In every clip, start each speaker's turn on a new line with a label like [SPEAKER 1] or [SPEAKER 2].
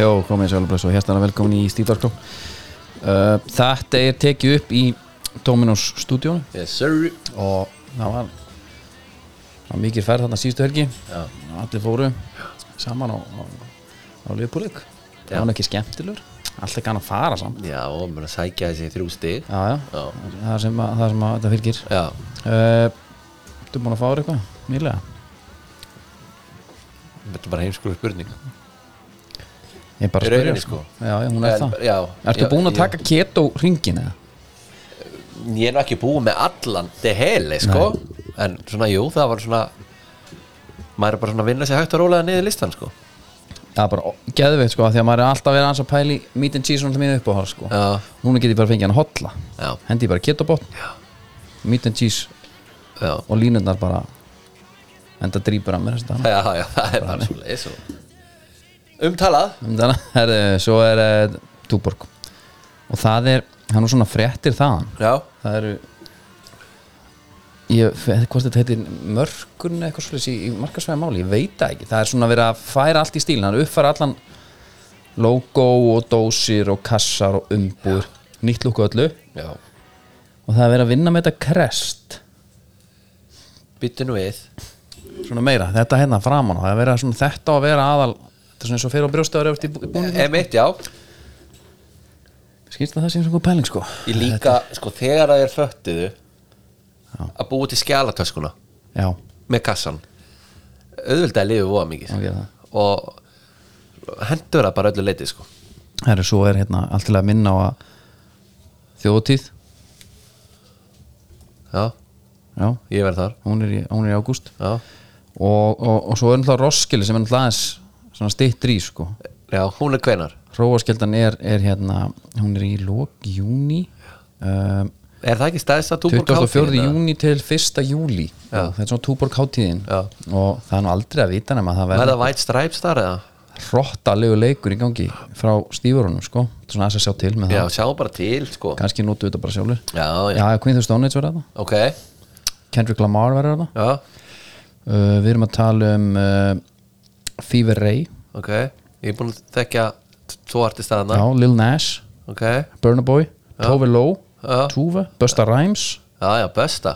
[SPEAKER 1] Jó, komið sér alveg blessu og hérstana velkomin í Stíðarkró uh, Þetta er tekið upp í Dominos stúdíónu
[SPEAKER 2] Yes sir
[SPEAKER 1] og það var, það var mikið ferð þarna síðustu helgi
[SPEAKER 2] Já.
[SPEAKER 1] Allir fóru saman á, á, á liðbúleik Það
[SPEAKER 2] Já.
[SPEAKER 1] var nú ekki skemmtilegur Alltaf kannan að fara saman
[SPEAKER 2] Já, og maður að sækja þessi þrjú stig
[SPEAKER 1] Já, já,
[SPEAKER 2] Já.
[SPEAKER 1] það er sem, að, það er sem að þetta fylgir
[SPEAKER 2] Já,
[SPEAKER 1] uh, Þú búin að fá þér eitthvað, nýlega?
[SPEAKER 2] þetta er bara heimskulega spurning
[SPEAKER 1] Ég er bara
[SPEAKER 2] Í
[SPEAKER 1] að spyrja
[SPEAKER 2] rauninni, sko.
[SPEAKER 1] Já, já, hún er
[SPEAKER 2] En-
[SPEAKER 1] það
[SPEAKER 2] Já
[SPEAKER 1] Ertu
[SPEAKER 2] já,
[SPEAKER 1] búin að
[SPEAKER 2] já.
[SPEAKER 1] taka keto hringin eða?
[SPEAKER 2] Ég er nú ekki búin með allan De heli, sko En svona, jú, það var svona Maður er bara svona að vinna sér hægt að rólega niður listan, sko
[SPEAKER 1] Það er bara geðveikt sko af Því að maður er alltaf verið aðeins að pæli Meat and cheese er alltaf mínu uppáhald sko
[SPEAKER 2] Já.
[SPEAKER 1] Núna get ég bara fengið hann að hotla
[SPEAKER 2] Já.
[SPEAKER 1] Hendi ég bara ketobot Meat and cheese
[SPEAKER 2] Já
[SPEAKER 1] og línundar bara Enda drýpur að mér þess að
[SPEAKER 2] Já, já, það er bara svo leis og Umtalað
[SPEAKER 1] Þannig að Um svo er uh, Túborg Og það er, hann er svona fréttir þaðan
[SPEAKER 2] Já
[SPEAKER 1] Það eru Ég, hvort þetta heitir mörkurinn eða eitthvað svolítið í, í markasvæða máli, ég veit það ekki það er svona verið að færa allt í stílinn hann uppfæra allan logo og dósir og kassar og umbúr nýtt lúku öllu
[SPEAKER 2] Já
[SPEAKER 1] og það er verið að vinna með þetta krest
[SPEAKER 2] Byttu nú við
[SPEAKER 1] svona meira, þetta hérna framan á, það er verið að svona þetta á að vera aðal þetta er svona eins og fyrir á brjóstaður eftir búinu
[SPEAKER 2] M1, já
[SPEAKER 1] skilst það það sem svona pæling sko
[SPEAKER 2] Ég líka, sko, þegar það er föttuðu Að búa til skjalatöskuna
[SPEAKER 1] já,
[SPEAKER 2] með kassan auðvitað liðu voða mikið
[SPEAKER 1] Hann gerir það.
[SPEAKER 2] og hendur það bara öllu leiti sko.
[SPEAKER 1] það er svo er hérna allt til að minna á að þjóðtíð,
[SPEAKER 2] já,
[SPEAKER 1] já,
[SPEAKER 2] ég verð þar
[SPEAKER 1] hún er í, hún er í ágúst
[SPEAKER 2] já,
[SPEAKER 1] og, og, og svo er náttúrulega Roskilde sem er náttúrulega aðeins svona stittri sko
[SPEAKER 2] já hún er hvenar
[SPEAKER 1] Hróaskeldan er, er hérna hún er í lok júni um,
[SPEAKER 2] er það ekki staðist að túborg
[SPEAKER 1] 24.
[SPEAKER 2] hátíðin, eða?
[SPEAKER 1] júni til 1. júli þetta er svona túborg hátíðin
[SPEAKER 2] Já.
[SPEAKER 1] og það er nú aldrei að vita nema að það
[SPEAKER 2] var
[SPEAKER 1] verður
[SPEAKER 2] það White Stripes þar eða
[SPEAKER 1] hrottalegu leikur í gangi frá stífurunum sko, þetta er svona aðeins að sjá til með
[SPEAKER 2] já,
[SPEAKER 1] það
[SPEAKER 2] sjá bara til sko.
[SPEAKER 1] kannski notu þetta bara sjálfur
[SPEAKER 2] já, já,
[SPEAKER 1] Já, Queen of Stone Age verður það
[SPEAKER 2] ok
[SPEAKER 1] Kendrick Lamar verður það
[SPEAKER 2] já,
[SPEAKER 1] uh, Við erum að tala um uh, Fever Ray,
[SPEAKER 2] ok ég er búin að þekka t- tvo artist að
[SPEAKER 1] já,
[SPEAKER 2] hana
[SPEAKER 1] Lil Nash
[SPEAKER 2] ok, já,
[SPEAKER 1] Burna Boy, Tove Lo
[SPEAKER 2] Já.
[SPEAKER 1] Tuve, Busta Rhymes
[SPEAKER 2] já, Busta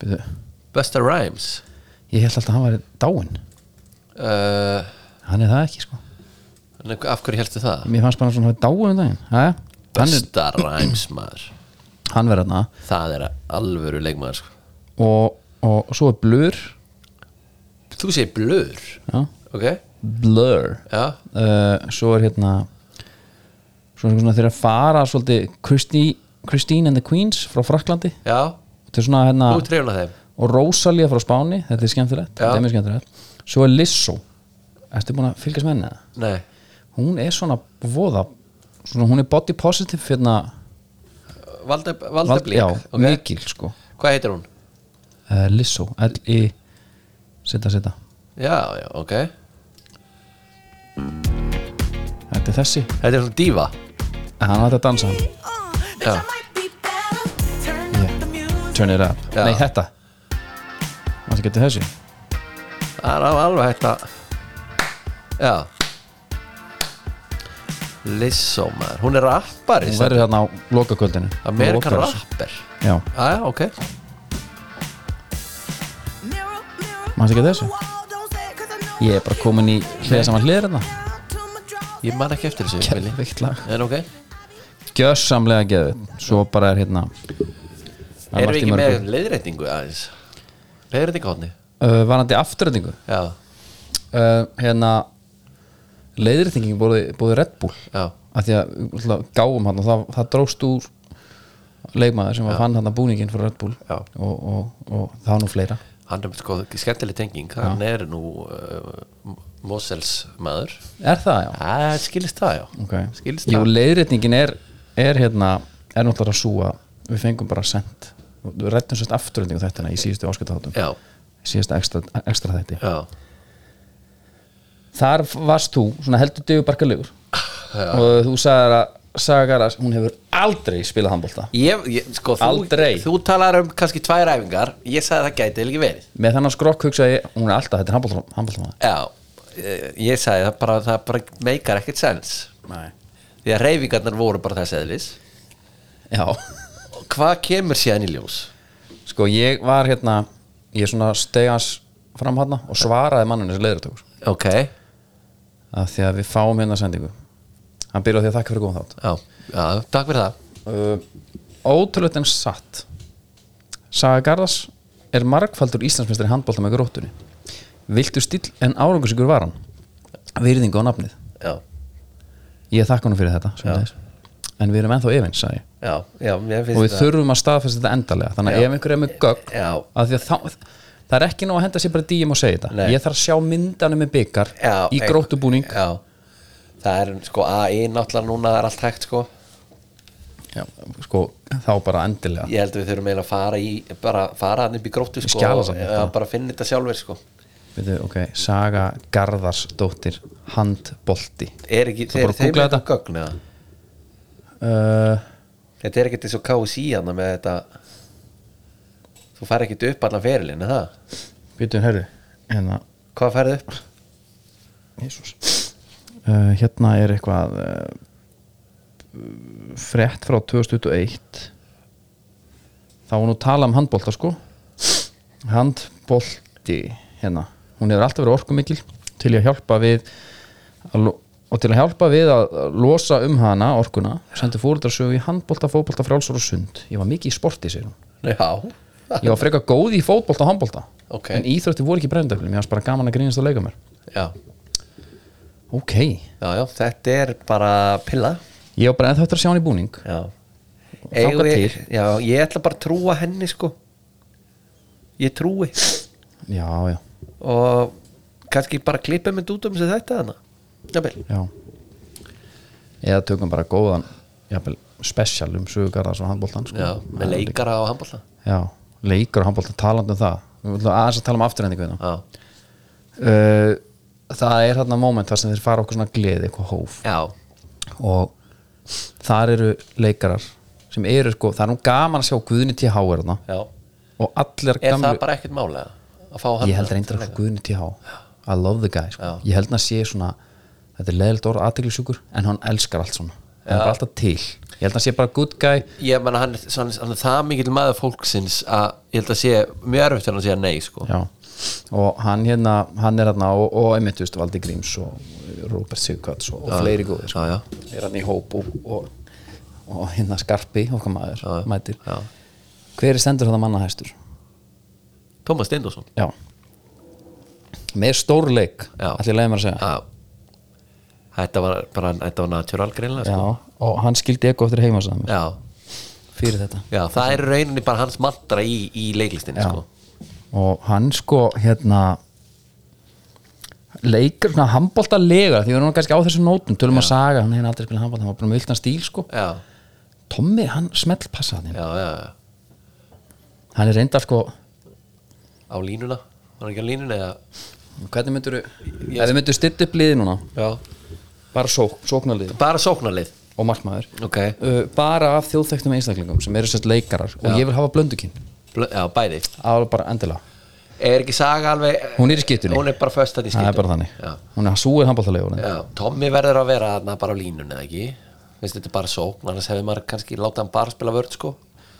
[SPEAKER 1] Byrðu,
[SPEAKER 2] Busta Rhymes
[SPEAKER 1] Ég held alltaf að hann væri dáinn
[SPEAKER 2] uh,
[SPEAKER 1] Hann er það ekki sko
[SPEAKER 2] en af hverju helstu það?
[SPEAKER 1] Mér fannst bara svona að hann væri dáinn um daginn Jæja, Hann, er-
[SPEAKER 2] Busta Rhymes maður
[SPEAKER 1] hann verður þarna
[SPEAKER 2] það er alvöru leikmaður sko.
[SPEAKER 1] og, og, og svo er Blur
[SPEAKER 2] Þú segir blur
[SPEAKER 1] já,
[SPEAKER 2] Ok,
[SPEAKER 1] Blur
[SPEAKER 2] já,
[SPEAKER 1] uh, Svo er hérna Svo er svona þeir að fara svolítið Christi- Christine and the Queens frá Fraklandi
[SPEAKER 2] já
[SPEAKER 1] Þetta er svona hérna
[SPEAKER 2] Þú trefna þeim
[SPEAKER 1] Og Rosalia frá Spáni, þetta er skemmtilegt
[SPEAKER 2] Já.
[SPEAKER 1] Þetta er mjög skemmtilegt Svo er Lissó Ertu búin að fylgjast með henni það?
[SPEAKER 2] Nei,
[SPEAKER 1] hún er svona voða svona hún er body positive hérna
[SPEAKER 2] Valde, Valde Blík
[SPEAKER 1] já,
[SPEAKER 2] ok.
[SPEAKER 1] mikil sko
[SPEAKER 2] Hvað heitir hún?
[SPEAKER 1] uh, Lissó, L-I sita, sita,
[SPEAKER 2] Já, já, ok
[SPEAKER 1] þetta er þessi
[SPEAKER 2] Þetta er svona dífa
[SPEAKER 1] en hann hætti að dansa hann,
[SPEAKER 2] Já.
[SPEAKER 1] turn it up
[SPEAKER 2] Já.
[SPEAKER 1] nei þetta, hann þetta getur þessi
[SPEAKER 2] Það er al- alveg hægt að Já Lissó maður Hún er rappari
[SPEAKER 1] hún
[SPEAKER 2] sagði-
[SPEAKER 1] verður hérna á lokaköldinu
[SPEAKER 2] Amerikan
[SPEAKER 1] Lokar þessu.
[SPEAKER 2] rapper
[SPEAKER 1] já,
[SPEAKER 2] Já, já, ok
[SPEAKER 3] Manstu ekki þessu?
[SPEAKER 1] ég er bara komin í hliða saman hliðir hérna
[SPEAKER 2] Ég man ekki eftir þessu Billy.
[SPEAKER 1] Geðveikt lag.
[SPEAKER 2] En ok
[SPEAKER 1] gjörsamlega geðu svo bara er hérna það
[SPEAKER 2] Erum
[SPEAKER 1] margt
[SPEAKER 2] við
[SPEAKER 1] í
[SPEAKER 2] ekki
[SPEAKER 1] mörgu.
[SPEAKER 2] með leiðreitingu aðeins? Leiðreitingahotni
[SPEAKER 1] uh, varandi afturrendingu
[SPEAKER 2] Já,
[SPEAKER 1] uh, hérna leiðritingin búið, búið Red Bull
[SPEAKER 2] já,
[SPEAKER 1] að því að alltaf, gáum hann og það, það dróst úr leikmaður sem var fann hann að búningin fyrir Red Bull
[SPEAKER 2] Já.
[SPEAKER 1] og, og, og það var nú fleira
[SPEAKER 2] hann er sko skemmtileg tenging hann er nú uh, Mosels maður
[SPEAKER 1] er það já?
[SPEAKER 2] það skilist það já
[SPEAKER 1] Okay.
[SPEAKER 2] skilist
[SPEAKER 1] Jú,
[SPEAKER 2] það
[SPEAKER 1] leiðrétningin er, er hérna, er náttúrulega sú að við fengum bara sent við rættum sérst afturöndingu þetta í síðustu áskataðátum
[SPEAKER 2] já,
[SPEAKER 1] síðasta ekstra, ekstra þætti
[SPEAKER 2] já,
[SPEAKER 1] þar varst þú, svona heldur dögu barkalegur og þú sagðar að, sagðar að hún hefur aldrei spilað handbólta
[SPEAKER 2] ég, ég, sko, þú,
[SPEAKER 1] Aldrei.
[SPEAKER 2] þú talar um kannski tvær æfingar ég sagði það gæti ekki verið
[SPEAKER 1] með þennan skrokk hugsaði ég, hún er alltaf, þetta er handbólta
[SPEAKER 2] já, eh, ég sagði það bara, það bara meikar ekkert sens
[SPEAKER 1] Nei.
[SPEAKER 2] því að reyfingarnar voru bara þess eðlis
[SPEAKER 1] Já,
[SPEAKER 2] og hvað kemur síðan í ljós
[SPEAKER 1] sko ég var hérna ég svona stegans fram hérna og svaraði manninu sem leiðartökur
[SPEAKER 2] ok,
[SPEAKER 1] að því að við fáum hérna sendingu hann byrjaði á því að þakka fyrir góðan þátt
[SPEAKER 2] já, já takk fyrir það
[SPEAKER 1] uh, Ótrúlega en satt Saga Garðars er margfaldur Íslandsmeistari í handbólta með gróttunni Viltu stíll en árangusíkur var hann Virðingu á nafnið
[SPEAKER 2] já,
[SPEAKER 1] Ég þakka hann fyrir þetta sömuleiðis. En við erum ennþá efins, sagði ég
[SPEAKER 2] já, já, mér
[SPEAKER 1] Og
[SPEAKER 2] finnst
[SPEAKER 1] við þurfum að staðfesta þetta endalega Þannig að
[SPEAKER 2] Já.
[SPEAKER 1] ef einhver er með gögg
[SPEAKER 2] Já.
[SPEAKER 1] að því að þá, Það er ekki nóg að henda sér bara díum og segja þetta
[SPEAKER 2] Nei.
[SPEAKER 1] Ég þarf að sjá myndanu með byggar
[SPEAKER 2] já,
[SPEAKER 1] Í gróttubúning
[SPEAKER 2] já. það er sko AI náttúrulega núna er allt hægt sko
[SPEAKER 1] Já, sko, Þá bara endilega
[SPEAKER 2] ég held að við þurfum eiginlega að fara í bara fara hann upp í gróttu sko
[SPEAKER 1] Skjalasafn,
[SPEAKER 2] og-
[SPEAKER 1] þetta.
[SPEAKER 2] já, bara finna þetta sjálfur sko
[SPEAKER 1] Veitu, ok, Saga Garðarsdóttir Handbolti
[SPEAKER 2] er ekki,
[SPEAKER 1] Þú bara
[SPEAKER 2] þeir þeim
[SPEAKER 1] googlaði
[SPEAKER 2] eitthvað gögn eða
[SPEAKER 1] uh,
[SPEAKER 2] þetta er ekkert eins og KSI hann með þetta þú fær ekkert upp allan ferilinn eða það
[SPEAKER 1] Býtum, herri Hérna,
[SPEAKER 2] hvað færðu upp
[SPEAKER 1] Jesus. Uh, hérna er eitthvað uh, frétt frá 2021 þá var nú tala um handbolta sko handbolti hérna, hún hefur alltaf verið orkumikil til að hjálpa við að, lo- og til að hjálpa við að að losa um hana orkuna, sendi fóreldrasögu í handbolta, fótbolta, frálsar og sund ég var mikið í sporti, segir hún
[SPEAKER 2] já,
[SPEAKER 1] ég var frekar góð í fótbolta og handbolta
[SPEAKER 2] Ok.
[SPEAKER 1] en íþrótti voru ekki breyndaflum, ég var bara gaman að grínast að leika mér
[SPEAKER 2] já,
[SPEAKER 1] ok,
[SPEAKER 2] já, já, þetta er bara pilla
[SPEAKER 1] ég var bara eða þetta að sjá hann í búning
[SPEAKER 2] já
[SPEAKER 1] Þangað
[SPEAKER 2] Eigum við,
[SPEAKER 1] til.
[SPEAKER 2] já, ég ætla bara að trúa henni sko ég trúi
[SPEAKER 1] já, já,
[SPEAKER 2] og kannski bara klippa mynd út um sig þetta hana jafnvel
[SPEAKER 1] já eða tökum bara góðan jafnvel, special um sögugarðars og handbóltan sko.
[SPEAKER 2] Já, með leikara á handbólta
[SPEAKER 1] já, leikur og handbóltan talandi um það við viljum aðeins að tala um afturhendingu hérna.
[SPEAKER 2] Já,
[SPEAKER 1] uh, það er hérna moment þar sem þeir fara okkur svona gleði, eitthvað hóf
[SPEAKER 2] já,
[SPEAKER 1] og þar eru leikarar sem eru sko, það er nú gaman að sjá Guðni T.H. er þarna
[SPEAKER 2] já.
[SPEAKER 1] og allir
[SPEAKER 2] Er
[SPEAKER 1] gamlu
[SPEAKER 2] það bara ekkert málega að fá hann
[SPEAKER 1] ég held reyndar að Guðni T.H. I love the guy, sko.
[SPEAKER 2] Já.
[SPEAKER 1] ég held hann að sé svona þetta er leðilt orð aðteglisjúkur en hann elskar allt svona, hann er bara alltaf til ég held hann sé bara good guy
[SPEAKER 2] Ég menna hann, er- hann, hann er það mikill maður fólksins að ég held að sé mjög erfitt en að segja nei sko
[SPEAKER 1] Já. og hann hérna hann er hérna og, og einmitt, þú veist, Valdi Gríms og Robert Sigurkats og, og fleiri góðir sko.
[SPEAKER 2] Já, já,
[SPEAKER 1] er hann í hóp og, og, og hérna Skarpi, okkar maður
[SPEAKER 2] já.
[SPEAKER 1] mætir,
[SPEAKER 2] já.
[SPEAKER 1] hver er stendur þetta manna hæstur?
[SPEAKER 2] Tómas Steindorsson
[SPEAKER 1] Já með stórleik,
[SPEAKER 2] Já.
[SPEAKER 1] allir leiðum að segja
[SPEAKER 2] Já Þetta var bara, þetta var natural greinlega
[SPEAKER 1] Já,
[SPEAKER 2] sko
[SPEAKER 1] og hann skildi eitthvað eftir heima sem
[SPEAKER 2] Já,
[SPEAKER 1] fyrir þetta
[SPEAKER 2] já, það er í rauninni bara hans mantra í, í leiklistinni
[SPEAKER 1] Já.
[SPEAKER 2] sko
[SPEAKER 1] og hann sko hérna leikur svona handbólta legar því við erum nú kannski á þessum nótum tölum að saga, hann hefði aldrei spilað handbólta hann var bara með viltan stíl sko
[SPEAKER 2] Já,
[SPEAKER 1] Tommi, hann smell passaði
[SPEAKER 2] já, já, já
[SPEAKER 1] hann er reyndar sko
[SPEAKER 2] Á línuna, var hann ekki á línuna eða
[SPEAKER 1] hvernig myndur ef þið myndur stytta upp liði núna
[SPEAKER 2] Já,
[SPEAKER 1] bara sók, sóknarliði
[SPEAKER 2] bara sóknarlið
[SPEAKER 1] og markmaður
[SPEAKER 2] Ok,
[SPEAKER 1] uh, bara af þjóðþektum einstaklingum sem eru sett leikarar og ég vil hafa blöndukinn
[SPEAKER 2] Blö- já, bæði
[SPEAKER 1] alveg bara endilega
[SPEAKER 2] Er ekki saga alveg
[SPEAKER 1] Hún er í skyttunni.
[SPEAKER 2] Hún er bara föst að í
[SPEAKER 1] það
[SPEAKER 2] skytunni
[SPEAKER 1] er bara þannig
[SPEAKER 2] já.
[SPEAKER 1] hún er súið handbóltalegur
[SPEAKER 2] já, Tommy verður að vera þarna bara á línunni eða ekki Veist þetta er bara sókn Annars hefði maður kannski láta hann bara spila vörð sko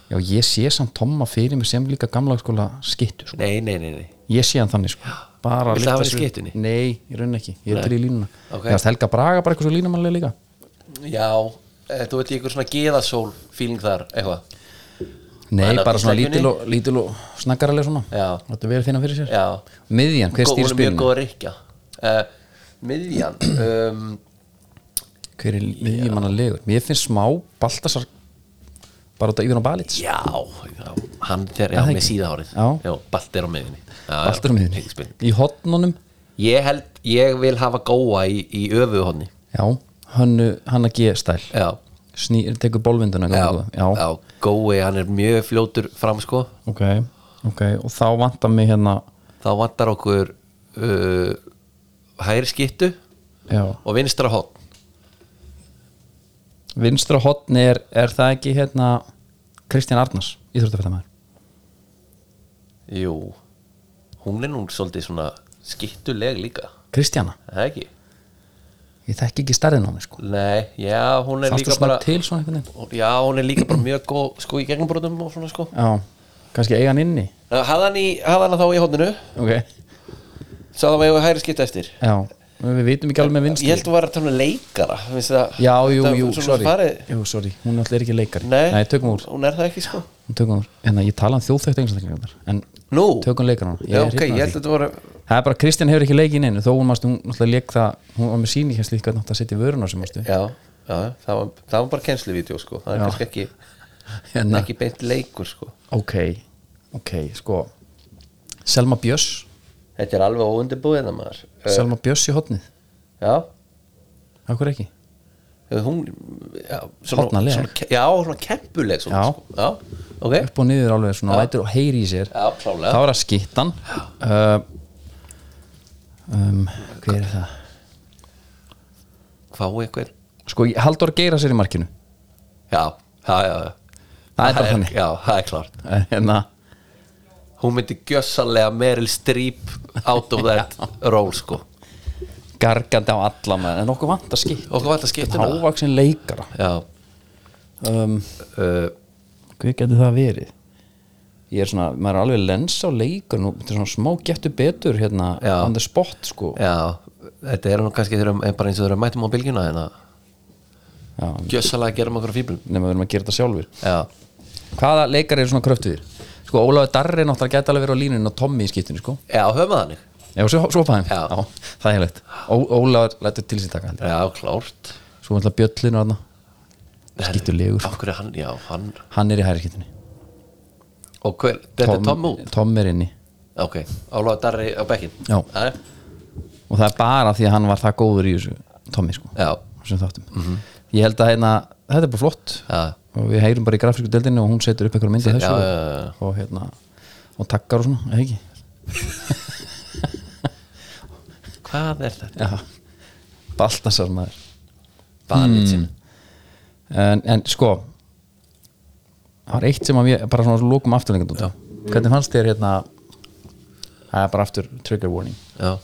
[SPEAKER 1] já ég sé samt Tomma fyrir mig sem líka gamla skóla skittu sko.
[SPEAKER 2] Nei, nei, nei, nei
[SPEAKER 1] ég sé hann þannig sko bara
[SPEAKER 2] Viltu
[SPEAKER 1] lyfta
[SPEAKER 2] hafa hann í
[SPEAKER 1] sér-
[SPEAKER 2] skyttunni?
[SPEAKER 1] nei, ég raun ekki, ég er til í línuna
[SPEAKER 2] Ok.
[SPEAKER 1] okay. ég varst Helga Braga bara eitthvað svo línumannlega líka
[SPEAKER 2] Já, eh, þú veit í ykkur svona geðasól Fíling þar, eitthvað
[SPEAKER 1] nei,
[SPEAKER 2] Hann á
[SPEAKER 1] bara svona
[SPEAKER 2] Íslengjunni?
[SPEAKER 1] lítil og, lítil og snaggaraleg svona
[SPEAKER 2] Já.
[SPEAKER 1] þetta verið að finna fyrir sér
[SPEAKER 2] Já
[SPEAKER 1] miðjan, hver
[SPEAKER 2] Gó-
[SPEAKER 1] stýr
[SPEAKER 2] Hún er mjög
[SPEAKER 1] spilinu?
[SPEAKER 2] góð að rykja uh, Miðjan um,
[SPEAKER 1] hver er miðjumannalegur? mér finnst smá Baltasar bara út af yfir á balits
[SPEAKER 2] Já, já Hann þegar, já,
[SPEAKER 1] það
[SPEAKER 2] með
[SPEAKER 1] ekki?
[SPEAKER 2] síðahárið
[SPEAKER 1] Já.
[SPEAKER 2] já Balt er á miðjunni Já, já,
[SPEAKER 1] Baltur á
[SPEAKER 2] ekki
[SPEAKER 1] miðjunni,
[SPEAKER 2] spurning.
[SPEAKER 1] í hotnunum
[SPEAKER 2] Ég held, ég vil hafa góa í, í öfuhóðni
[SPEAKER 1] já, hönnu, hann að geða stæl
[SPEAKER 2] Já
[SPEAKER 1] Snýr, tekur bólvinduna
[SPEAKER 2] já,
[SPEAKER 1] gangi góða. Sko, já.
[SPEAKER 2] já, gói, hann er mjög fljótur fram sko,
[SPEAKER 1] ok, ok, og þá vantar mig hérna
[SPEAKER 2] þá vantar okkur uh, hægri skittu
[SPEAKER 1] já,
[SPEAKER 2] og vinstra hotn
[SPEAKER 1] vinstra hotni er, er það ekki hérna Kristján Arnars, íþróttafættamæður
[SPEAKER 2] Jú, hún er nú svolítið svona skittuleg líka
[SPEAKER 1] Kristjana,
[SPEAKER 2] er það ekki
[SPEAKER 1] ég þekki ekki starrið náni sko.
[SPEAKER 2] Nei, já, hún er
[SPEAKER 1] Sástu
[SPEAKER 2] líka
[SPEAKER 1] svona
[SPEAKER 2] bara
[SPEAKER 1] til svona einhvern veginn
[SPEAKER 2] Já, hún er líka bara mjög góð sko í gegnumbröðum og svona sko
[SPEAKER 1] Já, kannski eiga hann inni
[SPEAKER 2] Hafðan í, hafðan þá í hóttinu
[SPEAKER 1] Ok,
[SPEAKER 2] Sá það með hægri skipta eftir
[SPEAKER 1] já, við vitum ekki alveg með vinstri
[SPEAKER 2] Ég held að vera að tala um leikara finnst það-
[SPEAKER 1] Já, jú,
[SPEAKER 2] það-
[SPEAKER 1] jú,
[SPEAKER 2] svona
[SPEAKER 1] sorry
[SPEAKER 2] farið-
[SPEAKER 1] Jú, sorry, hún alltaf er ekki leikari
[SPEAKER 2] Nei,
[SPEAKER 1] tökum úr,
[SPEAKER 2] Hún er það ekki sko
[SPEAKER 1] hún tökum úr Hérna, ég tala um þjóðþögt einstaklingarnar En
[SPEAKER 2] Nú,
[SPEAKER 1] tökum leikarnar
[SPEAKER 2] já, ok, ég held að þetta voru
[SPEAKER 1] hérna Það er bara, Kristján hefur ekki leikið neinu Þó hún mást, hún alltaf leik það Hún var með síni hér slíka Nátt að setja í vöruna sem mástu
[SPEAKER 2] Já, já, það var, það var bara kennsluvídeó sko Það er
[SPEAKER 1] Já.
[SPEAKER 2] kannski ekki,
[SPEAKER 1] Hérna,
[SPEAKER 2] ekki beint leikur sko
[SPEAKER 1] ok, ok, sko Selma Björs
[SPEAKER 2] Þetta er alveg óundibúið það maður Eh,
[SPEAKER 1] Selma Björs í hotnið
[SPEAKER 2] Já,
[SPEAKER 1] Akkur ekki
[SPEAKER 2] Eh, hún já,
[SPEAKER 1] Hornaleg.
[SPEAKER 2] svona, ke- Já, svona kempuleg svona,
[SPEAKER 1] Já.
[SPEAKER 2] Sko. já, ok
[SPEAKER 1] Upp og niður alveg svona
[SPEAKER 2] Já.
[SPEAKER 1] Lætur og heyri í sér
[SPEAKER 2] Já, klálega
[SPEAKER 1] Þá er það skittan uh, um, Hver er það?
[SPEAKER 2] Hvað er einhver?
[SPEAKER 1] Sko, ég- Halldór geira sér í markinu
[SPEAKER 2] Já, já, já, já.
[SPEAKER 1] Það er bara þannig
[SPEAKER 2] Já, það er klart
[SPEAKER 1] Eh, Hérna,
[SPEAKER 2] Hún myndi gjössalega Meryl Streep out of that role sko
[SPEAKER 1] gargandi á alla með En okkur vant að skitt
[SPEAKER 2] Og hvað var þetta skiptuna?
[SPEAKER 1] Hávaksin leikara
[SPEAKER 2] um Já,
[SPEAKER 1] um,
[SPEAKER 2] uh,
[SPEAKER 1] Hver getur það verið? Ég er svona, maður er alveg lens á leikar Nú, þetta er svona smá getur betur hérna
[SPEAKER 2] Já. Eh.
[SPEAKER 1] On the spot, sko
[SPEAKER 2] já Þetta er nú kannski þeirra, eh, bara eins og þeirra mætum á bylgjuna hérna
[SPEAKER 1] Já,
[SPEAKER 2] Gjössalega gerum okkur fíblum
[SPEAKER 1] nema við erum að gera þetta sjálfur
[SPEAKER 2] Já,
[SPEAKER 1] Hvaða leikar eru svona kröftuðir? Sko, Ólafur Darri náttúrulega gæti alveg verið á línunni og Tommy í skiptinu, sko
[SPEAKER 2] já, höfum við þannig
[SPEAKER 1] Já, og svo, svo fæðum,
[SPEAKER 2] Já.
[SPEAKER 1] það er heilegt Ólafur lætur til sín taka held ég.
[SPEAKER 2] Já, klárt
[SPEAKER 1] Svo náttúrulega Bjöllin og hann Skýttur legur,
[SPEAKER 2] Af hverju er hann, já, hann
[SPEAKER 1] sko. hann er í hæri skiptinu
[SPEAKER 2] Og hver, þetta er Tom út
[SPEAKER 1] Tom er inni
[SPEAKER 2] Ok, Ólaður Darri á bekkin
[SPEAKER 1] Já. Og það er bara því að hann var það góður í þessu Tommy, sko,
[SPEAKER 2] Já,
[SPEAKER 1] sem þáttum
[SPEAKER 2] Mhm.
[SPEAKER 1] Ég held að hérna, þetta er bara flott
[SPEAKER 2] já,
[SPEAKER 1] og við heyrum bara í grafísku deildinni og hún setur upp eitthvað myndið
[SPEAKER 2] já,
[SPEAKER 1] þessu
[SPEAKER 2] já,
[SPEAKER 1] og,
[SPEAKER 2] já.
[SPEAKER 1] og hérna og takkar og svona, eða ekki
[SPEAKER 2] Hvað er þetta?
[SPEAKER 1] já. Baltasar maður
[SPEAKER 2] Banit sinn
[SPEAKER 1] en, en sko það var eitt sem að við bara svona lókum afturlengjum út hvernig fannst þér hérna það er bara aftur trigger warning
[SPEAKER 2] Já,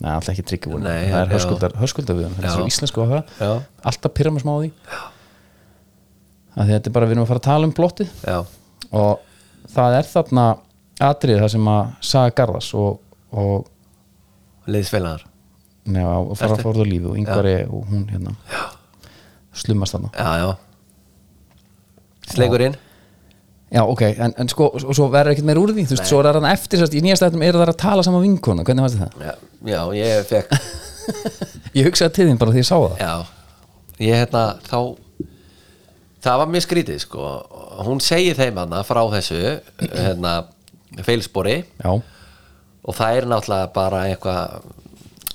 [SPEAKER 1] Nei, alltaf ekki trigger warning,
[SPEAKER 2] Nei,
[SPEAKER 1] það er
[SPEAKER 2] já.
[SPEAKER 1] höskuldar, höskuldar við hann, þetta er
[SPEAKER 2] Já.
[SPEAKER 1] svo íslensku á það
[SPEAKER 2] Já.
[SPEAKER 1] alltaf pyrra með smá á því að því þetta er bara, við erum að fara að tala um plottið
[SPEAKER 2] já,
[SPEAKER 1] og það er þarna atrið það sem að saga Garðars og, og
[SPEAKER 2] liðsfélagar
[SPEAKER 1] nefa, og fara
[SPEAKER 2] Ertu?
[SPEAKER 1] að fórða lífi og yngvari og hún hérna slummast þarna
[SPEAKER 2] Já, já Slegurinn
[SPEAKER 1] já ok, en, en sko, og svo verður ekkert meir úr því þú veist, svo er það eftir, sérst, í nýjast eftir eru það að tala saman vinkona, hvernig varst það?
[SPEAKER 2] já, já, ég fekk
[SPEAKER 1] ég hugsaði til þín bara því ég sá það
[SPEAKER 2] Já, ég hérna þá Það var mjög skrítið sko Hún segir þeim hana frá þessu hérna, feilspori
[SPEAKER 1] já,
[SPEAKER 2] og það er náttúrulega bara eitthvað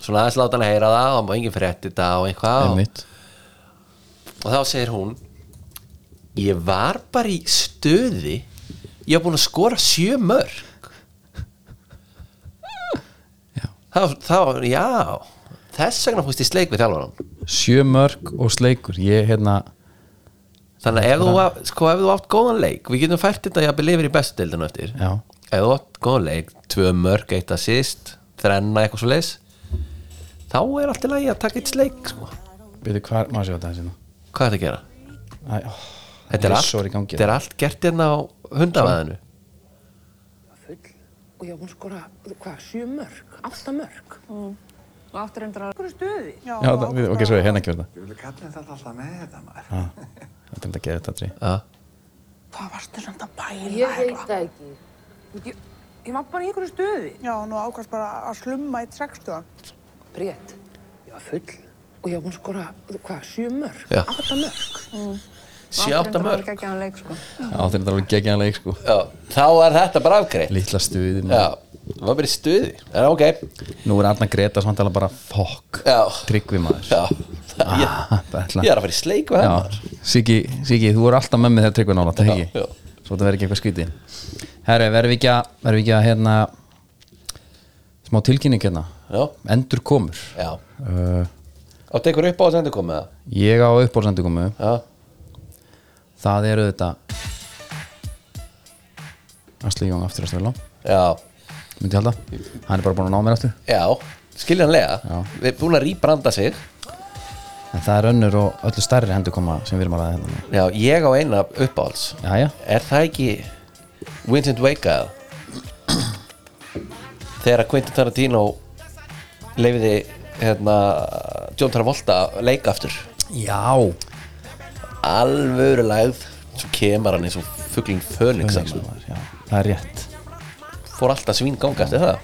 [SPEAKER 2] svona aðeins láta hann að heyra það og má enginn frétti þetta og eitthvað og,
[SPEAKER 1] einmitt
[SPEAKER 2] og þá segir hún ég var bara í stöði ég var búin að skora sjö mörg
[SPEAKER 1] Já.
[SPEAKER 2] þá, þá, já þess vegna fórst ég sleik við þjálfarann
[SPEAKER 1] sjö mörg og sleikur, ég hérna
[SPEAKER 2] þannig að ef þú, á- sko, ef þú átt góðan leik við getum fært þetta jafnvel yfir í bestu deildinu eftir
[SPEAKER 1] já,
[SPEAKER 2] ef þú átt góðan leik tvö mörg, eitt assist, þrenna eitthvað svo leis þá er allt í lagi að taka eitt sleik sko.
[SPEAKER 1] byrju hvað, maður séu þetta hérna
[SPEAKER 2] hvað er þetta að gera?
[SPEAKER 1] Æ, ó,
[SPEAKER 2] Þetta er,
[SPEAKER 1] ég
[SPEAKER 2] allt,
[SPEAKER 1] sorry gangi
[SPEAKER 2] þetta er allt gert hérna á hundavaðinu
[SPEAKER 4] full og ég var búin að skora, hvað, sjö mörg, átta mörg.
[SPEAKER 5] og áttur endur að
[SPEAKER 4] Stöði.
[SPEAKER 1] já, það, við- ok, svo ég hérna ekki verða
[SPEAKER 6] Ég vil kalla þetta alltaf með þetta maður.
[SPEAKER 1] þetta er þetta að geða þetta atrið
[SPEAKER 2] ja.
[SPEAKER 4] Hvað varstu samt að bæla?
[SPEAKER 5] ég veit það ekki
[SPEAKER 4] veit. Ég, ég var bara í einhverju stöði.
[SPEAKER 7] Já, nú ákvæmst bara að slumma í sko. trekstuðan.
[SPEAKER 4] Brét, ég var full og ég var búin að skora, hvað, sjö mörg,
[SPEAKER 2] Já.
[SPEAKER 4] átta mörg.
[SPEAKER 2] sjáta mörg
[SPEAKER 5] ekki að leik sko
[SPEAKER 1] Já, þetta er þetta alveg geggjaðan leik sko
[SPEAKER 2] já, þá er þetta bara afgreitt
[SPEAKER 1] Lítla stuði
[SPEAKER 2] já, það var bara í stuði en ok
[SPEAKER 1] Nú er Arna Greta samtala bara fokk
[SPEAKER 2] Já.
[SPEAKER 1] Tryggvi maður
[SPEAKER 2] já, það, ég,
[SPEAKER 1] Ah, bara ætla-
[SPEAKER 2] ég er að fara í sleik hérna. við hann
[SPEAKER 1] Já, Siggi, Siggi, þú voru alltaf með mig þegar Tryggvi nála Það
[SPEAKER 2] Já,
[SPEAKER 1] ekki
[SPEAKER 2] já.
[SPEAKER 1] Svo þetta verður ekki eitthvað skríti Herri, verðum við ekki að, verðum við ekki að hérna Smá tilkynning hérna
[SPEAKER 2] já,
[SPEAKER 1] Endur komur
[SPEAKER 2] já.
[SPEAKER 1] uh,
[SPEAKER 2] áttu ykkur upp á að sendu komið
[SPEAKER 1] Ég á uppbólsendu komu
[SPEAKER 2] já,
[SPEAKER 1] Það eru þetta Asli Jón aftur að stöðla
[SPEAKER 2] já,
[SPEAKER 1] Myndi ég halda Hann er bara búin að ná mér aftur
[SPEAKER 2] já skiljanlega, við erum búin að rýbranda sig
[SPEAKER 1] En það er önnur og öllu starri hendur koma sem við erum að ræða hérna
[SPEAKER 2] já, ég á eina uppáhalds
[SPEAKER 1] Jæja,
[SPEAKER 2] er það ekki Vincent Wake að þegar Quentin Tarantino leifiði hérna, John Travolta að leika aftur
[SPEAKER 1] já
[SPEAKER 2] alvöru lægð svo kemur hann eins og fuglinn Fönix
[SPEAKER 1] Fönix, maður, já, Það er rétt
[SPEAKER 2] fór alltaf svín ganga eftir það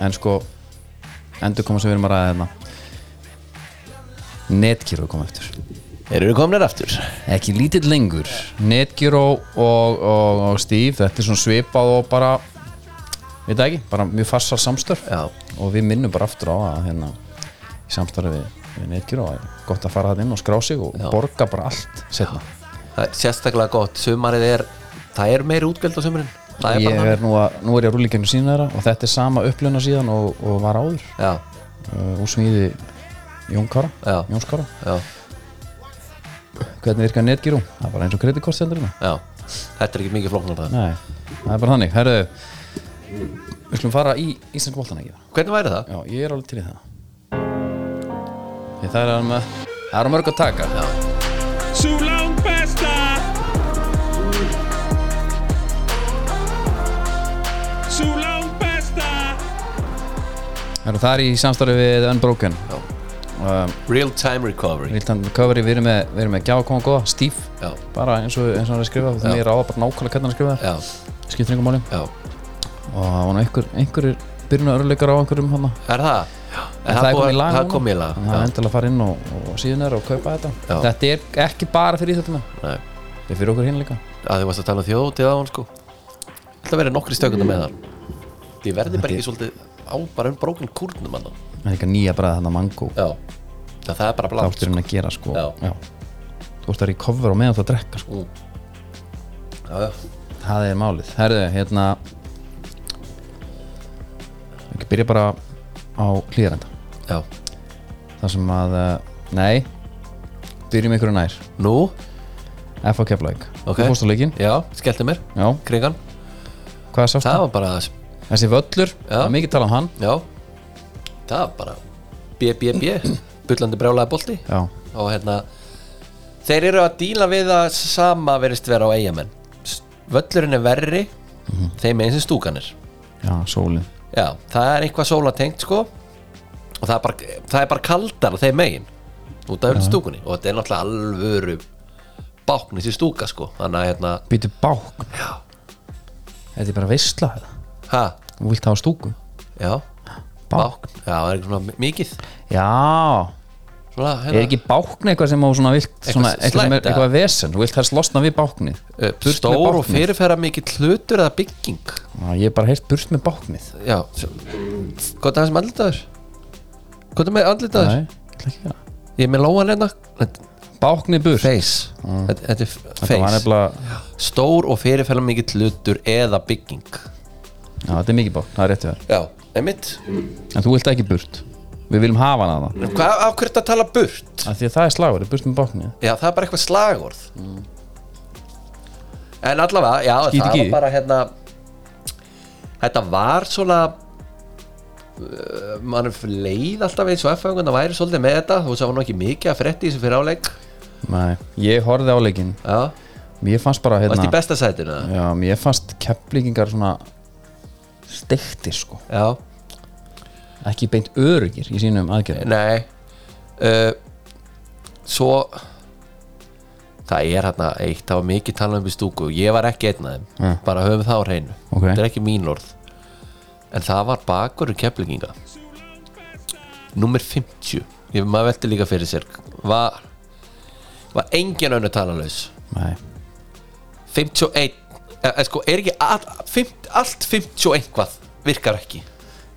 [SPEAKER 1] En sko, endur koma sem við erum að ræða hérna Netgyro kom eftir
[SPEAKER 2] eru við komnir aftur
[SPEAKER 1] Ekki lítill lengur Netgyro og, og, og Steve Þetta er svona svipað og bara Við það ekki, bara mjög farsar samstörf
[SPEAKER 2] Já.
[SPEAKER 1] Og við minnum bara aftur á að hérna Í samstörfi við, við Netgyro að Gott að fara það inn og skrá sig og
[SPEAKER 2] Já.
[SPEAKER 1] borga bara allt Setna
[SPEAKER 2] það er sérstaklega gott, sumarið er það er meiri útgjöld á sumurinn það er
[SPEAKER 1] Ég
[SPEAKER 2] bara
[SPEAKER 1] er nú, að, nú er ég á rúlíkjörnu sína þeirra og þetta er sama upplöna síðan og, og var áður
[SPEAKER 2] þannig já,
[SPEAKER 1] uh, úr smíði Jónkara,
[SPEAKER 2] Já.
[SPEAKER 1] Jónskara
[SPEAKER 2] já,
[SPEAKER 1] Hvernig virkar netgírú? Það er bara eins og kreditkortstendurina
[SPEAKER 2] já þetta er ekki mikið flóknar það
[SPEAKER 1] Nei, það er bara þannig Herru, við skulum fara í Íslensk boltan ekki
[SPEAKER 2] hvernig væri það?
[SPEAKER 1] Já, ég er alveg til í það Því það er með Það er á mörg að taka
[SPEAKER 2] Já.
[SPEAKER 8] Sú langt besta Sú langt besta
[SPEAKER 1] Herru, það er í samstarfi við Unbroken
[SPEAKER 2] Já.
[SPEAKER 1] um,
[SPEAKER 2] real time recovery
[SPEAKER 1] Viltan Recovery, við erum með, við erum með Gjá koma góða, Steve
[SPEAKER 2] Já.
[SPEAKER 1] bara eins og, eins og hann er skrifað
[SPEAKER 2] Já.
[SPEAKER 1] þannig ég ráða bara nákvæmlega hvernig hann er skrifað
[SPEAKER 2] já,
[SPEAKER 1] skiptir yngum máli
[SPEAKER 2] já
[SPEAKER 1] og það var nú einhver, einhverjir byrjunu örleikar á einhverjum hann
[SPEAKER 2] Er það? Er
[SPEAKER 1] það er
[SPEAKER 2] búið-
[SPEAKER 1] komið í lag
[SPEAKER 2] Það
[SPEAKER 1] núna.
[SPEAKER 2] kom í lag
[SPEAKER 1] þannig að
[SPEAKER 2] já.
[SPEAKER 1] endilega fara inn og, og síðan er og kaupa þetta
[SPEAKER 2] Já.
[SPEAKER 1] þetta er ekki bara fyrir íþjóttum
[SPEAKER 2] Nei,
[SPEAKER 1] þetta er fyrir okkur hinn líka
[SPEAKER 2] að þú varst að tala um þjótið á hann sko Það verið nokkri stökundar með það Ég verði bara ekki svolítið á bara um brókin kúrnum annan
[SPEAKER 1] það er líka nýja bræða þannig mango
[SPEAKER 2] Já, það, það er bara
[SPEAKER 1] þá
[SPEAKER 2] blátt
[SPEAKER 1] ertu hann að gera sko
[SPEAKER 2] Já.
[SPEAKER 1] þú ert að recover og meðan þú ert að drekka sko.
[SPEAKER 2] Já, já,
[SPEAKER 1] það er málið herðu hérna ekki byrja bara á hlýðarenda
[SPEAKER 2] já
[SPEAKER 1] þar sem að eh, nei byrjum ykkur nær
[SPEAKER 2] Nú,
[SPEAKER 1] FH Keflavík
[SPEAKER 2] Ok.
[SPEAKER 1] þú fórst á leikin
[SPEAKER 2] já, skellti mér
[SPEAKER 1] já
[SPEAKER 2] Kringan,
[SPEAKER 1] hvað sást
[SPEAKER 2] það var bara
[SPEAKER 1] þessi völlur
[SPEAKER 2] Já.
[SPEAKER 1] það er mikið talað um hann
[SPEAKER 2] Já, það var bara B, B, B Bullandi brjálaði bolti
[SPEAKER 1] já
[SPEAKER 2] Og hérna Þeir eru að díla við að sama verist vera á eigamenn Völlurinn er verri
[SPEAKER 1] Mhm.
[SPEAKER 2] Þeim eins og stúkan er
[SPEAKER 1] já sólin
[SPEAKER 2] Já, það er eitthvað sólatengt sko og það er bara, það er bara kaldar þeim megin út af stúkunni og þetta er náttúrulega alvöru báknis í stúka sko þannig að hérna,
[SPEAKER 1] býtu bák já þetta er bara veistla
[SPEAKER 2] ha,
[SPEAKER 1] þú vilt hafa stúku
[SPEAKER 2] já
[SPEAKER 1] Bákn.
[SPEAKER 2] bákn, já, það er eitthvað svona mikið
[SPEAKER 1] já
[SPEAKER 2] svona,
[SPEAKER 1] er ekki bákn eitthvað sem á svona vilt svona,
[SPEAKER 2] Hérna. Eitthvað
[SPEAKER 1] eitthvað, sem er,
[SPEAKER 2] slæmt,
[SPEAKER 1] eitthvað vesen þú vilt helst losna við báknið
[SPEAKER 2] eh,
[SPEAKER 1] Burt með
[SPEAKER 2] stór og
[SPEAKER 1] báknið.
[SPEAKER 2] fyrirferða mikið hlutur eða bygging
[SPEAKER 1] já, ég hef bara heyrt burt með báknið
[SPEAKER 2] já, svo- hvað er það sem andlitaður? hvað er með andlitaður?
[SPEAKER 1] nei ég ætla ekki að gera.
[SPEAKER 2] ég er með lóan hérna Þetta-
[SPEAKER 1] báknið burt
[SPEAKER 2] face, þetta þetta er face
[SPEAKER 1] Mm. þetta var nefnilega
[SPEAKER 2] stór og fyrirferða mikið hlutur eða bygging
[SPEAKER 1] já þetta er mikið bákn það er rétt verð
[SPEAKER 2] Já, einmitt
[SPEAKER 1] en þú vilt ekki burt við viljum hafa hana það
[SPEAKER 2] Hvað af hverju ertu að tala burt?
[SPEAKER 1] af því að það er slagur burt með báknið
[SPEAKER 2] Já, það er bara eitthvað slagorð
[SPEAKER 1] Mm.
[SPEAKER 2] En allavega, já,
[SPEAKER 1] Skít
[SPEAKER 2] það
[SPEAKER 1] ekki
[SPEAKER 2] var
[SPEAKER 1] í.
[SPEAKER 2] bara hérna Þetta var svona uh, mann leið alltaf eins og F-fengun það væri svolítið með þetta þú veist það var nú ekki mikið að frétti í þessu fyrir áleik
[SPEAKER 1] nei ég horfði á leikin
[SPEAKER 2] Já,
[SPEAKER 1] mér fannst bara
[SPEAKER 2] varst í
[SPEAKER 1] hérna
[SPEAKER 2] besta sætinu það?
[SPEAKER 1] já mér fannst keflingingar svona stektir sko
[SPEAKER 2] Já,
[SPEAKER 1] ekki beint örugir í sínum aðgerðum
[SPEAKER 2] nei uh, Svo það er hérna eitt, það var mikið talað um í stúku ég var ekki einn af þeim,
[SPEAKER 1] Mm.
[SPEAKER 2] bara höfum það á hreinu
[SPEAKER 1] Ok.
[SPEAKER 2] þetta er ekki mín orð en það var um bakurinn keflinginga nummer 50 ég maður velti líka fyrir sér var, var engin önnu talalaus
[SPEAKER 1] Nei.
[SPEAKER 2] 51 e, e, sko, er ekki all, fimt, allt 51 hvað virkar ekki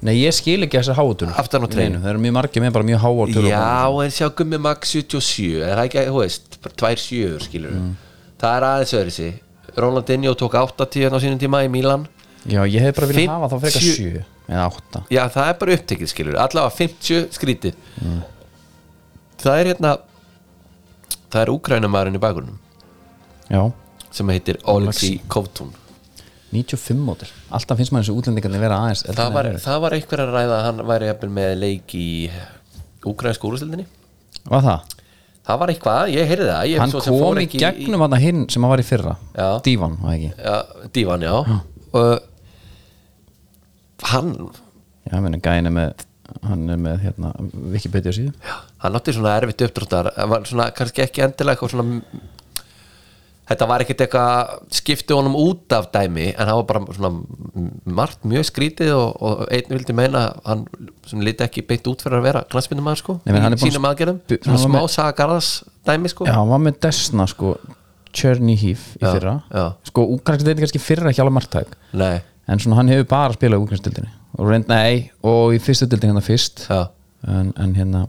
[SPEAKER 1] Nei, ég skil ekki þessar háutunum
[SPEAKER 2] Aftan á treynu.
[SPEAKER 1] Það eru mjög margir með bara mjög háutunum
[SPEAKER 2] já, en sjá gummi max 77 er það ekki, hú veist, bara tvær sjöur skilur
[SPEAKER 1] Mm.
[SPEAKER 2] það er aðeins öðru sig Ronaldinho tók 80 á sínum tíma í Milan
[SPEAKER 1] já, ég hef bara viljað
[SPEAKER 2] 50
[SPEAKER 1] hafa þá frekar 7 eða 8
[SPEAKER 2] Já, það er bara upptekið skilur Allavega 50 skrítið
[SPEAKER 1] Mm.
[SPEAKER 2] Það er hérna Það er úkrænumæðurinn í bakgrunum
[SPEAKER 1] Já,
[SPEAKER 2] sem heitir Oleksi Kovtun
[SPEAKER 1] 95 mótur alltaf finnst maður þessu útlendingarnir vera aðeins eldri
[SPEAKER 2] það
[SPEAKER 1] en
[SPEAKER 2] var,
[SPEAKER 1] þeir eru.
[SPEAKER 2] það var einhver að ræða að hann væri jafnvel með leik í ukrainsku úrstildinni
[SPEAKER 1] var það?
[SPEAKER 2] það var eitthvað, ég heyrði það ég
[SPEAKER 1] hann
[SPEAKER 2] svo sem fór
[SPEAKER 1] kom í
[SPEAKER 2] ekki
[SPEAKER 1] gegnum hann hinn sem hann var í fyrra
[SPEAKER 2] Já.
[SPEAKER 1] Dívan, var það ekki?
[SPEAKER 2] já, dívan, já og hann
[SPEAKER 1] Já, meni, gæin er með hann er með hérna, Wikipedia síðu
[SPEAKER 2] hann átti svona erfitt uppdráttar hann var svona kannski ekki endilega eitthvað svona þetta var ekkert eitthvað skipti honum út af dæmi en það var bara svona margt mjög skrítið og, og einn vildi meina að hann svona liti ekki beitt út fyrir að vera knastmyndum aðeins sko,
[SPEAKER 1] Nei, menn, hann er
[SPEAKER 2] í
[SPEAKER 1] búinn að
[SPEAKER 2] sínum aðgerðum
[SPEAKER 1] bu- hann
[SPEAKER 2] svona
[SPEAKER 1] var
[SPEAKER 2] smá
[SPEAKER 1] með-
[SPEAKER 2] sagarðas dæmi sko
[SPEAKER 1] Já, hann var með Desna sko Chernihiv í
[SPEAKER 2] Já,
[SPEAKER 1] fyrra
[SPEAKER 2] já.
[SPEAKER 1] sko, úkranskt deildin kannski fyrra ekki alveg margtæk
[SPEAKER 2] nei,
[SPEAKER 1] en svona hann hefur bara spilað í úkranskt deildinni og reynd, nei, og í fyrstu deildin hérna fyrst
[SPEAKER 2] já
[SPEAKER 1] en, en hérna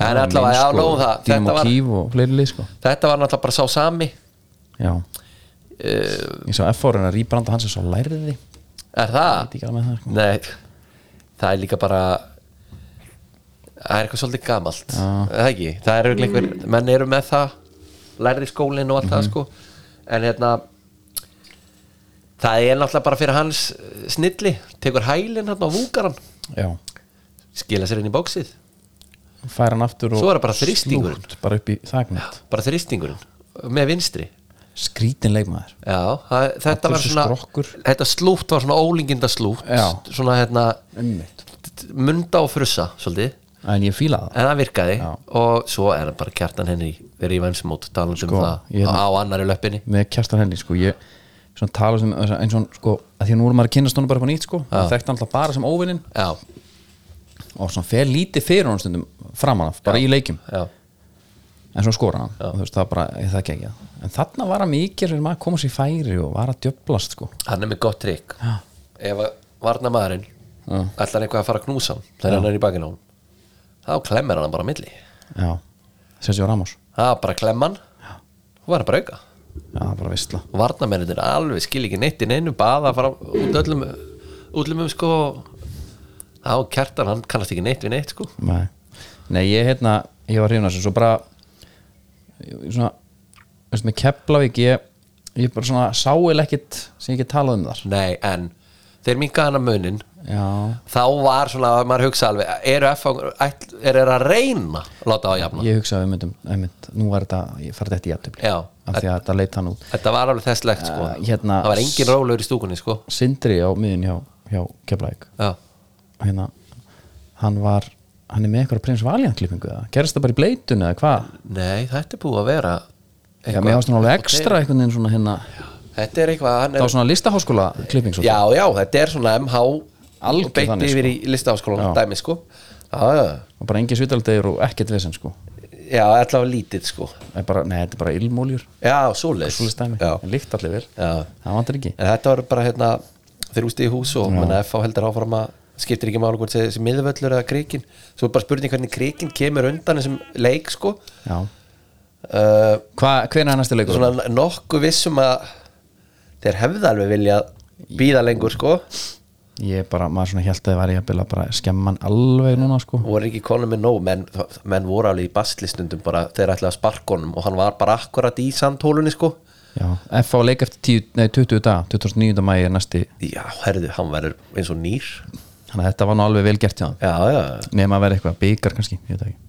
[SPEAKER 2] En allavega, já, nóg um það. Þetta
[SPEAKER 1] Dínamo
[SPEAKER 2] var-
[SPEAKER 1] sko, Kív og fleiri lið sko
[SPEAKER 2] þetta var náttúrulega bara sá sami
[SPEAKER 1] Já,
[SPEAKER 2] Eh,
[SPEAKER 1] ég sá F.O. reyna að rýbranda hans er svo læriði
[SPEAKER 2] er það?
[SPEAKER 1] ekki alveg með það sko
[SPEAKER 2] Nei, það er líka bara það er eitthvað svolítið gamalt er það ekki, það er örugglega einhver menn eru með það, lærði skólinn og allt það sko, en hérna það er náttúrulega bara fyrir hans eh, snilli tekur hælinn hérna á vúkaran
[SPEAKER 1] Já,
[SPEAKER 2] skila sér inn í bóksið,
[SPEAKER 1] fær hann aftur og
[SPEAKER 2] Svo er það bara þrýstingurinn.
[SPEAKER 1] slútt bara upp í þagnet
[SPEAKER 2] bara þrýstingurinn með vinstri
[SPEAKER 1] Skrítin leikmaður
[SPEAKER 2] Já, það, þetta
[SPEAKER 1] Allur
[SPEAKER 2] var
[SPEAKER 1] þessi
[SPEAKER 2] svona
[SPEAKER 1] skrokkur.
[SPEAKER 2] þetta slútt var svona ólinginda slútt
[SPEAKER 1] Já.
[SPEAKER 2] svona hérna
[SPEAKER 1] Einmitt.
[SPEAKER 2] munda og frussa svolítið
[SPEAKER 1] En ég fíla það
[SPEAKER 2] en það virkaði
[SPEAKER 1] Já.
[SPEAKER 2] og svo er það bara kjartan henni verið í vennsmót talandi
[SPEAKER 1] Sko,
[SPEAKER 2] um það
[SPEAKER 1] ég-
[SPEAKER 2] á annari löppinni
[SPEAKER 1] með Kjartan Henning sko, ég svona tala sem eins og hann, sko, að því að nú er maður að kynast honum bara upp á nýtt sko,
[SPEAKER 2] Já.
[SPEAKER 1] það þekkti hann alltaf bara sem óvinnin
[SPEAKER 2] Já,
[SPEAKER 1] og svona fer lítið fyrir honum stundum framan af, bara í leikjum,
[SPEAKER 2] já,
[SPEAKER 1] en svo skora hann og þú veist, það bara, ég þekki ekki það en þarna var hann mikið sem maður koma sér í færi og var að djöblast sko,
[SPEAKER 2] hann er með gott trygg ef að varna maðurinn ætlar eitthvað að fara að knúsa hann þegar hann er í bakinn á hann þá klemmir hann bara á milli
[SPEAKER 1] já Sergio Ramos,
[SPEAKER 2] það er bara klemman og var bara auka
[SPEAKER 1] já, bara vistla
[SPEAKER 2] varnamennir alveg skil ekki neitt í neinu baða fara út öllum útlumum sko á kjartan, hann kannast ekki neitt við neitt sko
[SPEAKER 1] Nei, Nei ég hérna ég var hrifin að þessu, svo bara ég- svona, veist, með Keflavík ég, ég bara svona sáil ekkit sem ég ekki talað um þar
[SPEAKER 2] nei, en þeir minkaði hann að munin
[SPEAKER 1] já,
[SPEAKER 2] þá var svona, maður hugsa alveg eru F er, er að reyna að láta á að jafna
[SPEAKER 1] ég hugsaði um myndum, einmitt, nú er þetta ég farið þetta í aftöfli,
[SPEAKER 2] Já.
[SPEAKER 1] af því að þetta leit hann út
[SPEAKER 2] þetta var alveg þesslegt sko
[SPEAKER 1] Eh, hérna-
[SPEAKER 2] það var engin rólur í stúkunni sko
[SPEAKER 1] Sindri á miðin hjá, hjá Keflæk
[SPEAKER 2] já,
[SPEAKER 1] hérna, hann var hann er með eitthvað prins Valiant klippingu eða gerist það bara í bleitunni eða hvað
[SPEAKER 2] nei, þetta er búið að vera
[SPEAKER 1] Já, mér ást hann alveg ekstra einhvern veginn svona hérna
[SPEAKER 2] þetta er eitthvað, hann
[SPEAKER 1] það
[SPEAKER 2] er
[SPEAKER 1] var svona listaháskóla klipping svo
[SPEAKER 2] já, já, þetta er svona MH
[SPEAKER 1] Algjör
[SPEAKER 2] beitt
[SPEAKER 1] þannig,
[SPEAKER 2] yfir
[SPEAKER 1] sko.
[SPEAKER 2] í listaháskólan
[SPEAKER 1] Já.
[SPEAKER 2] dæmi sko já, já, já.
[SPEAKER 1] og bara engin svitaldegir og ekkert vesen sko
[SPEAKER 2] Já, allavega lítið sko
[SPEAKER 1] Er bara, nei, þetta er bara ilmóljur
[SPEAKER 2] Já, svoleiðis
[SPEAKER 1] svoleiðis dæmi.
[SPEAKER 2] Já.
[SPEAKER 1] en líkt allir vel,
[SPEAKER 2] Já.
[SPEAKER 1] það vantar ekki
[SPEAKER 2] En þetta var bara hérna þeir úst í hús og menna FH heldur áfram að skiptir ekki máli hvort þessi miðvöllur eða krikin Svo er bara spurning hvernig krikin kemur undan þessum leik sko
[SPEAKER 1] já,
[SPEAKER 2] uh,
[SPEAKER 1] Hva, hvenær er næstu leikur?
[SPEAKER 2] Svona nokkuð vissum að þeir hefðu alveg vilja býða lengur sko
[SPEAKER 1] ég bara, maður svona held að það væri að bila bara skemman alveg núna sko
[SPEAKER 2] voru ekki konum með nóg menn, menn voru alveg í bastlistundum bara þeir ætlaði að sparka honum og hann var bara akkurat í sandhólunni sko
[SPEAKER 1] Já, F á leik eftir 10, nei, 20 dag 29. mæi er næsti
[SPEAKER 2] Já, herðu, hann verður eins og nýr
[SPEAKER 1] þannig að þetta var nú alveg vel gert hjá hann
[SPEAKER 2] Já, já, já
[SPEAKER 1] nema að vera eitthvað byggar kannski, ég veit það ekki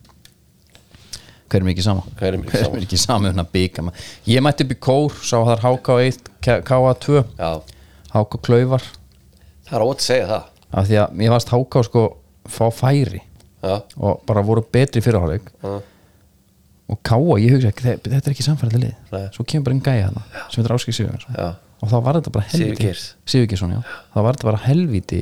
[SPEAKER 1] hver er mér ekki sama
[SPEAKER 2] Hver er mér ekki sama?
[SPEAKER 1] mér ekki sama en að bygga ég mætti upp í kór, sá þar HK1 K- KA2,
[SPEAKER 2] Já,
[SPEAKER 1] HK Klaufar
[SPEAKER 2] það er ótt að segja það
[SPEAKER 1] af því að mér varst HK sko fá færi
[SPEAKER 2] Já,
[SPEAKER 1] og bara voru betri fyrirháleik uh. og KA, ég hugsa ekki þe- þetta er ekki samfærið lið,
[SPEAKER 2] Nei.
[SPEAKER 1] svo kemur bara einn gæja hana sem heitir Áskei Sigurðarsson
[SPEAKER 2] Já.
[SPEAKER 1] og þá var þetta bara helviti
[SPEAKER 2] Sigurgeirs.
[SPEAKER 1] Sigurgeirsson, já, þá var þetta bara helviti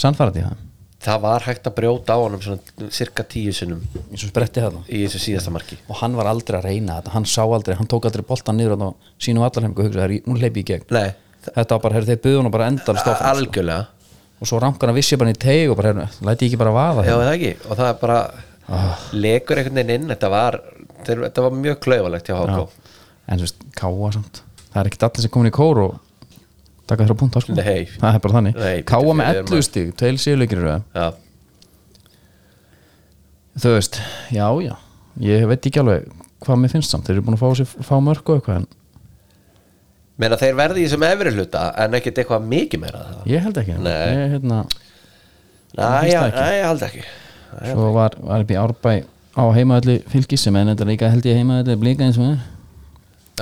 [SPEAKER 1] samfærið í hann
[SPEAKER 2] það var hægt að brjóta á honum svona cirka tíu sinnum
[SPEAKER 1] eins og spretti þarna
[SPEAKER 2] í þessu síðasta marki
[SPEAKER 1] og hann var aldrei að reyna þetta hann sá aldrei, hann tók aldrei boltan niður þarna á sínum allarheimingu og hugsaði, "Herri, nú hleypi ég í gegn
[SPEAKER 2] Nei,
[SPEAKER 1] þetta var bara, heyrðu, þeir buðu hann og bara endalist áfram sko.
[SPEAKER 2] algjörlega
[SPEAKER 1] og svo rankarna vissi ég bara í teig og bara, heyrðu, læti ég ekki bara vaða
[SPEAKER 2] Já, Ah.
[SPEAKER 1] hérna.
[SPEAKER 2] það ekki, og það er bara lekur einhvern veginn inn, þetta var þeir, þetta var mjög klaufalegt hjá HK
[SPEAKER 1] Sko, en þú veist, káa samt það er ekkert allir sem komin í kór og taka þér á punta sko.
[SPEAKER 2] Nei.
[SPEAKER 1] það er bara þannig,
[SPEAKER 2] Nei,
[SPEAKER 1] káa
[SPEAKER 2] bíddu,
[SPEAKER 1] með
[SPEAKER 2] við erum að-
[SPEAKER 1] 11 stíg tveil síðuleikir í röð.
[SPEAKER 2] Já,
[SPEAKER 1] þú veist, já, já ég veit ekki alveg hvað mér finnst samt, þeir eru búin að fá, sér, fá mörg og eitthvað en
[SPEAKER 2] meina þeir verði í þessum efri hluta en ekkert eitthvað mikið meira en það.
[SPEAKER 1] ég held ekki
[SPEAKER 2] Nei.
[SPEAKER 1] ég, hérna,
[SPEAKER 2] Næ,
[SPEAKER 1] finnst
[SPEAKER 2] já,
[SPEAKER 1] það ekki.
[SPEAKER 2] næ, ég held ekki
[SPEAKER 1] svo var, var upp í Árbæ á heimaðalli fylgis sem er þetta líka held ég heimaðalli blika eins og það er.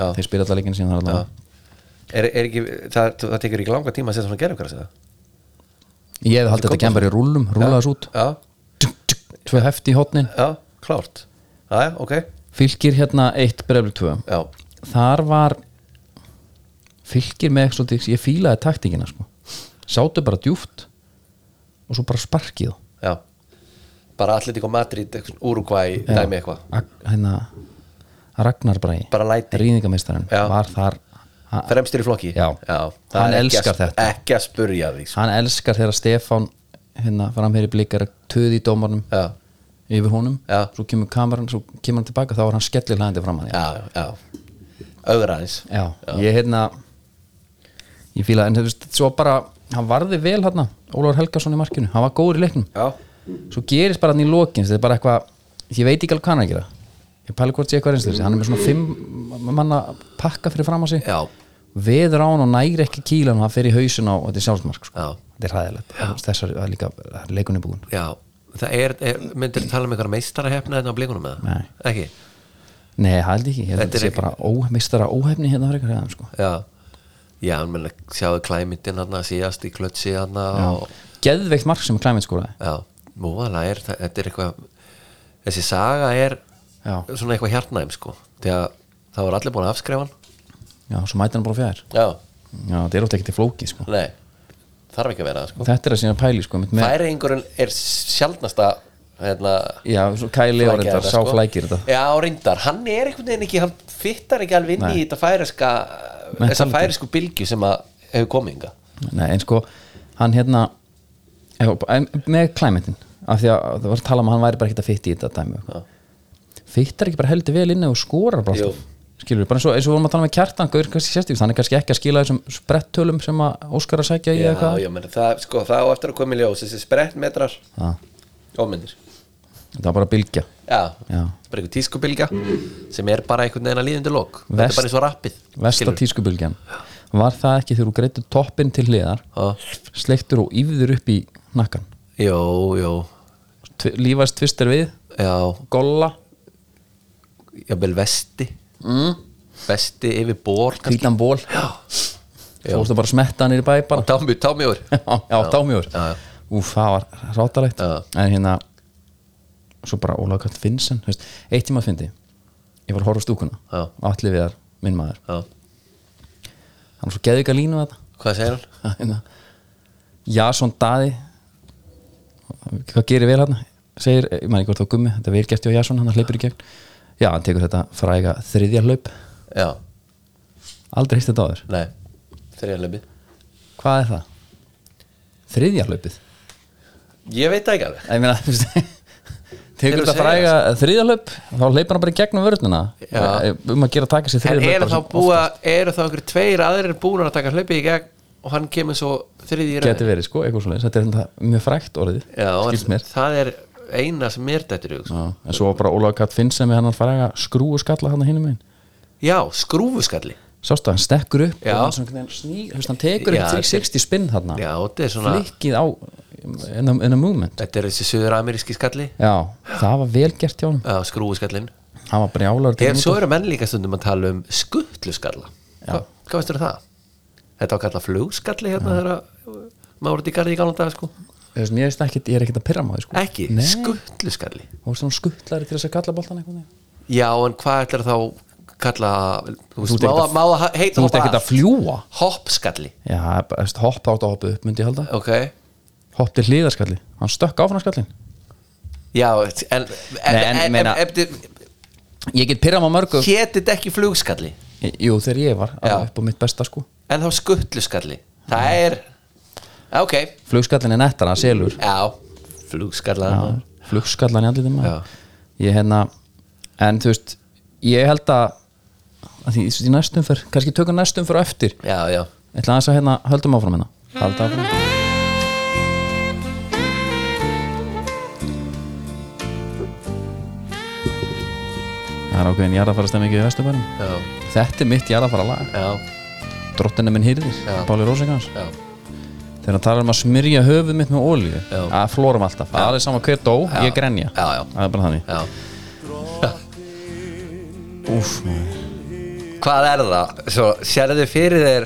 [SPEAKER 2] Já.
[SPEAKER 1] þeir spila alltaf leikinn síðan þar allavega
[SPEAKER 2] er, er ekki, það, það tekur ekki langa tíma að setja svona gerðugræs eða?
[SPEAKER 1] ég hefði haldið þetta kemur í rúlum, rúlaðs út
[SPEAKER 2] já,
[SPEAKER 1] Tjúk, tjúk, tvö hefti í hotnin
[SPEAKER 2] já, klárt já, já, ok,
[SPEAKER 1] fylgir hérna eitt brefli tvö
[SPEAKER 2] já,
[SPEAKER 1] þar var fylgir með svolítið, ég fílaði taktíkina sko. sátu bara djúft og svo bara sparkið
[SPEAKER 2] já bara Atletico Madrid, Uruguay dæmi eitthvað,
[SPEAKER 1] Ag- hérna, Ragnar Bræ
[SPEAKER 2] bara læti
[SPEAKER 1] rýðingameistarinn
[SPEAKER 2] Já.
[SPEAKER 1] var þar ha-
[SPEAKER 2] fremstur í flokki
[SPEAKER 1] Já.
[SPEAKER 2] það
[SPEAKER 1] Hann
[SPEAKER 2] er ekki að-
[SPEAKER 1] elskar þetta.
[SPEAKER 2] ekki að spurja því sko.
[SPEAKER 1] hann elskar þegar Stefán hérna, framherri blikar töði í dómarnum
[SPEAKER 2] já,
[SPEAKER 1] yfir honum,
[SPEAKER 2] Já.
[SPEAKER 1] svo kemur kameran svo kemur hann tilbaka, þá er hann skellir hlæðandi fram að því
[SPEAKER 2] já, já auðra eins
[SPEAKER 1] já, ég hérna ég fíla, en þú veist, svo bara hann varði vel hérna, Ólafur Helgason í markinu hann var góður í leiknum
[SPEAKER 2] já,
[SPEAKER 1] svo gerist bara hann í lokin þetta er bara eitthvað ég veit ekki alveg hvað hann er að gera ég pæli hvort sé eitthvað reynslu hann er með svona fimm manna pakka fyrir fram að sig
[SPEAKER 2] já,
[SPEAKER 1] veður á hann og nægir ekki kílan og hann fer í hausin á og þetta er sjálfsmark sko.
[SPEAKER 2] já,
[SPEAKER 1] þetta er hæðilegt þessar það er líka það er leikunni búin
[SPEAKER 2] já það er, er myndir tala um einhverja meistarahefna þetta á blikunum með
[SPEAKER 1] Nei.
[SPEAKER 2] ekki,
[SPEAKER 1] nei, ég held ekki ég held
[SPEAKER 2] Þetta
[SPEAKER 1] þetta
[SPEAKER 2] er
[SPEAKER 1] sé bara ómeistara óhefni hérna frekar hefðan sko
[SPEAKER 2] já já, hann menna, sjáðu klæmyndin hann síðast í klötsi hann og
[SPEAKER 1] geðveikt mark sem Klæmið skoraði
[SPEAKER 2] Já, múvalega er það- þetta er eitthvað þessi saga er
[SPEAKER 1] Já.
[SPEAKER 2] svona eitthvað hjartnæm sko þegar það var allir búin að afskrifa hann
[SPEAKER 1] já, svo mæti hann bara fjær
[SPEAKER 2] Já,
[SPEAKER 1] já, þetta er ofta ekki til flóki sko
[SPEAKER 2] nei, þarf ekki að vera það sko
[SPEAKER 1] þetta er að sína pæli sko einmitt með,
[SPEAKER 2] Færingurinn er sjaldnasta hérna,
[SPEAKER 1] já, svo kæli og
[SPEAKER 2] flækja
[SPEAKER 1] reyndar, sá flækir þetta
[SPEAKER 2] Já, reyndar, hann er einhvern veginn ekki hann fittar ekki alveg inn
[SPEAKER 1] Nei.
[SPEAKER 2] í þetta færiska þessa
[SPEAKER 1] Mentality.
[SPEAKER 2] færisku bylgju sem að hefur komið inga
[SPEAKER 1] Nei, en sko, hann hérna ef- en með klæmentin af því að það var að tala um að hann væri bara ekkert að fytta í þetta dæmi fyttar ekki bara heldur vel inn og skorar bara alltaf, skilur við, bara eins og, eins og vorum að tala um með kjartan Gaur kannski sérstífist, hann er kannski ekki að skila þessum sprettölum sem að Óskar er að segja í
[SPEAKER 2] Já,
[SPEAKER 1] eða hvað
[SPEAKER 2] já, meni, það, sko, það á eftir að koma í ljós þessi sprettmetrar
[SPEAKER 1] Já.
[SPEAKER 2] ómyndir
[SPEAKER 1] það var bara að bylgja
[SPEAKER 2] Já,
[SPEAKER 1] Já.
[SPEAKER 2] bara einhver tískubilgja sem er bara einhvern veginn að líðandi lok Þetta
[SPEAKER 1] Vest-
[SPEAKER 2] er bara eins og rappið
[SPEAKER 1] Vesta tískubylgjan var það ekki þegar þú greitur toppin til hliðar sleiktur og yfður upp í nakkan
[SPEAKER 2] Jó, jó,
[SPEAKER 1] Tvi, lífast tvistir við,
[SPEAKER 2] já,
[SPEAKER 1] golla
[SPEAKER 2] jafnvel vesti mm. Vesti yfir ból kannski.
[SPEAKER 1] hvítan ból
[SPEAKER 2] Já.
[SPEAKER 1] svo fórstu bara að smetta hann í bæ bara
[SPEAKER 2] Támi, támi úr
[SPEAKER 1] já, já, dámjóður
[SPEAKER 2] Já, já.
[SPEAKER 1] Úf, það var rátalegt
[SPEAKER 2] Já.
[SPEAKER 1] En hérna Svo bara Ólaug Kall Finnsen þú veist, Eitt tíma fyndi Ég var að horfa á stúkuna
[SPEAKER 2] Já.
[SPEAKER 1] Allir viðar, minn maður
[SPEAKER 2] já.
[SPEAKER 1] Hann var svo geðvika línu að
[SPEAKER 2] Hvað segir hann?
[SPEAKER 1] þetta hérna. Jason Daði Hvað gerir vel hann? Segir, ég maður ekki hvort þá gummi Þetta verið gert hjá Jason, hann hleypur í gegn Já, hann tekur þetta fræga þriðja hlaup
[SPEAKER 2] Já,
[SPEAKER 1] Aldrei heist þetta áður
[SPEAKER 2] nei, þriðanleipið
[SPEAKER 1] Hvað er það? Þriðja hlaupið?
[SPEAKER 2] Ég veit það ekki alveg
[SPEAKER 1] ég meina þú veist,
[SPEAKER 2] Þeir
[SPEAKER 1] tekur
[SPEAKER 2] eru að
[SPEAKER 1] þetta fræga þriðalöp þá leipur hann bara í gegnum vörnina
[SPEAKER 2] Já.
[SPEAKER 1] um að gera að taka sér
[SPEAKER 2] En
[SPEAKER 1] þriðalöp
[SPEAKER 2] eru þá búa, eru þá einhver tveir aðrir búin að taka hlaupið í gegn og hann kemur svo þriði í
[SPEAKER 1] getur verið sko, eitthvað svoleiðis, þetta er þetta mjög frægt orðið
[SPEAKER 2] Já,
[SPEAKER 1] skilst
[SPEAKER 2] en
[SPEAKER 1] mér
[SPEAKER 2] það er eina sem mér dættur í hug, sko.
[SPEAKER 1] Já, en svo var bara Ólaug Katt Finnsen með hann að fræga skrú og skalla hann að hinum einn
[SPEAKER 2] Já, skrúfuskalli
[SPEAKER 1] sástu að hann stekkur upp
[SPEAKER 2] Já.
[SPEAKER 1] og hann, svona, einhvern veginn sný- þú veist, hann tekur
[SPEAKER 2] Já,
[SPEAKER 1] upp 360 spinn hann
[SPEAKER 2] Já, þetta er svona
[SPEAKER 1] flikkið á in a, in a movement
[SPEAKER 2] Þetta er þessi söður-ameríski skalli
[SPEAKER 1] já, það var vel gert hjá hann
[SPEAKER 2] Já, skrúfuskallin
[SPEAKER 1] hann var brjálar
[SPEAKER 2] En svo eru menn líka stundum að tala um skuttluskalla Hva, Hvað veistur það? Þetta var kallað flugskalli hérna þegar að maður út í garði í galna dag sko
[SPEAKER 1] Þess, ég, ekki, ég er ekkert að pyrra maður sko.
[SPEAKER 2] Ekki,
[SPEAKER 1] Nei,
[SPEAKER 2] skuttluskalli
[SPEAKER 1] og svona skuttlari til þess að kalla boltan eitthvað
[SPEAKER 2] Já, en hvað ætlar þá kalla Þú
[SPEAKER 1] Þú
[SPEAKER 2] veist,
[SPEAKER 1] ert
[SPEAKER 2] má,
[SPEAKER 1] ekkert
[SPEAKER 2] að- má að ha- heita
[SPEAKER 1] þú ert ekkert að fljúa
[SPEAKER 2] Hoppskalli,
[SPEAKER 1] já, bara, veist, hopp átt að hoppa upp myndi ég halda
[SPEAKER 2] ok
[SPEAKER 1] hopp til hliðarskalli, hann stökk áfram skallin
[SPEAKER 2] Já, en, en,
[SPEAKER 1] Nei, en
[SPEAKER 2] en, en,
[SPEAKER 1] meina-
[SPEAKER 2] en
[SPEAKER 1] ég get pyrra maður mörgu
[SPEAKER 2] Hétið ekki flugskalli
[SPEAKER 1] jú, þegar ég var,
[SPEAKER 2] Já.
[SPEAKER 1] alveg upp á mitt besta sko
[SPEAKER 2] En þá skuttluskalli Það er, ok,
[SPEAKER 1] flugskallin er nettara, selur
[SPEAKER 2] já Flugskallar
[SPEAKER 1] Já, flugskallan í andlitum
[SPEAKER 2] Já.
[SPEAKER 1] ég hérna, en þú veist ég held að, að því, í næstum fyrr, kannski tökum næstum fyrr eftir
[SPEAKER 2] Já, já,
[SPEAKER 1] ég ætla aðeins að hérna, höldum áfram hérna halda áfram Það er ákveðin jarðafara stemming í Vesturbænum
[SPEAKER 2] já,
[SPEAKER 1] Þetta er mitt jarðafara lag
[SPEAKER 2] já
[SPEAKER 1] drottinu minn hýrðir
[SPEAKER 2] Já.
[SPEAKER 1] Páli Rósingans
[SPEAKER 2] já,
[SPEAKER 1] þegar hann talar um að smyrja höfuð mitt með ólíu
[SPEAKER 2] Já.
[SPEAKER 1] að flórum alltaf, það er alveg sama hver dó
[SPEAKER 2] Já.
[SPEAKER 1] ég grenja,
[SPEAKER 2] Já, já.
[SPEAKER 1] það er bara þannig
[SPEAKER 2] já.
[SPEAKER 1] Úf,
[SPEAKER 2] Hvað er það? Svo sérðu fyrir þér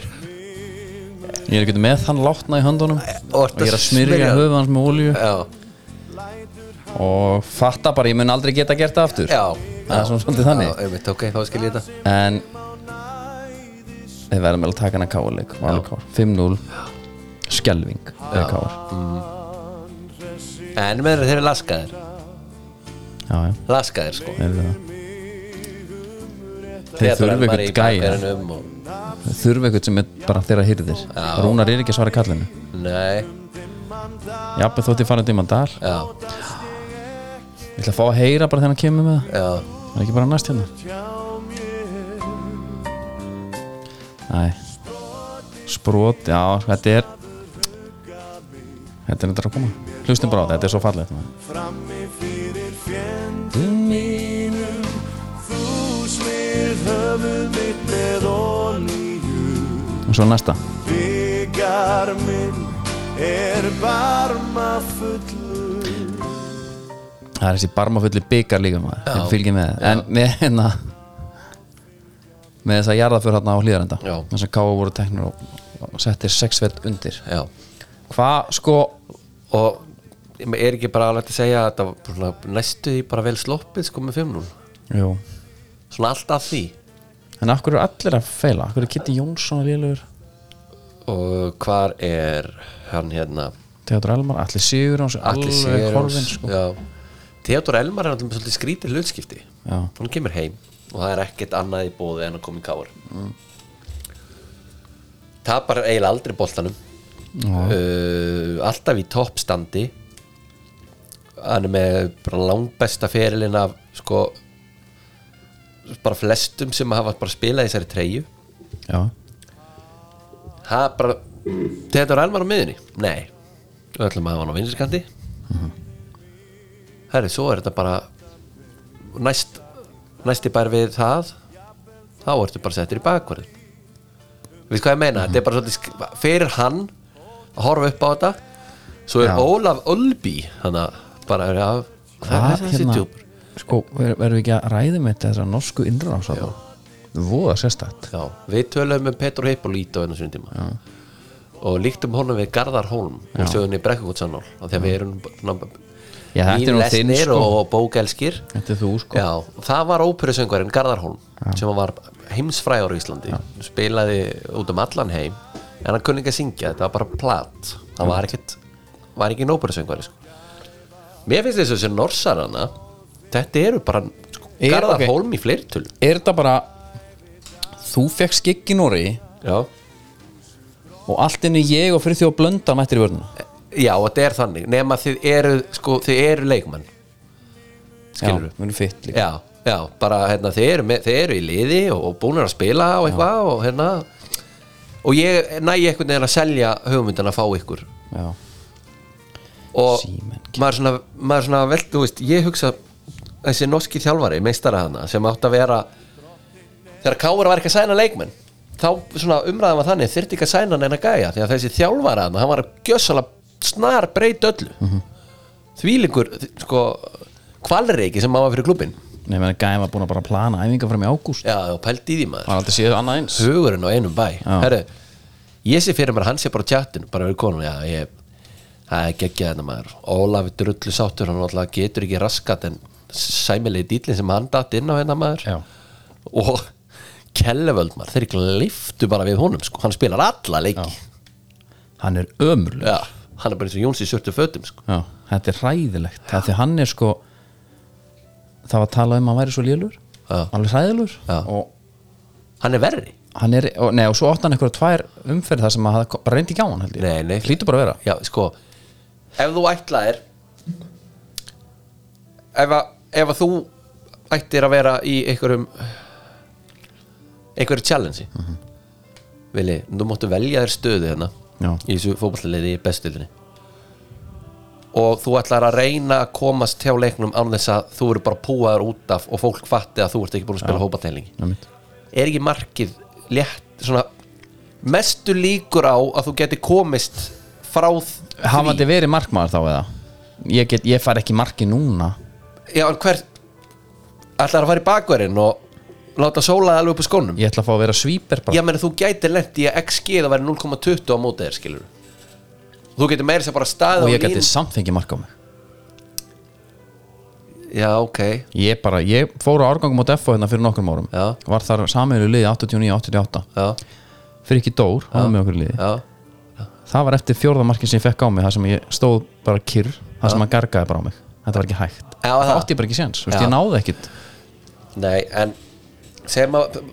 [SPEAKER 1] ég er ekki með hann látna í höndunum og
[SPEAKER 2] Og ert
[SPEAKER 1] ég er
[SPEAKER 2] að
[SPEAKER 1] að smyrja
[SPEAKER 2] smyrja.
[SPEAKER 1] höfuð hans með ólíu
[SPEAKER 2] Já,
[SPEAKER 1] og fatta bara, ég mun aldrei geta gert það aftur
[SPEAKER 2] já
[SPEAKER 1] það er svona svolítið þannig
[SPEAKER 2] Já, einmitt, ok, þá skil ég þetta
[SPEAKER 1] en við verðum vel að taka hana káleik 5-0 skelving eða káar
[SPEAKER 2] En meður þeir eru laskaðir
[SPEAKER 1] já, já,
[SPEAKER 2] Laskaðir sko
[SPEAKER 1] þeir eru það þeir þurfa eitthvað gæja
[SPEAKER 2] um og,
[SPEAKER 1] þeir þurfa eitthvað sem er bara þeirra hyrðir Rúnar er ekki að svara kallinu
[SPEAKER 2] Nei,
[SPEAKER 1] jafnveg þótt ég farið til Mandal
[SPEAKER 2] já,
[SPEAKER 1] ég ætla að fá að heyra bara þegar hann kemur með það
[SPEAKER 2] já
[SPEAKER 1] það er ekki bara næst hérna næ sprot, já, þetta er þetta er þetta að koma hlustum bara á þetta, þetta er svo fallið og svo næsta það er þessi barmafulli byggar líka maður ég fylgir með það en með hérna með þess að jarðaför hérna á hlýðarenda
[SPEAKER 2] Já.
[SPEAKER 1] þess að káa voru teknir og, og settir sexfett undir
[SPEAKER 2] Já,
[SPEAKER 1] hvað sko
[SPEAKER 2] og er ekki bara alveg að segja að það var svona næstu því bara vel sloppið sko með 5-0
[SPEAKER 1] Jú.
[SPEAKER 2] Svona alltaf því
[SPEAKER 1] en af hverju eru allir að feila af hverju er Kitty Jónsson liðlegur
[SPEAKER 2] Og hvar er hann hérna
[SPEAKER 1] Teodor Elmar, Alli Sigur Jóns
[SPEAKER 2] Atli
[SPEAKER 1] alveg
[SPEAKER 2] Sigurjóns
[SPEAKER 1] horfin sko.
[SPEAKER 2] já. Theodor Elmar er náttúrulega svolítið skrítið hlutskipti
[SPEAKER 1] Já.
[SPEAKER 2] hann kemur heim og það er ekkert annað í bóði en að koma í káar tapar eiginlega aldrei boltanum uh, alltaf í toppstandi hann er með bara langbesta ferilinn af sko bara flestum sem hafa bara spilað í þessari treyju
[SPEAKER 1] já,
[SPEAKER 2] það er bara Theodor Elmar á miðunni? Nei Við ætlum að hafa hann á vinsirkandi Herri, svo er þetta bara næst næsti bær við það þá ertu bara settir í bakvarð Við hvað ég meina, þetta er bara svolítið sk- fyrir hann að horfa upp á þetta svo er
[SPEAKER 1] Já.
[SPEAKER 2] Ólaf Ölby þannig að bara er að það er
[SPEAKER 1] hvað
[SPEAKER 2] þessi
[SPEAKER 1] hérna
[SPEAKER 2] djúpur
[SPEAKER 1] sko, ver- verðum við ekki að ræði með þetta þessar norsku innrás þarna? voða sérstætt
[SPEAKER 2] Já, við töluðum um Petru Heipolít á einu sinni tíma og líktum honum við Garðar Hólm og sögðunni Brekkugótsannál af því að við erum svona,
[SPEAKER 1] Já, þetta er nú þinn,
[SPEAKER 2] nýlesnir
[SPEAKER 1] sko.
[SPEAKER 2] og bókelskir
[SPEAKER 1] þetta er þú sko
[SPEAKER 2] Já, það var óperusöngvarinn Garðar Hólm sem var heimsfræður í Íslandi spilaði út um allan heim en hann kunni ekki að syngja, þetta var bara plat hann var ekkit var ekki óperusöngvari sko. Mér finnst þess að þessi norsarana þetta eru bara sko,
[SPEAKER 1] Er-
[SPEAKER 2] Garðar
[SPEAKER 1] ok.
[SPEAKER 2] Hólm í fleirtölu
[SPEAKER 1] er þetta bara þú fekk skikki Nóri
[SPEAKER 2] Já
[SPEAKER 1] og allt inni ég og fyrir því að blönda mættir í vörnum
[SPEAKER 2] Já, þetta er þannig, nema þið eru sko, þið eru leikmenn Skilurðu?
[SPEAKER 1] Já, við erum fitt líka
[SPEAKER 2] Já, já, bara hérna, þið eru, með, þið eru í liði og, og búinir að spila og eitthvað og hérna og ég næ einhvern veginn að selja hugmyndina að fá ykkur
[SPEAKER 1] Já.
[SPEAKER 2] og
[SPEAKER 1] Símenn.
[SPEAKER 2] maður svona, maður svona vel, þú veist, ég hugsa þessi norski þjálfari, meistara hana sem átt að vera þegar Káur var ekki að sæna leikmenn þá svona umræðan var þannig, þyrfti ekki að sæna neina gæja því að þessi þjálfari hana, hann var að gjössalega snar breyta öllu þvílingur, sko kvalreiki sem hann var fyrir klubin
[SPEAKER 1] Nei, menn að gæði var búin að bara plana æfinga fram í ágúst
[SPEAKER 2] já, og pældi í því maður
[SPEAKER 1] Það er aldrei séð annað eins
[SPEAKER 2] hugurinn á einum bæ
[SPEAKER 1] Já.
[SPEAKER 2] Herru, ég sé fyrir mér að hann sé bara á tjattinu bara verið konum, já ég það er geggjað þetta maður, Ólafi drullu sáttur hann alltaf getur ekki raskat en sæmilegi dýtlinn sem hann datt inn á hérna maður
[SPEAKER 1] Já.
[SPEAKER 2] og Kellevöld maður, þeir ekki liftu bara við honum sko, hann spilar alla leiki já.
[SPEAKER 1] Hann er ömurleg
[SPEAKER 2] hann er bara eins og Jóns í sörtu fötum sko.
[SPEAKER 1] Já, þetta er hræðilegt Það því hann er sko Það var að tala um að hann væri svo lélur
[SPEAKER 2] Já.
[SPEAKER 1] Alveg hræðilur
[SPEAKER 2] Já.
[SPEAKER 1] Og
[SPEAKER 2] hann er verri
[SPEAKER 1] hann er, og, nei, og svo átti hann eitthvað tvær umferð Það sem að það bara reyndi ekki á hann held ég
[SPEAKER 2] Nei, nei.
[SPEAKER 1] Hlýtur bara að vera
[SPEAKER 2] já, sko ef þú ætlaðir ef að, ef að þú ættir að vera í einhverjum einhverju challenge mm -hmm. Vili, þú máttu velja þér stöðu hérna
[SPEAKER 1] Já.
[SPEAKER 2] í þessu fótballaliði í bestildinni og þú ætlar að reyna að komast hjá leiknum án þess að þú eru bara púaður út af og fólk fatti að þú ert ekki búin að spila hópatælingi
[SPEAKER 1] Einmitt.
[SPEAKER 2] er ekki markið létt svona mestu líkur á að þú geti komist frá þ-
[SPEAKER 1] hafandi verið markmaður þá eða ég, get, ég far ekki í marki núna
[SPEAKER 2] já en hver ætlar að fara í bakverðin og láta sólaði alveg upp í skónum
[SPEAKER 1] ég ætla að fá að vera svíper bara
[SPEAKER 2] Já, meni, þú gætir lent í að XG það væri 0,20 á móti þér, skilur Þú getur meira sem bara staðið
[SPEAKER 1] og
[SPEAKER 2] á
[SPEAKER 1] ég geti
[SPEAKER 2] línu-
[SPEAKER 1] samt fengið mark á mig
[SPEAKER 2] Já, ok
[SPEAKER 1] ég bara, ég fór á árgangum á Defo hérna fyrir nokkrum árum
[SPEAKER 2] Já.
[SPEAKER 1] var þar samiðinu liði 89-88
[SPEAKER 2] Já,
[SPEAKER 1] fyrir ekki Dór, hann var með okkur í liði
[SPEAKER 2] já,
[SPEAKER 1] það var eftir fjórðamarkin sem ég fekk á mig það sem ég stóð bara kyrr, það sem hann gargaði bara á mig þetta var ekki hægt,
[SPEAKER 2] Já,
[SPEAKER 1] það
[SPEAKER 2] það.
[SPEAKER 1] átti ég bara ekki séns Þú veist,
[SPEAKER 2] Já.
[SPEAKER 1] ég náði ekkit
[SPEAKER 2] nei, en segjum að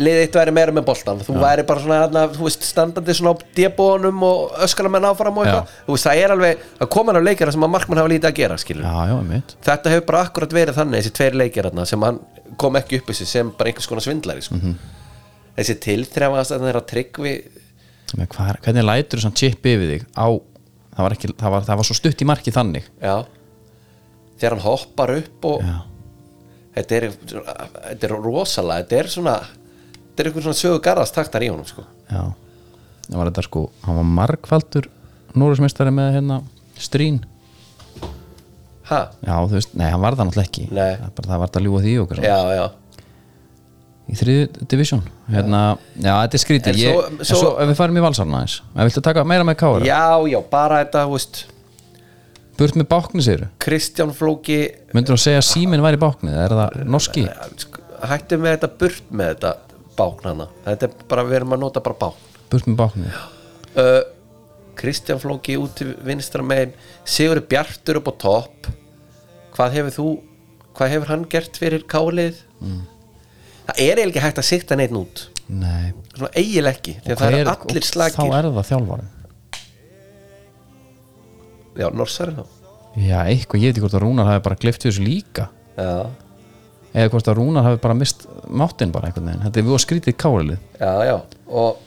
[SPEAKER 2] liðið eitt væri meira með boltan þú væri bara svona, þarna, þú veist, standandi svona á debónum og öskala menn áfram og
[SPEAKER 1] Já.
[SPEAKER 2] eitthvað þú veist, það er alveg, það koma hann á leikjara sem að markmann hafa lítið að gera, skilur
[SPEAKER 1] já, já, mitt
[SPEAKER 2] þetta hefur bara akkurat verið þannig þessi tveir leikir þarna sem hann kom ekki upp þessu sem bara einhvers konar svindlari sko.
[SPEAKER 1] Mhm.
[SPEAKER 2] þessi tilþrefast að það er að tryggvi
[SPEAKER 1] Hvar, hvernig lætur þú samt chip yfir þig á, það var, ekki, það, var, það var svo stutt í marki þannig
[SPEAKER 2] já þegar hann hoppar upp og
[SPEAKER 1] já,
[SPEAKER 2] þetta er, þetta er rosalega þetta er svona þetta er einhvern svona sögu garðast taktar í honum sko.
[SPEAKER 1] já það var þetta sko, hann var margfaldur Norrismistari með hérna strín,
[SPEAKER 2] ha,
[SPEAKER 1] já þú veist, nei hann var það náttúrulega ekki
[SPEAKER 2] Nei.
[SPEAKER 1] það, er bara, það var þetta að ljúga því og okkur sko.
[SPEAKER 2] já, já
[SPEAKER 1] í þriðu division hérna, já þetta er
[SPEAKER 2] En
[SPEAKER 1] skrítið,
[SPEAKER 2] svo-
[SPEAKER 1] ég, en
[SPEAKER 2] svo-
[SPEAKER 1] svo ef við farum í valsarna aðeins, ef viltu taka meira með kára
[SPEAKER 2] já, já, bara þetta, þú veist
[SPEAKER 1] burt með bákni segir
[SPEAKER 2] Kristján Flóki
[SPEAKER 1] myndur þú að segja að síminn var í bákni eða er það norski,
[SPEAKER 2] sko, hættu með þetta burt með þetta báknana, þetta er bara, við erum að nota bara bákn
[SPEAKER 1] burt með bákni
[SPEAKER 2] uh, Kristján Flóki út til vinstra megin Sigur Bjartur upp á topp hvað hefur þú hvað hefur hann gert fyrir kálið
[SPEAKER 1] Mm.
[SPEAKER 2] það er eiginlega ekki hægt að sikta neitt út
[SPEAKER 1] nei,
[SPEAKER 2] svona eiginlega ekki því
[SPEAKER 1] Hver-
[SPEAKER 2] að það eru allir
[SPEAKER 1] þá
[SPEAKER 2] slagir
[SPEAKER 1] er það þjálfarinn
[SPEAKER 2] já, norsari þá
[SPEAKER 1] Já, eitthvað, ég veit ekki hvort að Rúnar hafi bara gleypt við þessu líka
[SPEAKER 2] já,
[SPEAKER 1] eða hvort að Rúnar hafi bara mist máttinn bara einhvern veginn, þetta er við skrítið kálið
[SPEAKER 2] já, já og,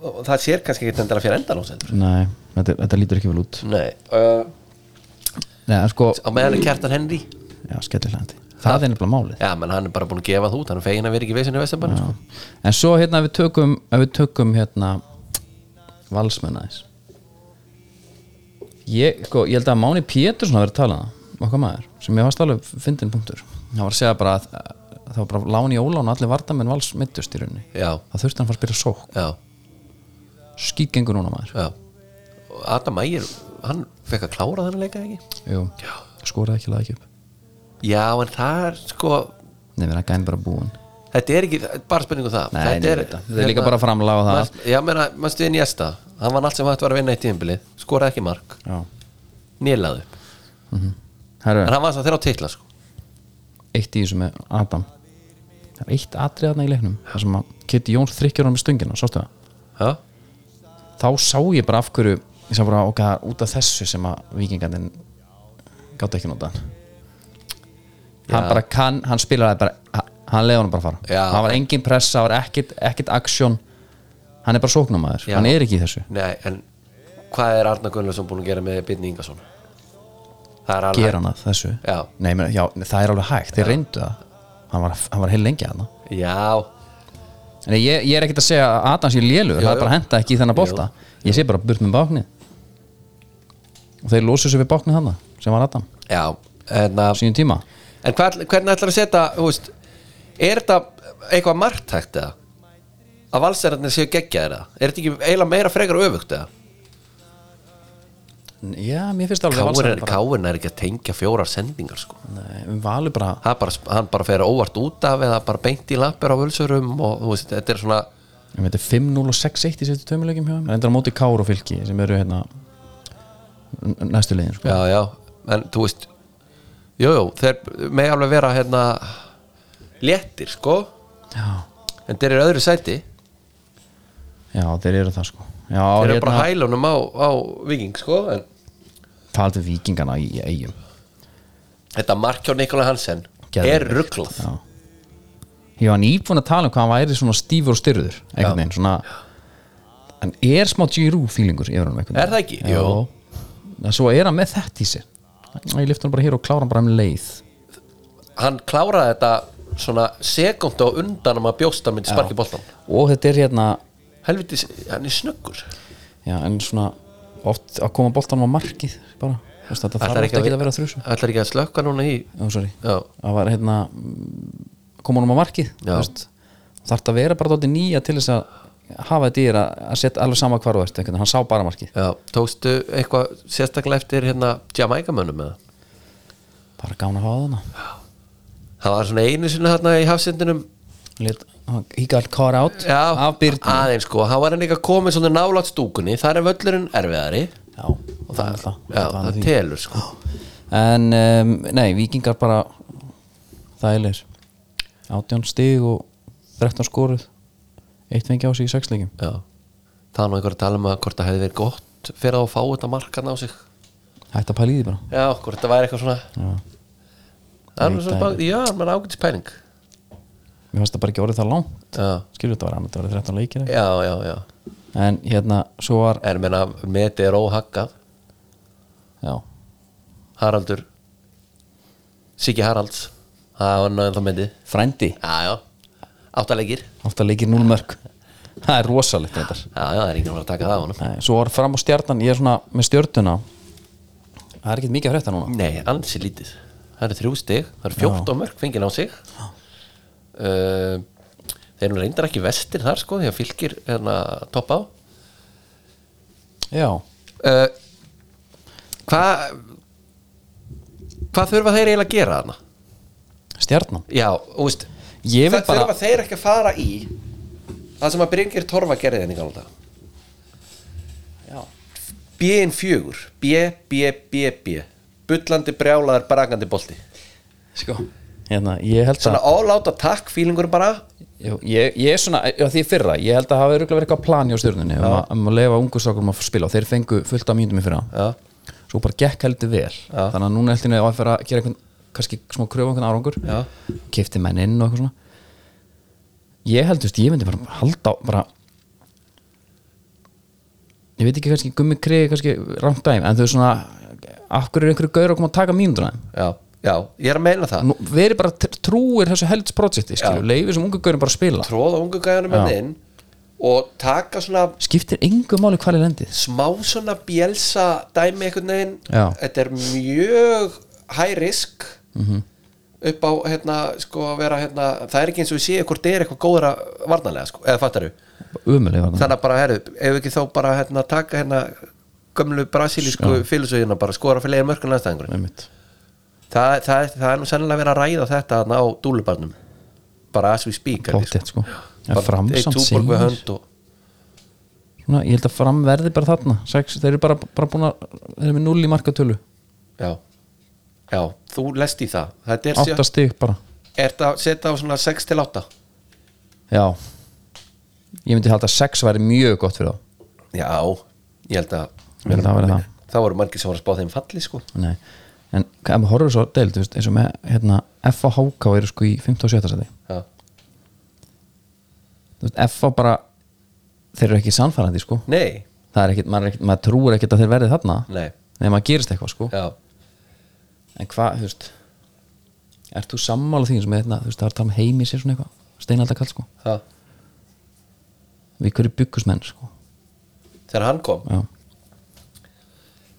[SPEAKER 2] og það sér kannski ekki endilega fyrir endan á sendur
[SPEAKER 1] Nei, þetta, þetta lítur ekki vel út
[SPEAKER 2] nei, uh,
[SPEAKER 1] Nei, en sko,
[SPEAKER 2] á meðan er kjartan Henry
[SPEAKER 1] já, skellilegandi Það er nefnilega málið
[SPEAKER 2] já, menn hann er bara búin að gefa það út hann er fegin að vera ekki í vesinu vestabæn sko.
[SPEAKER 1] En svo hérna ef við tökum, ef við tökum hérna valsmenn aðeins Ég, sko, ég held að Máni Pétursson hafi verið að tala um það okkar maður, sem ég varst alveg fyndin punktur hann var að segja bara að að það var bara lán í ólán og allir vartamenn vals mittust í rauninni
[SPEAKER 2] já,
[SPEAKER 1] það þurfti hann að fara að spila sók
[SPEAKER 2] já,
[SPEAKER 1] skýt gengur núna maður
[SPEAKER 2] já Og Adam Ægir, hann fekk að klára þennan leika ekki
[SPEAKER 1] Jú, skoraði ekki laði ekki upp
[SPEAKER 2] Já, en það er sko
[SPEAKER 1] Nei, við erum ekki enn bara búin
[SPEAKER 2] Þetta er ekki, bara spurning um það
[SPEAKER 1] Nei,
[SPEAKER 2] þetta
[SPEAKER 1] nei, ég veit það. Þetta er líka bara framlag á það.
[SPEAKER 2] Mas- Já, meina, mannstu við Njesta Hann var allt sem hægt var að vinna í tíðinbili Skoraði ekki mark,
[SPEAKER 1] Já
[SPEAKER 2] nýlaði upp En
[SPEAKER 1] Herru,
[SPEAKER 2] hann var þess að þeirra á titla sko
[SPEAKER 1] eitt í þessu með Adam Það er eitt atrið þarna í leiknum Það sem að Kitty Jóns þrykkjur hann með stöngina, sástu það
[SPEAKER 2] Já,
[SPEAKER 1] Þá sá ég bara af hverju Ég sá bara okkar út af þessu sem að vikingandinn Gáttu ekki nota hann Hann bara kann, hann spilaði bara Hann leiði hann bara fara
[SPEAKER 2] Já.
[SPEAKER 1] Það var engin pressa, það var ekkit, ekkit aksjón Hann er bara sóknumæður,
[SPEAKER 2] Já.
[SPEAKER 1] hann er ekki í þessu
[SPEAKER 2] nei, en hvað er Arna Gunnlaugsson búin að gera með Byrni Ingason? Það er alveg
[SPEAKER 1] Gera hann að þessu
[SPEAKER 2] Já.
[SPEAKER 1] Nei, meni, já, það er alveg hægt, þeir reyndu það Hann var, hann var heil lengi að það
[SPEAKER 2] Já,
[SPEAKER 1] En ég, ég er ekkert að segja að Adam sé lélugur
[SPEAKER 2] Jú,
[SPEAKER 1] það er bara
[SPEAKER 2] jú.
[SPEAKER 1] að henda ekki í þennan bolta ég sé bara burt með bákni og þeir lósu sér við bákni hann sem var Adam á
[SPEAKER 2] já En, að,
[SPEAKER 1] sínum tíma
[SPEAKER 2] en hvað, hvernig ætlar að setja, þú veist Er þetta eitthvað margtækt eða? Að valsæðarnir séu geggjaðir eða? Er þetta ekki eiginlega meira frekar öfugt eða?
[SPEAKER 1] Já, mér finnst alveg
[SPEAKER 2] Káin er,
[SPEAKER 1] valsarinn bara,
[SPEAKER 2] Káin er ekki að tengja fjórar sendingar sko.
[SPEAKER 1] Nei, um valur bara
[SPEAKER 2] Það er bara, hann bara fer óvart út af eða bara beint í lappir á völsurum og þú veist, þetta er svona
[SPEAKER 1] ég veit, 5-0 og 6-1 í sérstu tömulegjum hjá þeim. reyndar á móti Kár og Fylki sem eru hérna n- næstu leiðin sko.
[SPEAKER 2] já, já, en þú veist jú, jú, þeir með alveg vera hérna léttir, sko
[SPEAKER 1] já.
[SPEAKER 2] en þeir eru í öðru sæti,
[SPEAKER 1] já, þeir eru það sko Já,
[SPEAKER 2] þeir eru
[SPEAKER 1] hérna-
[SPEAKER 2] bara hælunum á, á viking, sko en
[SPEAKER 1] taldi vikingana í eigum
[SPEAKER 2] þetta mark hjá Nikola Hansen er rugglað
[SPEAKER 1] Já. ég var nýbúin að tala um hvað hann væri svona stífur og styrður einhvern veginn svona hann er smá Giroux feelingur yfir honum einhvern
[SPEAKER 2] Er það
[SPEAKER 1] veginn.
[SPEAKER 2] ekki? Jú.
[SPEAKER 1] en svo er hann með þetta í sér og ég lyfti hann bara hér og klára hann bara um leið
[SPEAKER 2] hann kláraði þetta svona sekund á undan um að bjósta myndi sparki boltan
[SPEAKER 1] og þetta er hérna
[SPEAKER 2] helviti, hann er snöggur
[SPEAKER 1] Já, en svona oft að koma boltanum á markið bara, Þú veist, þetta þarf oft ekki að vera þrjusum
[SPEAKER 2] Ætlar ekki að slökka núna í
[SPEAKER 1] Já, sorry,
[SPEAKER 2] Já,
[SPEAKER 1] það var hérna koma honum á markið þú
[SPEAKER 2] Já.
[SPEAKER 1] veist. þarf þetta að vera bara dóttir nýja til þess að hafa þetta í þér að að setja alveg sama hvar þú ert, einhvern veginn, hann sá bara markið
[SPEAKER 2] já, tókstu eitthvað sérstaklega eftir hérna Jamaikamönnum eða?
[SPEAKER 1] bara gána að hafa þarna
[SPEAKER 2] Það var svona einu sinni hérna í hafsendinum
[SPEAKER 1] Lét, hann- he got caught out
[SPEAKER 2] Já,
[SPEAKER 1] af byrnum
[SPEAKER 2] aðeins sko, hann var hann eitthvað komið svona nálátt stúkunni, þar er völlurinn erfiðari
[SPEAKER 1] já, það, er alltaf-
[SPEAKER 2] Já,
[SPEAKER 1] alltaf hann
[SPEAKER 2] það
[SPEAKER 1] að því.
[SPEAKER 2] telur sko
[SPEAKER 1] en um, nei, vikingar bara þægilegir 18 stig og 13 skoruð eitt fengi á sig í sexleikum
[SPEAKER 2] Já, það var nú einhver að tala um að hvort það hefði verið gott fyrir að fá þetta markan á sig
[SPEAKER 1] hætti að pæla í því bara
[SPEAKER 2] Já, hvort það væri eitthvað svona
[SPEAKER 1] Já.
[SPEAKER 2] Það er nú
[SPEAKER 1] Veit það
[SPEAKER 2] svona spá- Já, maður ágætis pæling
[SPEAKER 1] mér fannst það bara ekki orðið það langt
[SPEAKER 2] Já,
[SPEAKER 1] skilur þetta var annað, þetta var 13 leikir
[SPEAKER 2] já, já, já
[SPEAKER 1] eitthvað. en hérna, svo var
[SPEAKER 2] En menna, metið er óhaggað
[SPEAKER 1] já,
[SPEAKER 2] Haraldur Siggi Haralds Það var náðan þá myndið
[SPEAKER 1] frændi,
[SPEAKER 2] Já, já, áttalegir
[SPEAKER 1] ofta leikir 0 mörg það er rosalegt þetta
[SPEAKER 2] Já, já, það er enginn að fara að taka það á honum
[SPEAKER 1] Nei, svo var fram á stjarnan, ég er svona með stjörnuna það er ekkert mikið að frétta núna
[SPEAKER 2] Nei, ansi lítið Það eru þrjú stig, það eru 14 mörg fengið á sig uh, Þeir eru reyndar ekki vestir þar sko Þegar fylgir hérna topp á
[SPEAKER 1] já,
[SPEAKER 2] uh, Hvað Hvað þurfa þeir eiginlega að gera þarna?
[SPEAKER 1] stjarnan
[SPEAKER 2] Já, þú veist
[SPEAKER 1] Ég vil
[SPEAKER 2] Það
[SPEAKER 1] bara-
[SPEAKER 2] þurfa þeir ekki að fara í Það sem að Bryngir Torfa gerði hérna henni gála þetta
[SPEAKER 1] já.
[SPEAKER 2] B-in fjögur B, B, B, B Bullandi brjálaðar brakandi bolti
[SPEAKER 1] sko hérna, ég held
[SPEAKER 2] Svona
[SPEAKER 1] að
[SPEAKER 2] all out attack feelingur bara
[SPEAKER 1] Jú, ég, ég er svona, já, því fyrra, ég held að hafa örugglega verið eitthvað plan hjá stjörnunni um, að- um að leifa ungu strákum að spila og þeir fengu fullt af mínútum í fyrra
[SPEAKER 2] Já,
[SPEAKER 1] svo bara gekk heldur vel þannig að núna heldur niður á að fara að gera einhvern kannski smá kröfu á einhvern árangur
[SPEAKER 2] Já.
[SPEAKER 1] kifti menn inn og eitthvað svona ég heldust, ég myndi bara halda á bara ég veit ekki kannski gummi kriði kannski rangt dæmi en þau svona af hverju er einhverju gaur að koma að taka mínútur aðeim
[SPEAKER 2] já, já, ég er að meina það
[SPEAKER 1] Nú, verið bara tr- trúir þessu heldsprojekti skilju, leifir sem ungu gaurum bara að spila
[SPEAKER 2] Tróða ungu gæjanum hann inn Og taka svona
[SPEAKER 1] skiptir engu máli hvað er lendið
[SPEAKER 2] smá svona bjelsa dæmi einhvern veginn
[SPEAKER 1] Já.
[SPEAKER 2] Þetta er mjög high risk
[SPEAKER 1] Mhm.
[SPEAKER 2] -hmm. upp á hérna, sko, að vera hérna, það er ekki eins og við séu hvort er eitthvað góðra varnarlega, sko, eða fattar
[SPEAKER 1] umulig var það
[SPEAKER 2] þannig að bara, herru, ef við ekki þá bara hérna, taka hérna gömlu brasilísku félagsauðina bara skora fyrir leiðin mörkun landstæðingur
[SPEAKER 1] Einmitt.
[SPEAKER 2] það, það, er- það er nú sennilega verið að ræða þetta þarna á dúlubarnum bara as we speak held ég,
[SPEAKER 1] Pottþétt, sko. En
[SPEAKER 2] Bara
[SPEAKER 1] Fram
[SPEAKER 2] eitt
[SPEAKER 1] samt
[SPEAKER 2] túborg við
[SPEAKER 1] sigur.
[SPEAKER 2] hönd og,
[SPEAKER 1] Svona, ég held að fram verði bara þarna sex, þeir eru bara, bara búin að þeir eru með 0 í markatölu
[SPEAKER 2] já, já, þú lest í það þetta er,
[SPEAKER 1] átta
[SPEAKER 2] sé,
[SPEAKER 1] stig bara
[SPEAKER 2] er þetta að setja á svona 6 til 8
[SPEAKER 1] já ég myndi halda að sex væri mjög gott fyrir þá
[SPEAKER 2] já, ég held að
[SPEAKER 1] Ég held að það væri það.
[SPEAKER 2] það voru margir sem voru að spá þeim falli sko
[SPEAKER 1] Nei. en hvað- ef maður horfir svo deild þú veist, eins og með hérna, F og HK eru sko í 15 og 17 seti
[SPEAKER 2] já,
[SPEAKER 1] Þú veist, F og bara þeir eru ekki sannfærandi sko
[SPEAKER 2] nei,
[SPEAKER 1] það er ekkit, maður, er ekkit, maður trúir ekkit að þeir verði þarna
[SPEAKER 2] nei,
[SPEAKER 1] þegar maður gerist eitthvað sko
[SPEAKER 2] já
[SPEAKER 1] en hvað, þú veist ert þú sammála því sem er hérna, þú veist, það er að tala um heimi sér svona eitthvað steinaldakall sko,
[SPEAKER 2] það,
[SPEAKER 1] við hverju byggusmenn sko
[SPEAKER 2] þegar hann kom
[SPEAKER 1] já,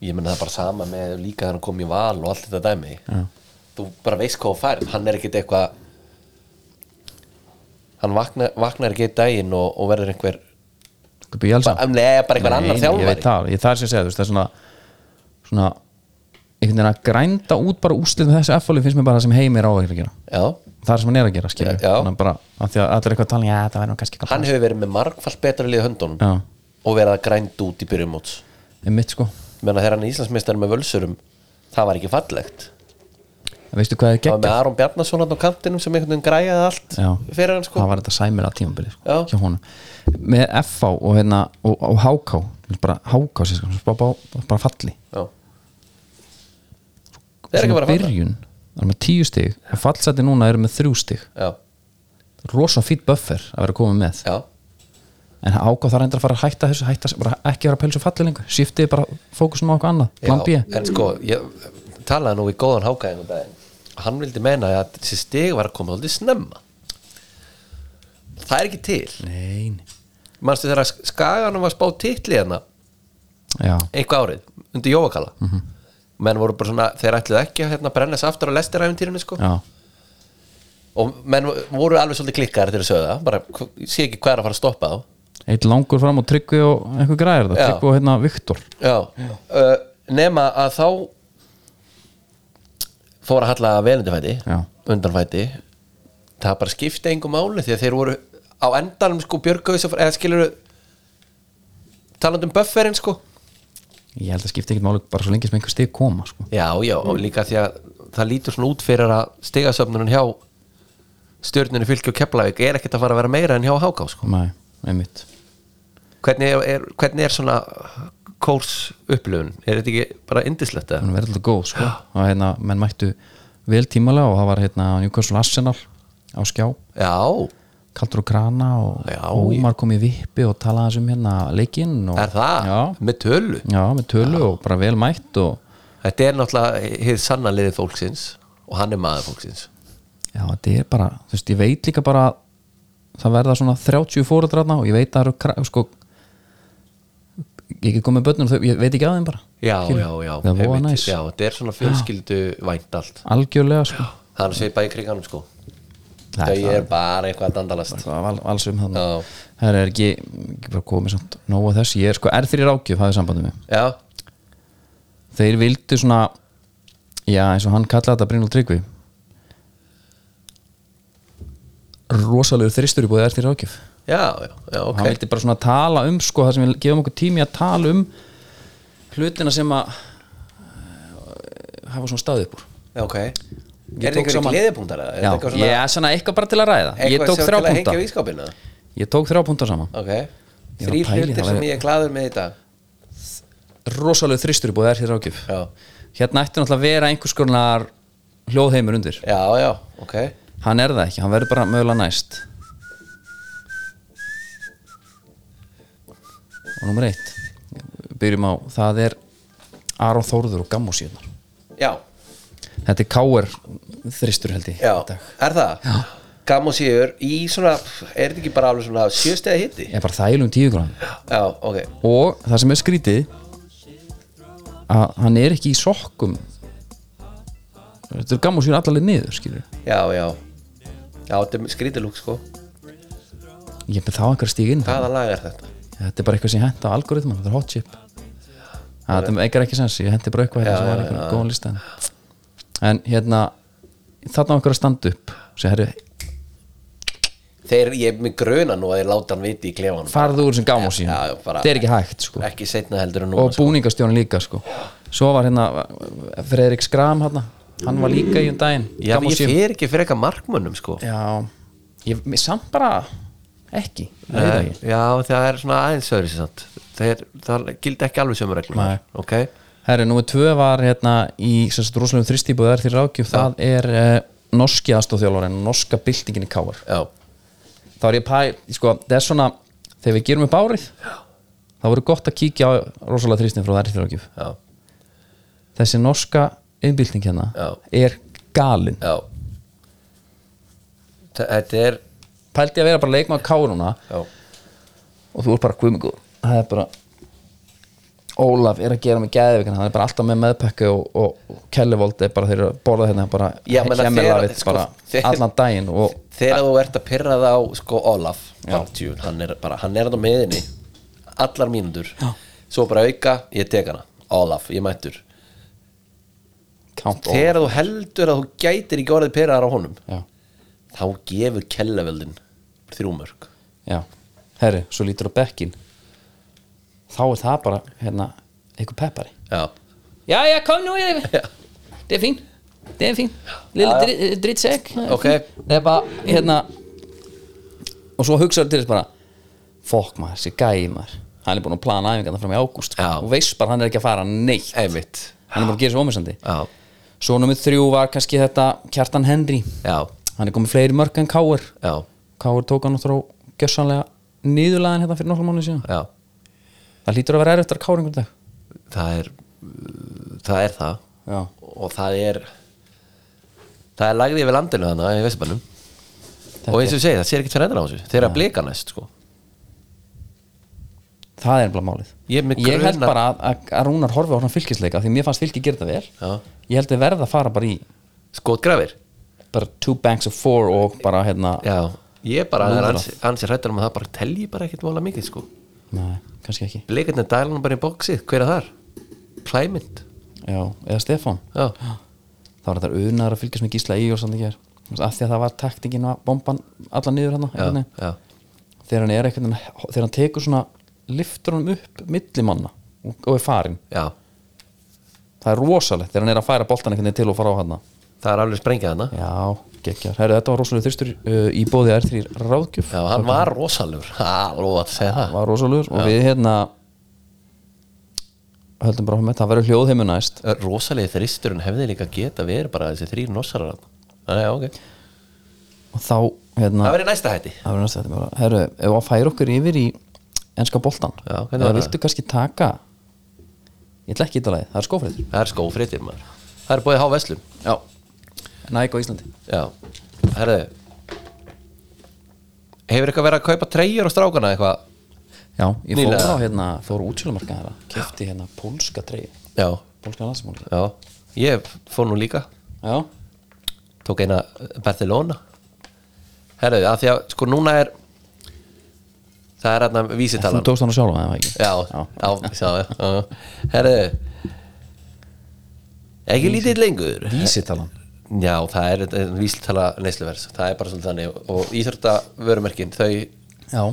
[SPEAKER 2] ég menna það er bara sama með líka þegar hann kom í val og allt þetta dæmi
[SPEAKER 1] Já.
[SPEAKER 2] þú bara veist hvað þú færð, hann er ekkit eitthvað hann vaknar, vaknar ekki eitt daginn og, og verður einhver
[SPEAKER 1] hvað byggja alls
[SPEAKER 2] bara, um, nei, bara einhver
[SPEAKER 1] ég
[SPEAKER 2] annar
[SPEAKER 1] veit
[SPEAKER 2] þjálfari
[SPEAKER 1] það, ég það er sem ég segja, þú veist, það er svona svona, einhvern veginn að grænda út bara úrslitum þessu F-fóli finnst mér bara það sem heimi er á að gera
[SPEAKER 2] já,
[SPEAKER 1] það er sem hann er að gera, skilju,
[SPEAKER 2] Já, já.
[SPEAKER 1] þannig að bara að því að allir eitthvað tala, já, það væri nú kannski
[SPEAKER 2] hann
[SPEAKER 1] eitthvað
[SPEAKER 2] hefur verið með margfalt betra liðið höndunum
[SPEAKER 1] Já.
[SPEAKER 2] og verið að grænda út í byrjum móts
[SPEAKER 1] er mitt, sko,
[SPEAKER 2] menna þegar hann er Íslandsmeistar með völsurum það var ekki fallegt
[SPEAKER 1] veistu hvað er
[SPEAKER 2] það var með
[SPEAKER 1] geggjað
[SPEAKER 2] Aron Bjarnason hann á kantinum sem einhvern veginn græjaði allt
[SPEAKER 1] Já.
[SPEAKER 2] fyrir hann sko
[SPEAKER 1] það var þetta sæmir að tímabili sko,
[SPEAKER 2] Já.
[SPEAKER 1] hjá honum með FH og, hérna, og, og HK bara HK, sér, sko, bara, bara, bara falli
[SPEAKER 2] já. það er ekki
[SPEAKER 1] Sem
[SPEAKER 2] bara að falla
[SPEAKER 1] byrjun, það er með tíu stig og fallseti núna eru með þrjú stig
[SPEAKER 2] já,
[SPEAKER 1] rosa fýtt buffer að vera komið með
[SPEAKER 2] já,
[SPEAKER 1] en HK þarf endur að fara að hætta þessu hætta, bara ekki vera að pelsa falli lengur shiftið bara fókusum á okkur annað, plan B
[SPEAKER 2] já. en sko ég talaði nú við góðan hákæðin daginn. hann vildi meina að þessi stig var að koma aldrei snemma það er ekki til
[SPEAKER 1] Nein.
[SPEAKER 2] manstu þegar skaganum var spáð titli hérna
[SPEAKER 1] já,
[SPEAKER 2] einhvað árið, undir Jóakala
[SPEAKER 1] Mhm.
[SPEAKER 2] menn voru bara svona, þeir ætluðu ekki að hérna, brenna sig aftur á lestiræfintýrinu sko.
[SPEAKER 1] já,
[SPEAKER 2] og menn voru alveg svolítið klikkar til að sögða, bara hv- ég sé ekki hvað er að fara að stoppa þá
[SPEAKER 1] eitt langur fram og tryggvi og einhver græðir það,
[SPEAKER 2] Já.
[SPEAKER 1] tryggvi og hérna Viktor
[SPEAKER 2] Já, Uh, nema að þá fór að halla velundafæti
[SPEAKER 1] Já.
[SPEAKER 2] undanfæti það bara skipti engum máli því að þeir voru á endanum sko björgauðis eða skilur talandi um bufferinn sko
[SPEAKER 1] ég held að skipta ekkert máli bara svo lengi sem einhver stig koma sko.
[SPEAKER 2] Já, já, og líka því að það lítur svona út fyrir að stigasöfnunum hjá stjörnunni fylgju og keflavík er ekkert að fara að vera meira en hjá háká sko.
[SPEAKER 1] nei, einmitt
[SPEAKER 2] hvernig, er, hvernig er svona kórs upplifun? Er þetta ekki bara indislegt eða?
[SPEAKER 1] hann verði alltaf góð sko. og hérna, menn mættu vel tímalega og það var hérna Newcastle Arsenal á skjá
[SPEAKER 2] Já,
[SPEAKER 1] Kaldur og Krana og
[SPEAKER 2] Já,
[SPEAKER 1] Ómar kom í vippi og talaði aðeins um hérna leikinn og,
[SPEAKER 2] er það?
[SPEAKER 1] Já,
[SPEAKER 2] Með tölu?
[SPEAKER 1] já, með tölu og bara vel mætt og
[SPEAKER 2] Þetta er náttúrulega hið sanna liðið fólksins og hann er maður fólksins
[SPEAKER 1] já, þetta er bara, þú veist, ég veit líka bara að það verða svona 30 fóruðræðna og ég veit að það eru, kra- sko ég er komið með börnum, þau- ég veit ekki að þeim bara
[SPEAKER 2] Já,
[SPEAKER 1] Skilur?
[SPEAKER 2] já, já
[SPEAKER 1] það voru
[SPEAKER 2] einmitt.
[SPEAKER 1] næs,
[SPEAKER 2] Já, þetta er svona fjölskyldu vænt allt
[SPEAKER 1] algjörlega sko
[SPEAKER 2] Það er svipað í kriganum sko
[SPEAKER 1] Það er
[SPEAKER 2] Þau er bara eitthvað að dandalast
[SPEAKER 1] sko, af al- alls um þannig
[SPEAKER 2] Já.
[SPEAKER 1] það er ekki, ekki bara komið samt nóg að þessi, ég er sko R3 rákjöf hafið sambandið mig,
[SPEAKER 2] Já,
[SPEAKER 1] þeir vildu svona já eins og hann kallaði þetta Brynul Tryggvi rosalegur þristur í búið R3 rákjöf
[SPEAKER 2] já, já, já
[SPEAKER 1] og
[SPEAKER 2] ok
[SPEAKER 1] hann vildi bara svona tala um sko það sem við gefum okkur tími að tala um hlutina sem að eh, hafa svona staðið upp úr
[SPEAKER 2] Já, ok
[SPEAKER 1] Ég
[SPEAKER 2] Er
[SPEAKER 1] tók
[SPEAKER 2] þetta einhverjum
[SPEAKER 1] saman-
[SPEAKER 2] gleðipunktar eða?
[SPEAKER 1] Já,
[SPEAKER 2] Er þetta eitthvað
[SPEAKER 1] ég er svona eitthvað bara til að ræða ég
[SPEAKER 2] eitthvað
[SPEAKER 1] tók
[SPEAKER 2] sem
[SPEAKER 1] þrjá
[SPEAKER 2] til að
[SPEAKER 1] punta
[SPEAKER 2] hengja í skápinu eða?
[SPEAKER 1] ég tók þrjá punta saman
[SPEAKER 2] Ok
[SPEAKER 1] Ég var að
[SPEAKER 2] Þrý
[SPEAKER 1] pæla í
[SPEAKER 2] hlutir
[SPEAKER 1] það
[SPEAKER 2] sem
[SPEAKER 1] væri-
[SPEAKER 2] ég er glaður með í dag
[SPEAKER 1] rosalega þristur í búið er hér rákjöf
[SPEAKER 2] Já,
[SPEAKER 1] hérna ætti náttúrulega að vera einhvers konar hljóðheimur undir
[SPEAKER 2] já, já, ok
[SPEAKER 1] hann er það ekki, hann verður bara mögulega næst og nummer eitt byrjum á, það er Aron Þórður og Gammo síðan
[SPEAKER 2] Já,
[SPEAKER 1] þetta er Káer þristur held ég
[SPEAKER 2] já,
[SPEAKER 1] í dag.
[SPEAKER 2] er það? Já Gamm og síður í svona, er þetta ekki bara alveg svona sjöstega hitti?
[SPEAKER 1] ég er bara þælum tíu grann
[SPEAKER 2] Já, ok
[SPEAKER 1] og það sem er skrítið að hann er ekki í sokkum þetta er Gammo síðan allarleið niður skilur
[SPEAKER 2] Já, já Já, þetta er skrítið lúk sko
[SPEAKER 1] ég er þá einhver stíg inn
[SPEAKER 2] Hvaða lag er þetta?
[SPEAKER 1] þetta er bara eitthvað sem ég henta á algoritman þetta er hot chip það þetta meikar ekki sens, ég henti bara eitthvað hérna
[SPEAKER 2] Já,
[SPEAKER 1] sem var
[SPEAKER 2] já,
[SPEAKER 1] einhvern góðan lista en, en hérna þarna var okkur að standa upp sem herri,
[SPEAKER 2] Þeir, ég er með gruna nú að þeir láta hann viti í klefanum
[SPEAKER 1] farðu úr sem gáma sín
[SPEAKER 2] já, já, bara-
[SPEAKER 1] þetta er ekki hægt sko.
[SPEAKER 2] Ekki setna heldur en núna sko.
[SPEAKER 1] og búningastjónin líka sko. svo var hérna Fredrik Skram hérna. hann var líka í um daginn
[SPEAKER 2] Já,
[SPEAKER 1] Gamma
[SPEAKER 2] ég
[SPEAKER 1] Sim.
[SPEAKER 2] fer ekki fyrir eitthvað markmönnum sko
[SPEAKER 1] já, ég, mér samt bara ekki, það veit ekki
[SPEAKER 2] Eh, Já, það er svona aðeins öðru sér sant Þeir, það gildi ekki alveg sömu reglum
[SPEAKER 1] Nei.
[SPEAKER 2] Ok,
[SPEAKER 1] Herri, númer tvö var hérna í sem sagt rosalegum þrýstípu þar til rákjöf, það er uh, norski aðstofþjálfarinn, norska byltingin í káar
[SPEAKER 2] já,
[SPEAKER 1] þá er ég pæ, sko, það er svona þegar við gerum upp árið þá voru gott að kíkja á rosalega þrýstin frá þær til rákjöf,
[SPEAKER 2] já,
[SPEAKER 1] þessi norska innbylting hérna
[SPEAKER 2] Já.
[SPEAKER 1] er galin,
[SPEAKER 2] já Þe- Þetta er
[SPEAKER 1] pældi að vera bara leikmaður káruna
[SPEAKER 2] Já,
[SPEAKER 1] og þú er bara guðmingu það er bara Ólaf er að gera með geðvikan hann er bara alltaf með meðpekka og, og, og Kellivold er bara þeir eru að borða hérna bara
[SPEAKER 2] Já, menna,
[SPEAKER 1] hemmilavit
[SPEAKER 2] þegar- sko,
[SPEAKER 1] bara
[SPEAKER 2] þegar-
[SPEAKER 1] allan daginn og
[SPEAKER 2] þegar þú ert að pyrra það á sko Olaf Bartjún, hann er bara, hann er þetta meðinni allar mínútur já. svo bara auka, ég tek hana Olaf, ég mættur
[SPEAKER 1] count
[SPEAKER 2] þegar þú heldur að þú gætir ekki orðið pyrraðar á honum
[SPEAKER 1] Já.
[SPEAKER 2] þá gefur kellaveldin þrjúmörk
[SPEAKER 1] Já, herri, svo lítur á bekkin þá er það bara hérna, eitthvað peppari
[SPEAKER 2] já,
[SPEAKER 1] Já, já, kom nú yfir
[SPEAKER 2] Já.
[SPEAKER 1] Það er fín, það er fín Lilla drittsegg
[SPEAKER 2] Ok.
[SPEAKER 1] Það er bara, hérna og svo hugsaðu til þess bara fokk maður, þessi gæi maður hann er búin að plana æfingarna fram í ágúst
[SPEAKER 2] Já.
[SPEAKER 1] og veist bara hann er ekki að fara neitt
[SPEAKER 2] einmitt
[SPEAKER 1] hann er bara að gera svo ómissandi
[SPEAKER 2] já,
[SPEAKER 1] Svo nummið þrjú var kannski þetta Kjartan Henry
[SPEAKER 2] já,
[SPEAKER 1] hann er komið fleiri mörg en Káur
[SPEAKER 2] já,
[SPEAKER 1] Káur tók hann og þró gjössanlega nýðurlaðin hérna fyrir nokkla mánu síðan
[SPEAKER 2] já
[SPEAKER 1] Það lítur að vera erfitt að kára einhvern dag
[SPEAKER 2] það er uh, það er það
[SPEAKER 1] Já.
[SPEAKER 2] og það er það er lagðið yfir landinu þannig í Vestabænum og eins og ég segi, það sér ekkert fyrir endan á þessu þeir eru að blika næst sko
[SPEAKER 1] það er bara málið
[SPEAKER 2] Ég er með
[SPEAKER 1] ég held
[SPEAKER 2] grunar-
[SPEAKER 1] bara að, að, að Rúnar horfi á hann fylgisleika því mér fannst fylgi gera það vel
[SPEAKER 2] Já.
[SPEAKER 1] ég held að verða að fara bara í
[SPEAKER 2] skotgrafir
[SPEAKER 1] bara two banks of four og bara hérna
[SPEAKER 2] já, ég er bara
[SPEAKER 1] Nú er
[SPEAKER 2] ansi, ansi hrættur um að það bara telji bara ekkert vola mikið sko
[SPEAKER 1] nei, kannski ekki
[SPEAKER 2] leikarnir dælanum bara í bóksið, hver er þar? Klæmynd,
[SPEAKER 1] já, eða Stefán
[SPEAKER 2] já,
[SPEAKER 1] þá var þetta unar að fylgjast með Gísla Ígjórs þannig að af því að það var taktingin að bomban alla niður hann
[SPEAKER 2] já, já.
[SPEAKER 1] þegar hann er eitthvað þegar hann tekur svona liftur hann upp millimanna og, og er farinn
[SPEAKER 2] já.
[SPEAKER 1] það er rosalegt þegar hann er að færa boltan einhvern veginn til og fara á hann
[SPEAKER 2] það er alveg sprengið hana
[SPEAKER 1] já, geggjar, herru þetta var rosalega þyrstur uh, í bóði R3 ráðgjöf
[SPEAKER 2] já, hann var rosalur, alveg að segja það
[SPEAKER 1] var rosalegur og við hérna höldum bara á með það verður hljóðheimu næst
[SPEAKER 2] rosalegi þristurinn hefði líka geta verið bara þessi þrýr nossarar þarna. Þannig að, okay.
[SPEAKER 1] og þá hérna
[SPEAKER 2] það verið næsta hætti
[SPEAKER 1] Það verður næst þetta bara Herru, ef að færa okkur yfir í enska boltan
[SPEAKER 2] Já, hvernig
[SPEAKER 1] eða
[SPEAKER 2] var það?
[SPEAKER 1] viltu kannski taka Ég ætla ekki í þetta lagi, það er skófrættur
[SPEAKER 2] það er skófréttir maður það er búið há veslum
[SPEAKER 1] Já Næg á Íslandi
[SPEAKER 2] já, herðu hefur eitthvað verið að kaupa treyjur og strákana eitthvað
[SPEAKER 1] Já, ég fór
[SPEAKER 2] Nýlega.
[SPEAKER 1] á hérna, fór útsjölumarka þeirra Kefti hérna pólska treyju
[SPEAKER 2] já,
[SPEAKER 1] Pólska landsmáli
[SPEAKER 2] já, ég fór nú líka
[SPEAKER 1] Já,
[SPEAKER 2] tók eina Barcelona herðu, að því að sko núna er það er hérna
[SPEAKER 1] þú
[SPEAKER 2] vísitalan
[SPEAKER 1] tókst hann að sjálfa það ekki
[SPEAKER 2] já, já, já, já, já herðu ekki lítið lengur
[SPEAKER 1] Vísitalan
[SPEAKER 2] Já, það er þetta er vísitala neysluverðs það er bara svolítið þannig og íþrótta vörumerkin, þau,
[SPEAKER 1] Já,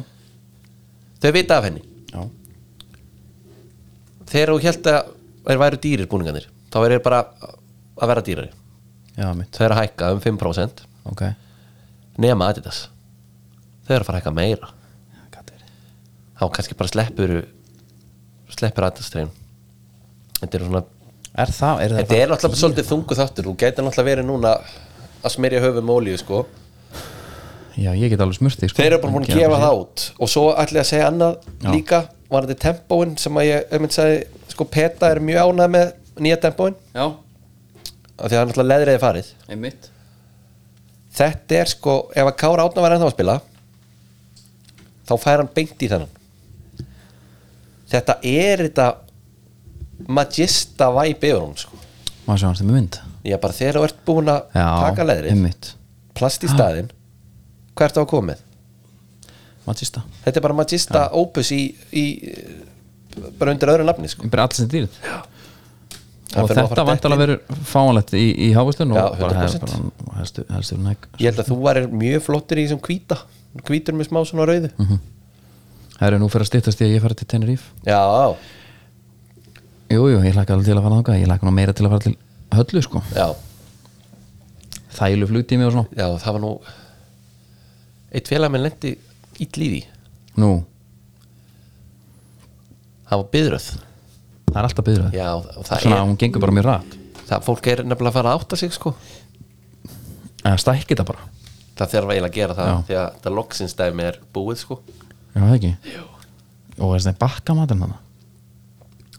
[SPEAKER 2] þau vita af henni
[SPEAKER 1] já,
[SPEAKER 2] þegar þú held að þeir væru dýrir búningarnir þá er þeir bara að vera dýrari
[SPEAKER 1] já, mitt
[SPEAKER 2] þau eru að hækka um 5%
[SPEAKER 1] Ok,
[SPEAKER 2] nema Adidas þau eru að fara að hækka meira
[SPEAKER 1] hvað er þetta?
[SPEAKER 2] þá kannski bara sleppur sleppur Adidas treyjum þetta er svona
[SPEAKER 1] Er það, er það
[SPEAKER 2] þetta er náttúrulega svolítið þungu þáttur þú gæti náttúrulega verið núna að smerja höfum ólíu sko
[SPEAKER 1] Já, ég get alveg smurt því sko.
[SPEAKER 2] þeir eru bara búin að
[SPEAKER 1] Gera
[SPEAKER 2] gefa
[SPEAKER 1] bara
[SPEAKER 2] það út og svo ætla ég að segja annað líka var þetta tempóin sem að ég um sagði, sko Peta er mjög ánæð með nýja tempóin
[SPEAKER 1] sér. Já,
[SPEAKER 2] af því að hann alltaf leðriði farið
[SPEAKER 1] einmitt
[SPEAKER 2] þetta er sko, ef að Kára Átna var ennþá að spila þá fær hann beint í þennan þetta er þetta magista væp yfir hún sko.
[SPEAKER 1] Má sjá hans þeim mynd
[SPEAKER 2] ég bara þegar þú ert búin að
[SPEAKER 1] Já,
[SPEAKER 2] taka leðrið
[SPEAKER 1] einmitt
[SPEAKER 2] plast í staðinn, hvert á að komið
[SPEAKER 1] Matista
[SPEAKER 2] þetta er bara magista opus í, í bara undir öðru nafni sko.
[SPEAKER 1] bara allt sem dýrð
[SPEAKER 2] Hann
[SPEAKER 1] og
[SPEAKER 2] fer nú
[SPEAKER 1] þetta
[SPEAKER 2] að fara
[SPEAKER 1] vant alveg
[SPEAKER 2] dett
[SPEAKER 1] verið fáanlegt í, í hávistunum
[SPEAKER 2] Já,
[SPEAKER 1] og bara
[SPEAKER 2] 100%.
[SPEAKER 1] hefur bara helstu, helstu næg
[SPEAKER 2] inn. ég held að þú varir mjög flottur í þessum hvíta hvítur með smá svona rauðu
[SPEAKER 1] Mhm. það eru nú fyrir að styttast í að ég fara til Teneríf
[SPEAKER 2] já,
[SPEAKER 1] jújú, ég hlakka alveg til að fara þáka ég hlakka nú meira til að fara til höllu sko
[SPEAKER 2] já,
[SPEAKER 1] þælu flugtími og svona
[SPEAKER 2] já, það var nú eitt félag minn lendi ítl í því
[SPEAKER 1] nú,
[SPEAKER 2] það var byðröð
[SPEAKER 1] það er alltaf byggður
[SPEAKER 2] já, og það
[SPEAKER 1] svona,
[SPEAKER 2] er,
[SPEAKER 1] hún gengur bara mjög rætt
[SPEAKER 2] það fólk er nefnilega að fara að átta sig sko
[SPEAKER 1] eða stækki það bara
[SPEAKER 2] það þarf eiginlega að gera það
[SPEAKER 1] Já.
[SPEAKER 2] því að þetta loksins dæmi er búið sko
[SPEAKER 1] já, það ekki Jú. og þessi bakkamaturinn hana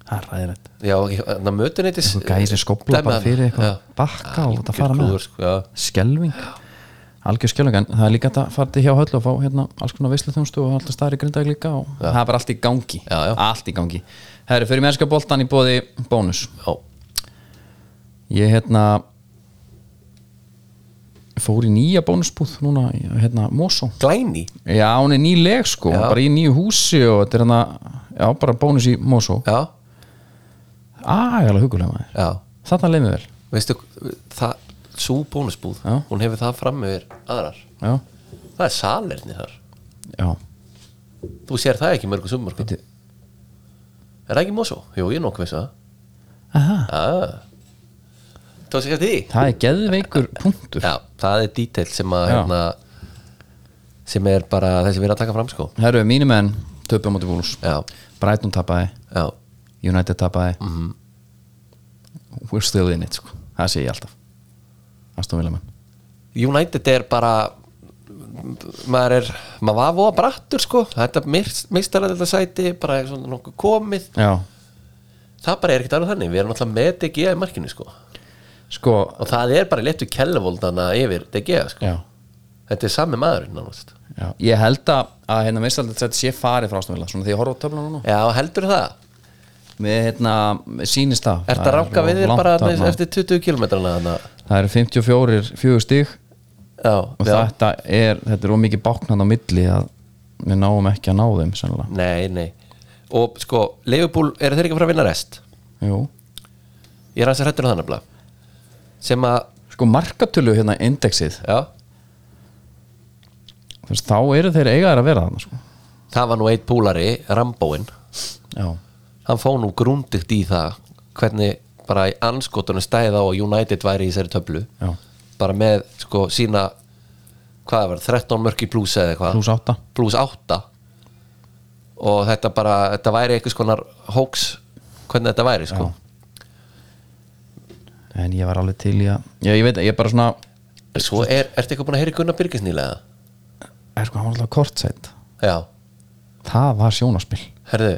[SPEAKER 1] það er ræðilegt
[SPEAKER 2] já, þannig að mötuneytis
[SPEAKER 1] Þú gæði sér skópla bara fyrir eitthvað bakka og þetta fara með
[SPEAKER 2] sko, já,
[SPEAKER 1] skelving algjör skelving, en það er líka hægt að fara til hjá höll og fá hérna alls konar veisluþjónstu og alltaf staðar í grindag líka og það er bara allt í gangi
[SPEAKER 2] Já, já.
[SPEAKER 1] allt í gangi, herri, fyrir mennska boltan í bóði bónus,
[SPEAKER 2] já,
[SPEAKER 1] ég hérna fór í nýja bónusbúð núna, í, hérna Mosó
[SPEAKER 2] glæni
[SPEAKER 1] já, hún er nýleg sko,
[SPEAKER 2] Já.
[SPEAKER 1] bara í nýju húsi og þetta er hérna, já, bara bónus í Mosó
[SPEAKER 2] já,
[SPEAKER 1] agalega hugulega maður,
[SPEAKER 2] já
[SPEAKER 1] þarna leið mér vel
[SPEAKER 2] veistu, það, svo bónusbúð
[SPEAKER 1] Já.
[SPEAKER 2] hún hefur það fram með aðrar
[SPEAKER 1] já,
[SPEAKER 2] það er salerni þar
[SPEAKER 1] já,
[SPEAKER 2] þú sér það ekki í mörgum sumur er
[SPEAKER 1] Bíddu.
[SPEAKER 2] það ekki Mosó? Jú, ég er nokkuð viss um að
[SPEAKER 1] Aha,
[SPEAKER 2] ah. tókst ekki eftir því?
[SPEAKER 1] það er geðveikur punktur
[SPEAKER 2] já, það er detail sem að
[SPEAKER 1] Já.
[SPEAKER 2] hérna, sem er bara þessi við erum að taka fram sko
[SPEAKER 1] Herru, mínu menn töpu á móti búlus
[SPEAKER 2] já,
[SPEAKER 1] Brighton tapaði,
[SPEAKER 2] já, mhm.
[SPEAKER 1] United tapaði We're still in it sko. Það sé ég alltaf Aston Villa menn
[SPEAKER 2] United er bara maður er, maður var voða brattur sko þetta meistalega þetta sæti bara er svona nokkuð komið
[SPEAKER 1] Já,
[SPEAKER 2] það bara er ekkert alveg þannig, við erum alltaf með DG í markinu sko,
[SPEAKER 1] sko
[SPEAKER 2] og það er bara léttu kellevóldana yfir DG sko
[SPEAKER 1] Já
[SPEAKER 2] þetta er sami maðurinn nánast.
[SPEAKER 1] Já. Ég held að, að hérna minnst alltaf þetta sé farið frá Ástumvila Svona því ég horfa á töfla núna
[SPEAKER 2] Já, heldur það?
[SPEAKER 1] Mér hérna, mér sýnist það
[SPEAKER 2] Er þetta
[SPEAKER 1] er
[SPEAKER 2] ranka við þér
[SPEAKER 1] langt
[SPEAKER 2] bara
[SPEAKER 1] þarna.
[SPEAKER 2] eftir 20 kilometrana þannig?
[SPEAKER 1] Það eru 54 fjögur stig
[SPEAKER 2] Já,
[SPEAKER 1] Og
[SPEAKER 2] já.
[SPEAKER 1] þetta er, þetta er ómikið báknan á milli að við náum ekki að ná þeim sennilega
[SPEAKER 2] Nei, nei. Og sko, Leifubúl, eru þeir ekki að fara að vinna rest?
[SPEAKER 1] Jú
[SPEAKER 2] Ég er hans að hrættur á þannig að sem að,
[SPEAKER 1] Sko markatölu hérna indexið
[SPEAKER 2] já,
[SPEAKER 1] þú veist, Þá eru þeir eigaðir að vera þarna sko
[SPEAKER 2] það var nú eitt púlari, Rambóin
[SPEAKER 1] Já
[SPEAKER 2] hann fá nú grúndygt í það hvernig bara í anskotunum stæði á að United væri í þessari töflu
[SPEAKER 1] Já.
[SPEAKER 2] bara með sko sína hvað var, 13 mörki pluss eða eitthvað
[SPEAKER 1] Plús átta
[SPEAKER 2] pluss 8 og þetta bara, þetta væri einhvers konar hoax, hvernig þetta væri sko
[SPEAKER 1] En ég var alveg til í að Já, ég veit, ég er bara svona
[SPEAKER 2] svo er, ertu eitthvað búin að heyri Gunnar Birgis nýlega?
[SPEAKER 1] Er sko, hann var alltaf kortsætt
[SPEAKER 2] Já,
[SPEAKER 1] Það var sjónaspil
[SPEAKER 2] herðu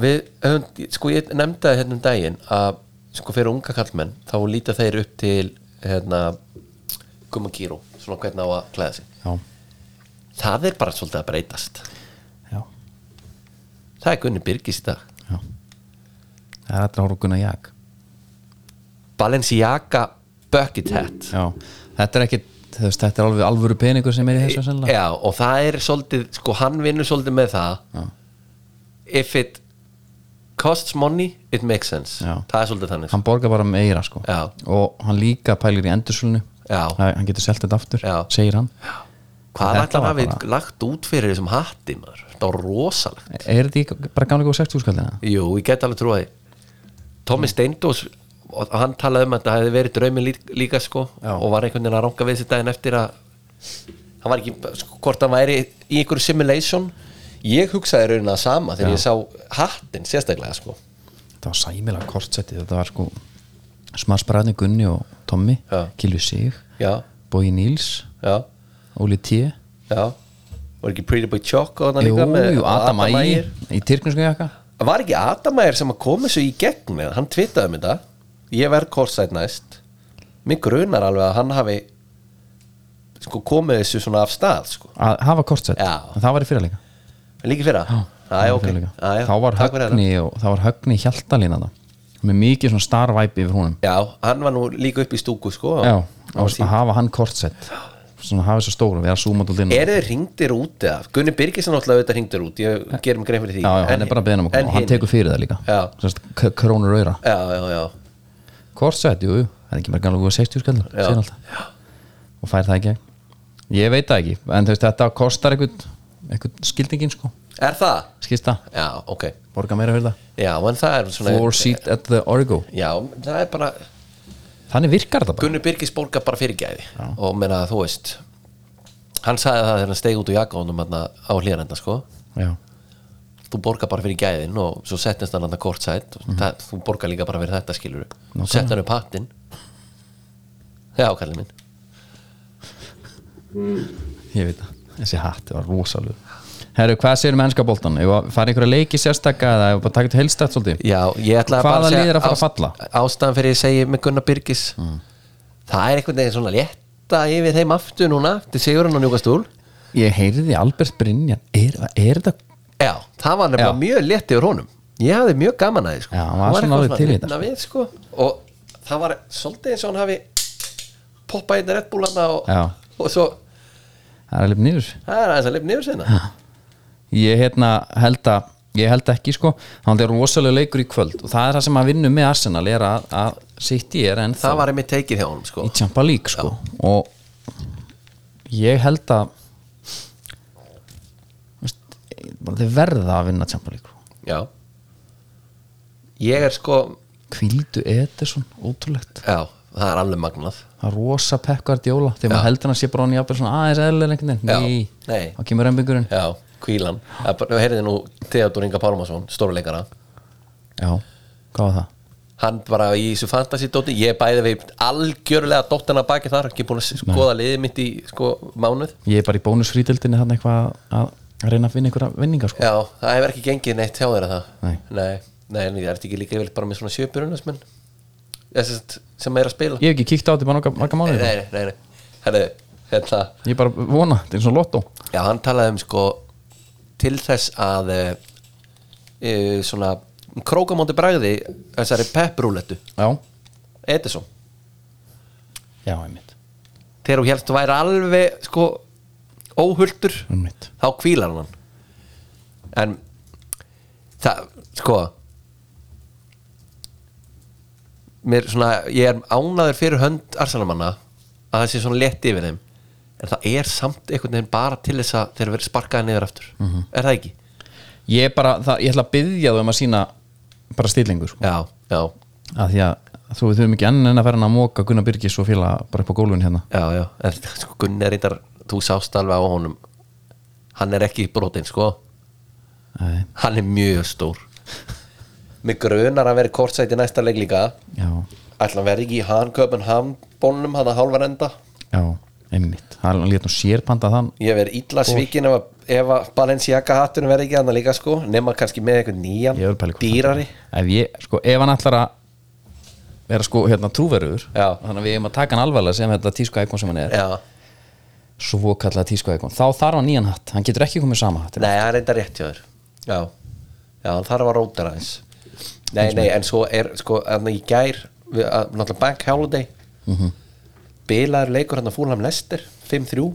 [SPEAKER 2] við höfum, sko ég nefndaði hérna um daginn að sko fyrir unga kallmenn þá líta þeir upp til hérna Gumakíru, svona hvernig á að klæða sig
[SPEAKER 1] Já,
[SPEAKER 2] það er bara svolítið að breytast
[SPEAKER 1] já,
[SPEAKER 2] það er Gunni Birgis í dag
[SPEAKER 1] já Það er alltaf ára Gunnar Jak
[SPEAKER 2] Balenciaga Bucket Hat
[SPEAKER 1] Já, þetta er ekki þú veist, þetta er alveg alvöru peningur sem er í þessu sennilega
[SPEAKER 2] Já, og það er svolítið, sko hann vinnur svolítið með það
[SPEAKER 1] Já.
[SPEAKER 2] if it costs money, it makes sense
[SPEAKER 1] Já.
[SPEAKER 2] það er svolítið þannig
[SPEAKER 1] Hann borgar bara meira sko
[SPEAKER 2] Já.
[SPEAKER 1] og hann líka pælir í endursölinu
[SPEAKER 2] Já.
[SPEAKER 1] Það- hann getur selt þetta aftur,
[SPEAKER 2] Já.
[SPEAKER 1] segir hann
[SPEAKER 2] hvað
[SPEAKER 1] Þetta
[SPEAKER 2] ætlar
[SPEAKER 1] var
[SPEAKER 2] hafið
[SPEAKER 1] bara-
[SPEAKER 2] lagt út fyrir þessum hatti maður, það var rosalegt
[SPEAKER 1] Er þetta ekki bara gamlega og 60 skallina?
[SPEAKER 2] Jú, ég get alveg trúið Tommy
[SPEAKER 1] Mm.
[SPEAKER 2] Steindós og hann talaði um að þetta hefði verið draumi líka, líka sko,
[SPEAKER 1] Já.
[SPEAKER 2] og var einhvern veginn að ranga við sér daginn eftir að hann var ekki, sko, hvort hann væri í einhverju simulation ég hugsaði raunin að sama þegar ég sá hattinn sérstaklega sko.
[SPEAKER 1] Þetta var sæmilega kortsetti, þetta var sko smarsbræðni Gunni og Tommy
[SPEAKER 2] Já.
[SPEAKER 1] Kilvi Sig,
[SPEAKER 2] já,
[SPEAKER 1] Bogi Níls
[SPEAKER 2] já,
[SPEAKER 1] Óli T
[SPEAKER 2] já var ekki Pretty Boy Choco þarna
[SPEAKER 1] Jú,
[SPEAKER 2] líka með-
[SPEAKER 1] jú, Adam Ægir
[SPEAKER 2] Ægir.
[SPEAKER 1] í tyrknusku jakka
[SPEAKER 2] var ekki Adam Ægir sem að koma svo í gegn eða hann tvitaði um þetta ég verð korsætt næst mig grunar alveg að hann hafi sko komið þessu svona af stað sko
[SPEAKER 1] að hafa kortsett,
[SPEAKER 2] Já.
[SPEAKER 1] en það var í fyrra líka
[SPEAKER 2] Líka í fyrra?
[SPEAKER 1] Það
[SPEAKER 2] já,
[SPEAKER 1] var
[SPEAKER 2] ok
[SPEAKER 1] fyrir líka.
[SPEAKER 2] já, já,
[SPEAKER 1] þá var
[SPEAKER 2] takk fyrir
[SPEAKER 1] högni og, þá var högni hjaltalín þarna. með mikið svona starvæp yfir húnum
[SPEAKER 2] þetta. Já, hann var nú líka upp í stúku sko
[SPEAKER 1] já,
[SPEAKER 2] Það var
[SPEAKER 1] og að
[SPEAKER 2] fínt.
[SPEAKER 1] hafa hann kortsett svona hafa þessu stóru, við erum súmat og dinn
[SPEAKER 2] Eru þið hringdir út eða? Gunni Birgisson alltaf auðvitað hringdir út Ég gerum grein fyrir því
[SPEAKER 1] já, já, hann
[SPEAKER 2] En-
[SPEAKER 1] er bara beðin um að
[SPEAKER 2] en
[SPEAKER 1] koma og hann
[SPEAKER 2] hinir?
[SPEAKER 1] tekur fyrir það líka
[SPEAKER 2] Já.
[SPEAKER 1] Sest, krónur auðra,
[SPEAKER 2] Já, já, já,
[SPEAKER 1] kortsett, jú, jú það er ekki bara gæmlega 60 skallar,
[SPEAKER 2] Já.
[SPEAKER 1] sér alltaf og fær það ekki, ég veit það ekki en þú veist, þetta kostar einhvern einhvern skildingin sko,
[SPEAKER 2] Er það?
[SPEAKER 1] skilst það
[SPEAKER 2] Já, ok
[SPEAKER 1] borga meira fyrir það,
[SPEAKER 2] Já, en það er svona
[SPEAKER 1] floor seat at the Origo
[SPEAKER 2] Já, það er bara
[SPEAKER 1] þannig virkar þetta bara
[SPEAKER 2] Gunni Birgis borgar bara fyrir gæði Og meina þú veist Hann sagði það þegar hann steig út úr jakónum þarna á hlýrenda sko
[SPEAKER 1] já,
[SPEAKER 2] Þú borgar bara fyrir gæðin og svo settist hann hann að kort sætt og það, þú borgar líka bara fyrir þetta skilur
[SPEAKER 1] Nákvæmlega.
[SPEAKER 2] Sett hann upp hattinn Já, kallið minn
[SPEAKER 1] ég veit það, þessi hatt var rosalug Herru, hvað segir um ennska boltan? Ef að fara einhverja leiki sérstaka eða ef að taka til helstætt svolítið?
[SPEAKER 2] Já, ég ætla
[SPEAKER 1] Hvaða
[SPEAKER 2] bara segja
[SPEAKER 1] lið er að fara að
[SPEAKER 2] ást-
[SPEAKER 1] falla? Mm.
[SPEAKER 2] Ástæðan fyrir ég segi með Gunnar Birgis Það er einhvern veginn svona létta yfir þeim aftur núna til Sigurinn og Njúkastúl
[SPEAKER 1] Ég heyrði Albert Brynjan, er, er þetta
[SPEAKER 2] Já, það var nefnilega
[SPEAKER 1] Já.
[SPEAKER 2] mjög létt yfir honum Ég hafði mjög gaman að því sko.
[SPEAKER 1] Já, hann var svona
[SPEAKER 2] eitthvað
[SPEAKER 1] alveg til í þetta,
[SPEAKER 2] hrifinn af við, sko. Og það var svolítið eins og hann hafi poppað inn í reddbúlana
[SPEAKER 1] Já.
[SPEAKER 2] hérna og, og svo
[SPEAKER 1] það er alveg nýður?
[SPEAKER 2] Það er aðeins að lifna yfir sinna
[SPEAKER 1] Ég hérna, held að ég held ekki sko, þannig er rosalega leikur í kvöld og það er það sem að vinnu með Arsenal er að, að sitt í er en
[SPEAKER 2] Það var einmitt teikið hjá honum sko.
[SPEAKER 1] í Champa League sko og ég held að veist, bara þeir verða að vinna Champa League sko.
[SPEAKER 2] Já Ég er sko
[SPEAKER 1] Hvíldu Ederson, ótrúlegt
[SPEAKER 2] Já, það er alveg magnað
[SPEAKER 1] að rosa Pep Guardiola þegar maður heldur hann sé bara hann jafnvel svona aðeins eðlilega einhvern
[SPEAKER 2] Já,
[SPEAKER 1] veginn, nei,
[SPEAKER 2] nei.
[SPEAKER 1] þá kemur rembingurinn
[SPEAKER 2] Já, kvílan Það er bara- Við heyrðum nú Theodor Inga Pálmarsson, stórleikara
[SPEAKER 1] já, hvað var það?
[SPEAKER 2] Hann bara í þessu fantasy-dóti Ég bæði við algjörlega dóttina baki þar Ekki búin að skoða liðið mitt í sko, mánuð
[SPEAKER 1] Ég er bara í bónusfrítildinni þannig eitthvað að að reyna að finna einhverja vinninga sko.
[SPEAKER 2] Já, það hefur ekki gengið neitt hjá þeirra það
[SPEAKER 1] Nei.
[SPEAKER 2] Nei, nei en ég ert ekki líka yfirleitt bara með svona sjöpjörunasmenn sem er að spila
[SPEAKER 1] ég hef ekki kíkt á þetta bara nokkar marga mánuði sko.
[SPEAKER 2] Nei, nei, nei, nei. Herðu, hérna,
[SPEAKER 1] Ég bara vona, þetta er svona lottó
[SPEAKER 2] já, hann talaði um sko til þess að e, e, svona krókamóndi bragði þessari pepprúletu
[SPEAKER 1] Já,
[SPEAKER 2] Edison,
[SPEAKER 1] já, einmitt,
[SPEAKER 2] þegar hún helst væri alveg sko óhultur
[SPEAKER 1] einmitt.
[SPEAKER 2] þá kvílar hann en það, sko mér svona ég er ánaður fyrir hönd arsanamanna að það sé svona létt yfir þeim en það er samt einhvern veginn bara til þess að þeir verið sparkaði niður aftur er það ekki?
[SPEAKER 1] Ég er bara, það, ég ætla að byggja þau um að sína bara stillingu sko.
[SPEAKER 2] Já, já,
[SPEAKER 1] að því að þú við þurfum ekki enn en að vera að móka Gunnar Byrgis og fíla bara upp á gólfinu hérna
[SPEAKER 2] já, já en, sko, Gunni er reyndar, þú sást alveg á honum hann er ekki brotinn sko
[SPEAKER 1] Nei,
[SPEAKER 2] hann er mjög stór mig grunar að vera kortsæti næsta leik líka
[SPEAKER 1] já,
[SPEAKER 2] ætla hann verði ekki í Hanköpen Hambónum hann að hálfar enda
[SPEAKER 1] já, einmitt hann lét nú sérpanda þann
[SPEAKER 2] ég verði illa svikin ef, að- ef að Balenciaga hattunum verði ekki hann líka sko nema kannski með einhvern
[SPEAKER 1] Ég vil pæla í
[SPEAKER 2] nýjan
[SPEAKER 1] hvort
[SPEAKER 2] dýrari
[SPEAKER 1] ef, ég, sko, ef hann ætlar að vera sko hérna trúveruður
[SPEAKER 2] Já.
[SPEAKER 1] þannig að við eigum að taka hann alvarlega sem þetta tísku íkon sem hann er
[SPEAKER 2] já,
[SPEAKER 1] svo kallega tísku íkon, þá þarf hann nýjan hatt hann getur ekki komið sama hatt
[SPEAKER 2] nei, það er enda rétt hjá þér já, já, hann þarf að róta aðeins nei, nei, en svo er sko, hann í gær við, að, náttúrulega Bank Holiday
[SPEAKER 1] Mhm.
[SPEAKER 2] bilaður leikur hann að fúlham Lester 5-3,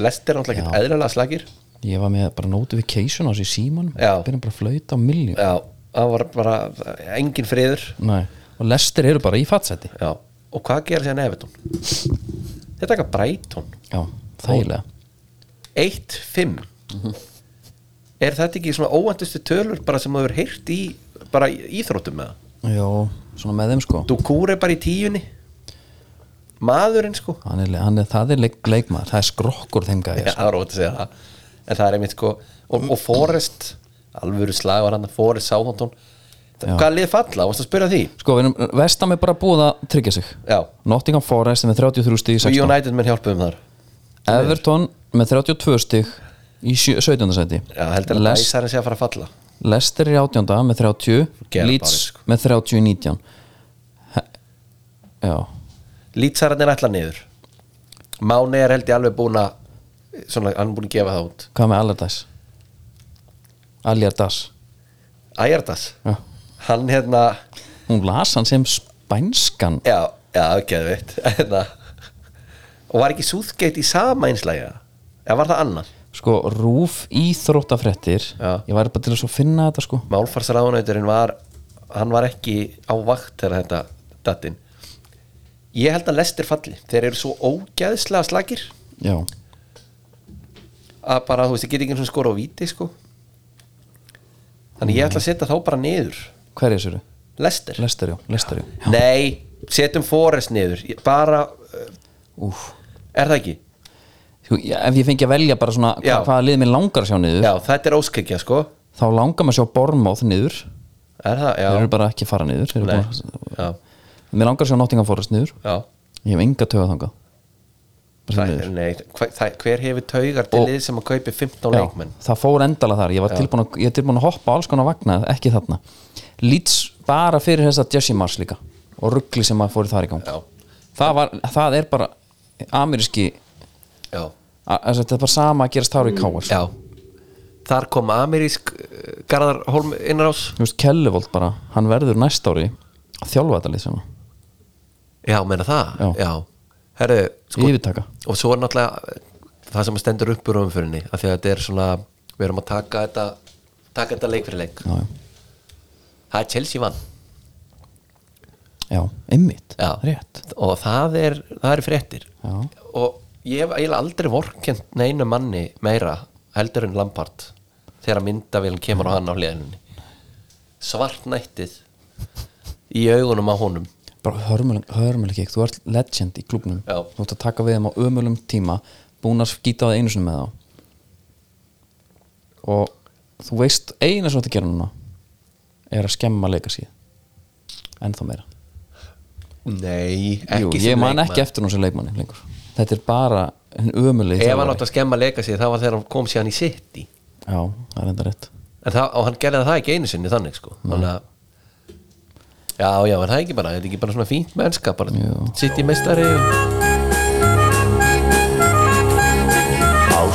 [SPEAKER 2] Lester náttúrulega
[SPEAKER 1] Já.
[SPEAKER 2] ekki eðlilega slagir
[SPEAKER 1] ég var með bara notification á sig símanum
[SPEAKER 2] Já.
[SPEAKER 1] byrjum bara að flauta á miljón
[SPEAKER 2] já, það var bara engin friður
[SPEAKER 1] Nei, og lestir eru bara í fatsæti
[SPEAKER 2] Já, og hvað gerir sér Evertón? Þeir taka Brighton
[SPEAKER 1] Já, þægilega
[SPEAKER 2] 1-5 Er þetta ekki svona óvæntustu tölur bara sem þú hefur heyrt í bara í íþróttum með það?
[SPEAKER 1] Já, svona með þeim sko
[SPEAKER 2] Dukúr er bara í tíunni Maðurinn sko
[SPEAKER 1] hann er, hann er, Það er leik, leikmaður, það er skrokkur þeim gæja
[SPEAKER 2] Já,
[SPEAKER 1] sko.
[SPEAKER 2] það er óvænt að segja það En það er einmitt sko Og, og Forrest, alvöru slagur hann Forrest Sáhantón Hvað lið falla, varst að spyrja því?
[SPEAKER 1] sko, við erum, vestam er bara búið að tryggja sig
[SPEAKER 2] Já,
[SPEAKER 1] Nottingham Forest er með 33 stig í
[SPEAKER 2] og
[SPEAKER 1] 16
[SPEAKER 2] United menn hjálpa um þar
[SPEAKER 1] Everton með 32 stig í sjö- 17. sæti
[SPEAKER 2] Já, heldur að
[SPEAKER 1] Les,
[SPEAKER 2] Læsarinn sé að fara að falla
[SPEAKER 1] Lester í 18. með 30
[SPEAKER 2] Gerðu
[SPEAKER 1] Leeds
[SPEAKER 2] bara, sko.
[SPEAKER 1] með 30 í 19 He, Já,
[SPEAKER 2] Lítsararnir ætla niður Máni er held ég alveg búin að svona, hann er búin að gefa það út
[SPEAKER 1] hvað með Allardyce? Allardyce
[SPEAKER 2] Æjardas,
[SPEAKER 1] Já.
[SPEAKER 2] hann hérna
[SPEAKER 1] Hún las hann sem spænskan
[SPEAKER 2] já, já, geðvitt hérna. og var ekki súðgeitt í sama einslægja eða var það annar?
[SPEAKER 1] Sko, rúf íþróttafrettir
[SPEAKER 2] Já.
[SPEAKER 1] Ég væri bara til að svo finna þetta sko
[SPEAKER 2] Málfarsráðunauturinn var hann var ekki á vakt þegar þetta dattinn ég held að lestir falli, þeir eru svo ógeðslega slagir
[SPEAKER 1] Já,
[SPEAKER 2] að bara, þú veist, ég get ekki eins og skora á víti sko þannig ég ætla að setja þá bara niður
[SPEAKER 1] hverja sér
[SPEAKER 2] lestir
[SPEAKER 1] Lester, já, Lester, já
[SPEAKER 2] Ah. Nei, setjum Forrest niður Ég- Bara, uh,
[SPEAKER 1] Úf
[SPEAKER 2] er það ekki?
[SPEAKER 1] Jú, já, Ef ég fengi að velja bara svona hva,
[SPEAKER 2] Já.
[SPEAKER 1] hvaða lið mér langar að sjá niður
[SPEAKER 2] Já, þetta er óskikja, sko
[SPEAKER 1] Þá langar maður að sjá Bormóð niður
[SPEAKER 2] Er það?
[SPEAKER 1] Þeir eru
[SPEAKER 2] Já,
[SPEAKER 1] bara ekki að fara niður Þeir eru
[SPEAKER 2] Nei.
[SPEAKER 1] bara,
[SPEAKER 2] já,
[SPEAKER 1] Mér langar að sjá Nottingham Forest niður
[SPEAKER 2] já.
[SPEAKER 1] Ég hef enga töga þangað Bara því
[SPEAKER 2] Það,
[SPEAKER 1] miður.
[SPEAKER 2] nei, hver, það, hver hefur taugar til
[SPEAKER 1] Og-
[SPEAKER 2] lið sem að kaupi 15
[SPEAKER 1] Já,
[SPEAKER 2] leikmenn?
[SPEAKER 1] það fór endala þar Ég var tilbúin að, ég er tilbúin að hoppa á alls konar vagna Ekki þarna Leeds bara fyrir þess að Jesse Mars líka Og ruggli sem að fóri þar í gang
[SPEAKER 2] Já.
[SPEAKER 1] það, var, það er bara Ameríski
[SPEAKER 2] Já,
[SPEAKER 1] a- þess að Þetta er bara sama að gerast þar
[SPEAKER 2] Mm.
[SPEAKER 1] í káar
[SPEAKER 2] já Þar kom amerísk uh, Garðar Holm innrás
[SPEAKER 1] Þú veist, Kellevold bara Hann verður næst ári að þjálfa þetta lið sem að
[SPEAKER 2] Já, meina það?
[SPEAKER 1] Já.
[SPEAKER 2] Herru, sko
[SPEAKER 1] Yfirtaka
[SPEAKER 2] og svo er náttúrulega eh, það sem stendur upp úr umfyrinni af því að þetta er svona, við erum að taka þetta taka þetta leik fyrir leik
[SPEAKER 1] Já, já,
[SPEAKER 2] Það er Chelsea vann
[SPEAKER 1] já einmitt
[SPEAKER 2] Já.
[SPEAKER 1] Rétt
[SPEAKER 2] og það er, það er fréttir
[SPEAKER 1] Já.
[SPEAKER 2] og ég hef eiginlega aldrei vorkent neinu manni meira heldur en Lampard þegar myndavélum kemur á hann á hliðinni svart nættið í augunum á honum
[SPEAKER 1] Bara hörmuleg, hörmuleg ekki Þú ert legend í klubnum
[SPEAKER 2] Já.
[SPEAKER 1] Þú ert að taka við þeim á ömulum tíma Búin að skýta á það einu sinni með þá Og þú veist eina sem þú ert að gera núna Er að skemma leika síð Ennþá meira
[SPEAKER 2] Nei,
[SPEAKER 1] Jú,
[SPEAKER 2] ekki
[SPEAKER 1] ég man ekki eftir hún sem leikmanni lengur Þetta er bara en ömuleg
[SPEAKER 2] ef hann átt að skemma leika sig það var þegar hann kom síðan í City
[SPEAKER 1] Já, það er enda rétt
[SPEAKER 2] En það, og hann gerði það ekki einu sinni þannig sko
[SPEAKER 1] Mm.
[SPEAKER 2] þannig að já, já, en það er ekki bara, þetta er ekki bara svona fínt mennska bara,
[SPEAKER 1] Jú.
[SPEAKER 2] sitt í meistari og...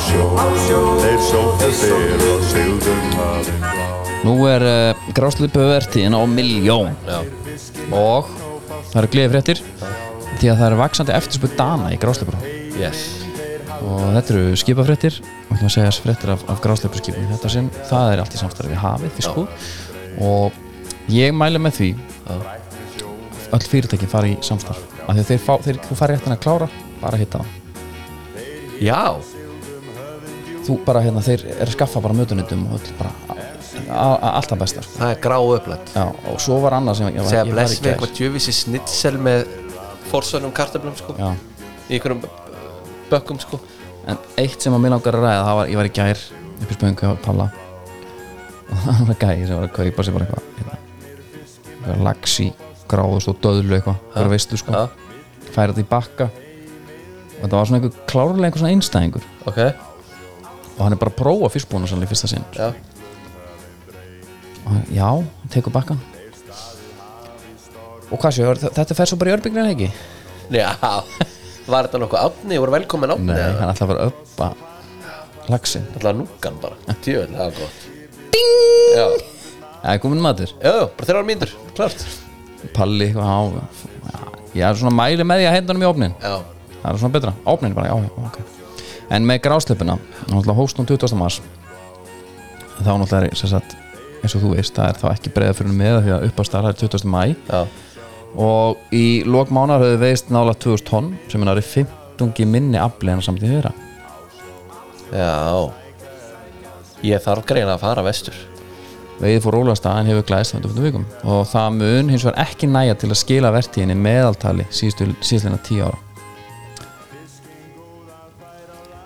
[SPEAKER 3] Jú.
[SPEAKER 9] sjó Þeir sóttu fyrr og sigðu hafinn blá
[SPEAKER 1] Nú er uh, gráslupövertíðin á miljón og það eru gleðið fréttir því að það eru vaksandi eftirspöð dana í grásluprá
[SPEAKER 2] yes.
[SPEAKER 1] og þetta eru skipafréttir og það segja fréttir af, af gráslupaskipum þetta sinn, það er allt í samstarfi við hafið fiskur og ég mæli með því að öll fyrirtæki fari í samstarf af því að þeir fá, þeir, þú fari réttin að klára bara hitta það,
[SPEAKER 2] Já,
[SPEAKER 1] þú bara hérna þeir eru að skaffa bara mötunindum og öll bara a- a- allt það besta sko.
[SPEAKER 2] það er grá upplætt
[SPEAKER 1] Já, og svo var annað sem ég var,
[SPEAKER 2] Segja
[SPEAKER 1] ég var
[SPEAKER 2] bless
[SPEAKER 1] í
[SPEAKER 2] við
[SPEAKER 1] gær.
[SPEAKER 2] eitthvað djöfissi snitsel með forsönum kartöflum sko
[SPEAKER 1] Já.
[SPEAKER 2] Í einhverjum bökkum sko
[SPEAKER 1] En eitt sem að mér langar að ræða það var, ég var í gær upp í spöngu að palla og það var gæði sem var að kaupa sér bara eitthvað hérna, eitthvað laxi, gráðust og döðlu eitthvað, eitthvað veistu sko
[SPEAKER 2] Já.
[SPEAKER 1] færa þetta í bakka og þetta var svona einhver klárlega einhver svona einstæðingur
[SPEAKER 2] Ok,
[SPEAKER 1] og hann er bara að prófa fyrstbúna sannlega í fyrsta sinn
[SPEAKER 2] já,
[SPEAKER 1] og hann, já, hann tekur bakkan og hvað séu, þetta fer svo bara í örbyggnir ekki?
[SPEAKER 2] já. Var þetta nokkuð átni, voru velkomin átni
[SPEAKER 1] Nei,
[SPEAKER 2] eða?
[SPEAKER 1] hann ætlaði bara að uppa laxin
[SPEAKER 2] Alltaf núkan bara, djöfn, það var gott Ding Já,
[SPEAKER 1] Það er komin matur
[SPEAKER 2] já, já, bara þrjár mínútur, klart
[SPEAKER 1] Palli, eitthvað, já, já, ég er svona mæli með því að henda honum í ofnin
[SPEAKER 2] Já,
[SPEAKER 1] það er svona betra, ofnin bara, já, já, ok en með grásleipuna, náttúrulega hóst hún 20. um mars þá náttúrulega er, sem sagt, eins og þú veist það er þá ekki breiða fyrir með því að uppastar það er 20. mæ
[SPEAKER 2] já,
[SPEAKER 1] og í lok mánar höfðu veist nála 2000 tonn sem er árið 15 minni afli en samt í þeirra
[SPEAKER 2] já Ég þarf greina að fara vestur
[SPEAKER 1] veiði fór rólegast að en hefur glæðist þannig fyrir vikum og það mun hins vegar ekki næja til að skila vertíðinni meðaltali síðstlina 10 ára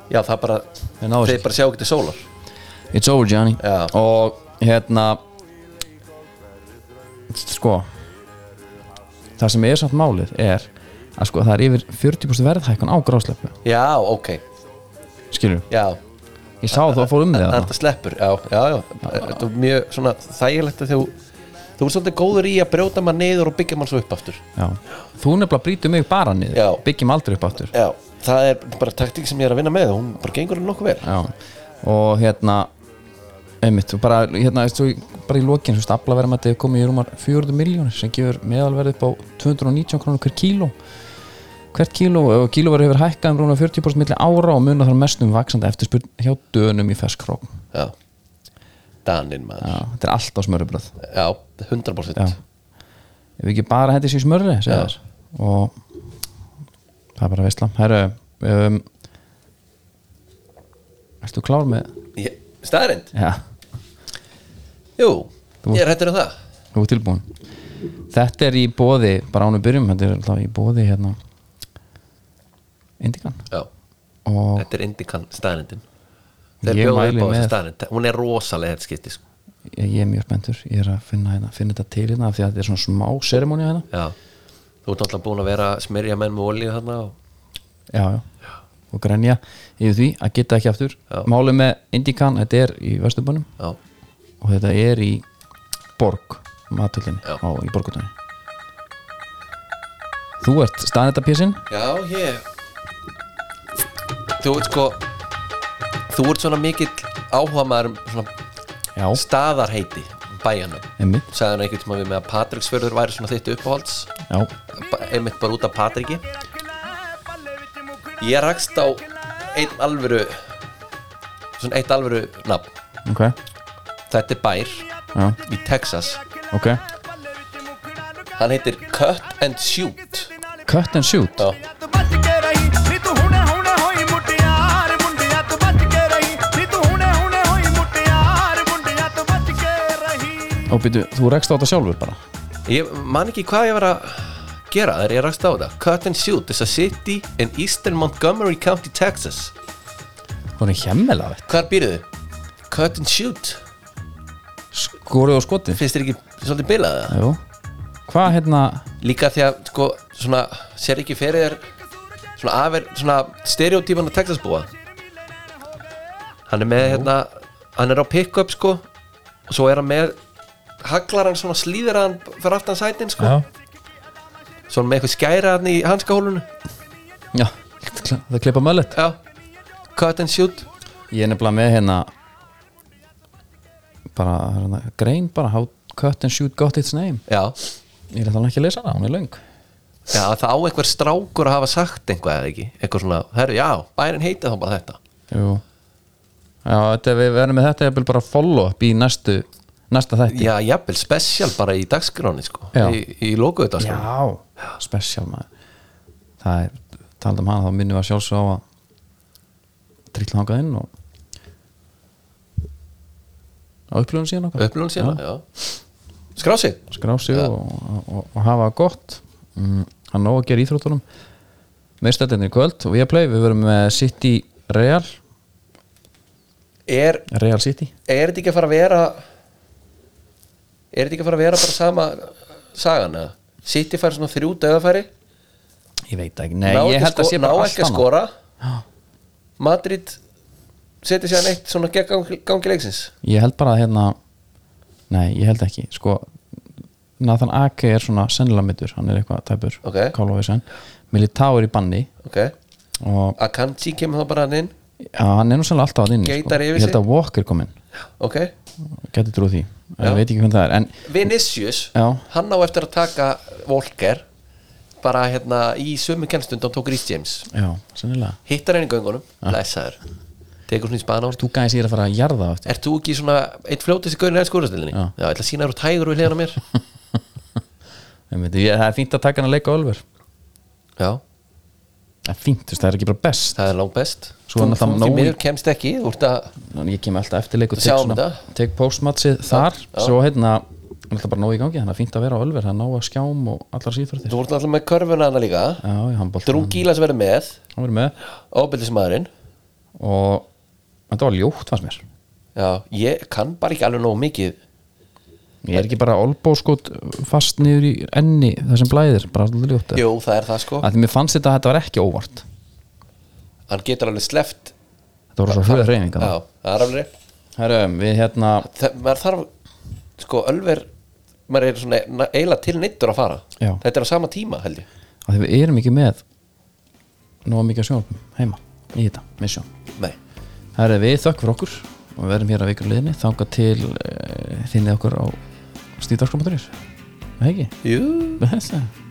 [SPEAKER 2] Já, það bara,
[SPEAKER 1] Þeir náðu sér.
[SPEAKER 2] þeir bara sjá ekki til sólar
[SPEAKER 1] It's over Johnny
[SPEAKER 2] Já.
[SPEAKER 1] Og hérna Sko Það sem er samt málið er að sko það er yfir 40% verðhækkun á grásleppu
[SPEAKER 2] Já, ok,
[SPEAKER 1] Skilur,
[SPEAKER 2] já
[SPEAKER 1] ég sá þú að fór um með
[SPEAKER 2] Það er
[SPEAKER 1] það
[SPEAKER 2] þetta sleppur, já, já, já Þetta er mjög svona þægilegt að þú Þú ert svolítið góður í að brjóta maður niður og byggja maður svo upp aftur
[SPEAKER 1] Já. Þú nefnilega brýtur mig bara niður
[SPEAKER 2] Já.
[SPEAKER 1] Byggjum aldrei upp aftur
[SPEAKER 2] Já, það er bara taktík sem ég er að vinna með Hún bara gengur hann nokkuð vel
[SPEAKER 1] Já. Og hérna einmitt, og bara, hérna, svo, í- bara í lokin svo stafla verðum að þetta komið í rúmar 400 miljónir sem gefur meðalverð upp á 219 krónur hver kíló hvert kíló eh, og kílóverð hefur hækkað um rúmlega 40% milli ára og muna þar mest um vaksandi eftirspurn hjá dönum í ferskrók
[SPEAKER 2] Já, Danin maður Já,
[SPEAKER 1] þetta er allt á smörubröð ef
[SPEAKER 2] 100%
[SPEAKER 1] Já. við ekki bara hendi sér smörri segja
[SPEAKER 2] Já.
[SPEAKER 1] þær. og það er bara veistla herru um, Ertu klár með
[SPEAKER 2] Ég, Staðarind?
[SPEAKER 1] Já,
[SPEAKER 2] Jú,
[SPEAKER 1] Þú-
[SPEAKER 2] ég er hættur um það
[SPEAKER 1] þú er tilbúin Þetta er í bóði, bara ánum byrjum þetta er alltaf í bóði hérna Indikan
[SPEAKER 2] Já,
[SPEAKER 1] og
[SPEAKER 2] þetta er indikan staðarindin Þeir
[SPEAKER 1] Ég
[SPEAKER 2] bjóða
[SPEAKER 1] mæli
[SPEAKER 2] upp á
[SPEAKER 1] með-
[SPEAKER 2] þessu staðarind Hún er rosalega þetta skipti sko.
[SPEAKER 1] ég, ég er mjög spenntur ég er að finna, hérna, finna þetta til hérna af því að þetta er svona smá seremóni hérna
[SPEAKER 2] Já, þú ert alltaf búin að vera að smerja menn með olíu þarna og...
[SPEAKER 1] já, já. og grenja yfir því að geta ekki aftur
[SPEAKER 2] Já.
[SPEAKER 1] málið með Indikan, þetta er í Vesturbunum
[SPEAKER 2] Já,
[SPEAKER 1] og þetta er í Borg, matöldinni
[SPEAKER 2] Já.
[SPEAKER 1] á, í Borgutunni þú ert staðnættapjessin
[SPEAKER 2] Já, ég Þú ert sko Þú ert svona mikill áhuga maður um svona
[SPEAKER 1] já,
[SPEAKER 2] staðarheiti bæjanum
[SPEAKER 1] einmitt
[SPEAKER 2] Sæðan einhvern tímann við með að Patricksfjörður væri svona þitt uppáhalds
[SPEAKER 1] já,
[SPEAKER 2] ba- einmitt bara út af Patriki Ég rakst á einn alvöru svona eitt alvöru nafn
[SPEAKER 1] ok,
[SPEAKER 2] Þetta er bær
[SPEAKER 1] já,
[SPEAKER 2] í Texas
[SPEAKER 1] ok
[SPEAKER 2] Hann heitir Cut and Shoot
[SPEAKER 1] cut and shoot
[SPEAKER 2] Já,
[SPEAKER 1] og byrju, þú rekst á þetta sjálfur bara
[SPEAKER 2] Ég man ekki hvað ég var að gera þegar ég rakst á þetta Cut and shoot is a city in eastern Montgomery County, Texas
[SPEAKER 1] hún er hjemmel af þetta,
[SPEAKER 2] Hvar býrðu? Cut and shoot
[SPEAKER 1] skorið og skotið
[SPEAKER 2] Finnst þér ekki svolítið bilað það?
[SPEAKER 1] Jú. hvað hérna
[SPEAKER 2] Líka því að, sko, svona Sér ekki fyrir þér Svona afer, svona stereotípan að Texas búa Hann er með, hérna Hann er á pick-up, sko Og svo er hann með Haglar hann svona slíður hann fyrir aftan sætin, sko
[SPEAKER 1] já,
[SPEAKER 2] Svona með eitthvað skæra hann í hanskahólunu
[SPEAKER 1] já, það klippa möllet
[SPEAKER 2] Já, cut and shoot
[SPEAKER 1] Ég er nefnilega með hérna bara hérna, grein bara How Cut and Shoot Got Its Name
[SPEAKER 2] Já,
[SPEAKER 1] Ég er þannig ekki að lesa hana, hún er löng
[SPEAKER 2] já það á einhver strákur að hafa sagt einhvað eða ekki Eitthvað svona, herru, já, bærin heitið þá bara þetta
[SPEAKER 1] Jú Já, þetta, við verðum með þetta jafnvel bara follow up í næstu, næsta þætti
[SPEAKER 2] Já, jafnvel, spesial bara í dagskráni sko
[SPEAKER 1] Já.
[SPEAKER 2] Í, í lokuðu dagskráni
[SPEAKER 1] Já, spesial maður Það er, talað um hana þá minnum við að sjálfsög á að trilla hangað inn og á upplöfun síðan okkar
[SPEAKER 2] Upplun síðan, já, Skrá sig
[SPEAKER 1] skrá sig og, og, og hafa það gott mm, hann nóg að gera í íþróttunum meðstættinni í kvöld og við að play við verum með City Real
[SPEAKER 2] Er,
[SPEAKER 1] Real City
[SPEAKER 2] er þetta ekki að fara að vera Er þetta ekki að fara að vera bara sama sagan eða? City fær svona þrjú döðafæri
[SPEAKER 1] ég veit ekki, nei
[SPEAKER 2] ná
[SPEAKER 1] ég
[SPEAKER 2] ekki,
[SPEAKER 1] held að
[SPEAKER 2] sko,
[SPEAKER 1] sé
[SPEAKER 2] ná
[SPEAKER 1] bara allt
[SPEAKER 2] ekki að
[SPEAKER 1] annað.
[SPEAKER 2] skora Madrid seti sér neitt svona gegn gangi, gangi leiksins
[SPEAKER 1] ég held bara að hérna nei ég held ekki sko Nathan Ake er svona sennilega middur hann er eitthvað tæpur
[SPEAKER 2] Ok.
[SPEAKER 1] Kálófísan Militao er í banni
[SPEAKER 2] ok,
[SPEAKER 1] og
[SPEAKER 2] Akanji kemur þá bara hann inn
[SPEAKER 1] já, hann er nú sennilega alltaf að inn
[SPEAKER 2] Geitar yfir
[SPEAKER 1] ég held
[SPEAKER 2] sig.
[SPEAKER 1] að Walker kom inn
[SPEAKER 2] ok,
[SPEAKER 1] geti trú því
[SPEAKER 2] Já.
[SPEAKER 1] ég veit ekki hvernig það er en
[SPEAKER 2] Vinicius
[SPEAKER 1] Já.
[SPEAKER 2] hann á eftir að taka Volker bara hérna í sömu kennstund hann tók Rhys James,
[SPEAKER 1] já sennilega
[SPEAKER 2] hittar henni í göngunum blessaður, tekur svona í spana á honum.
[SPEAKER 1] þú gæðis ég er að fara að jarða á eftir
[SPEAKER 2] Ert þú ekki svona eitt fljótist í gönni enn skórastilinni?
[SPEAKER 1] Já.
[SPEAKER 2] Já, ég ætla að sína þér og tægur við hliðan á mér
[SPEAKER 1] Einmitt, ég, það er fínt að taka hann að leika Oliver
[SPEAKER 2] Já,
[SPEAKER 1] það er fínt, þú veist, það er ekki bara best
[SPEAKER 2] það er langt best
[SPEAKER 1] Svo er náttúrulega
[SPEAKER 2] Þú
[SPEAKER 1] nóg í-
[SPEAKER 2] miður kemst ekki, þú ert að
[SPEAKER 1] Þannig ég kem alltaf eftir leik og
[SPEAKER 2] Þú
[SPEAKER 1] tek,
[SPEAKER 2] sjáum
[SPEAKER 1] svona,
[SPEAKER 2] þetta.
[SPEAKER 1] tek postmatsið þar
[SPEAKER 2] já.
[SPEAKER 1] svo hérna, alltaf bara nóg í gangi þannig að fínt að vera á Oliver, það er nóg að skjám og allar síðfjörðir
[SPEAKER 2] þú ert alltaf með körfuna hana líka
[SPEAKER 1] já, í handbólt,
[SPEAKER 2] Drú
[SPEAKER 1] hann,
[SPEAKER 2] Gílas verið með
[SPEAKER 1] hann verið með
[SPEAKER 2] Óbyldismæðurinn
[SPEAKER 1] og þetta var ljótt fannst mér
[SPEAKER 2] Já, ég kann bara ekki alveg nógu mikið
[SPEAKER 1] ég er ekki bara olbóskot fast niður í enni það sem blæðir, bara alltaf ljótt
[SPEAKER 2] Jú, það er það sko
[SPEAKER 1] að því mér fannst þetta að þetta var ekki óvart
[SPEAKER 2] Hann getur alveg sleppt
[SPEAKER 1] þetta voru svo hröða reyninga
[SPEAKER 2] Já, það er alveg
[SPEAKER 1] herrum, við hérna
[SPEAKER 2] það, Maður þarf, sko, ölver Maður er svona na- eiginlega til neittur að fara
[SPEAKER 1] Já.
[SPEAKER 2] Þetta er á sama tíma, held ég
[SPEAKER 1] að því við erum ekki með nóg mikið sjónum heima í þetta, misjón
[SPEAKER 2] Nei,
[SPEAKER 1] Það er við þökk fyrir okkur og við verðum hér að vikur liðinni þanga til eh, uh, þinnið okkur á stíðdagskomandurins Það ekki?
[SPEAKER 2] jú
[SPEAKER 1] Blessa.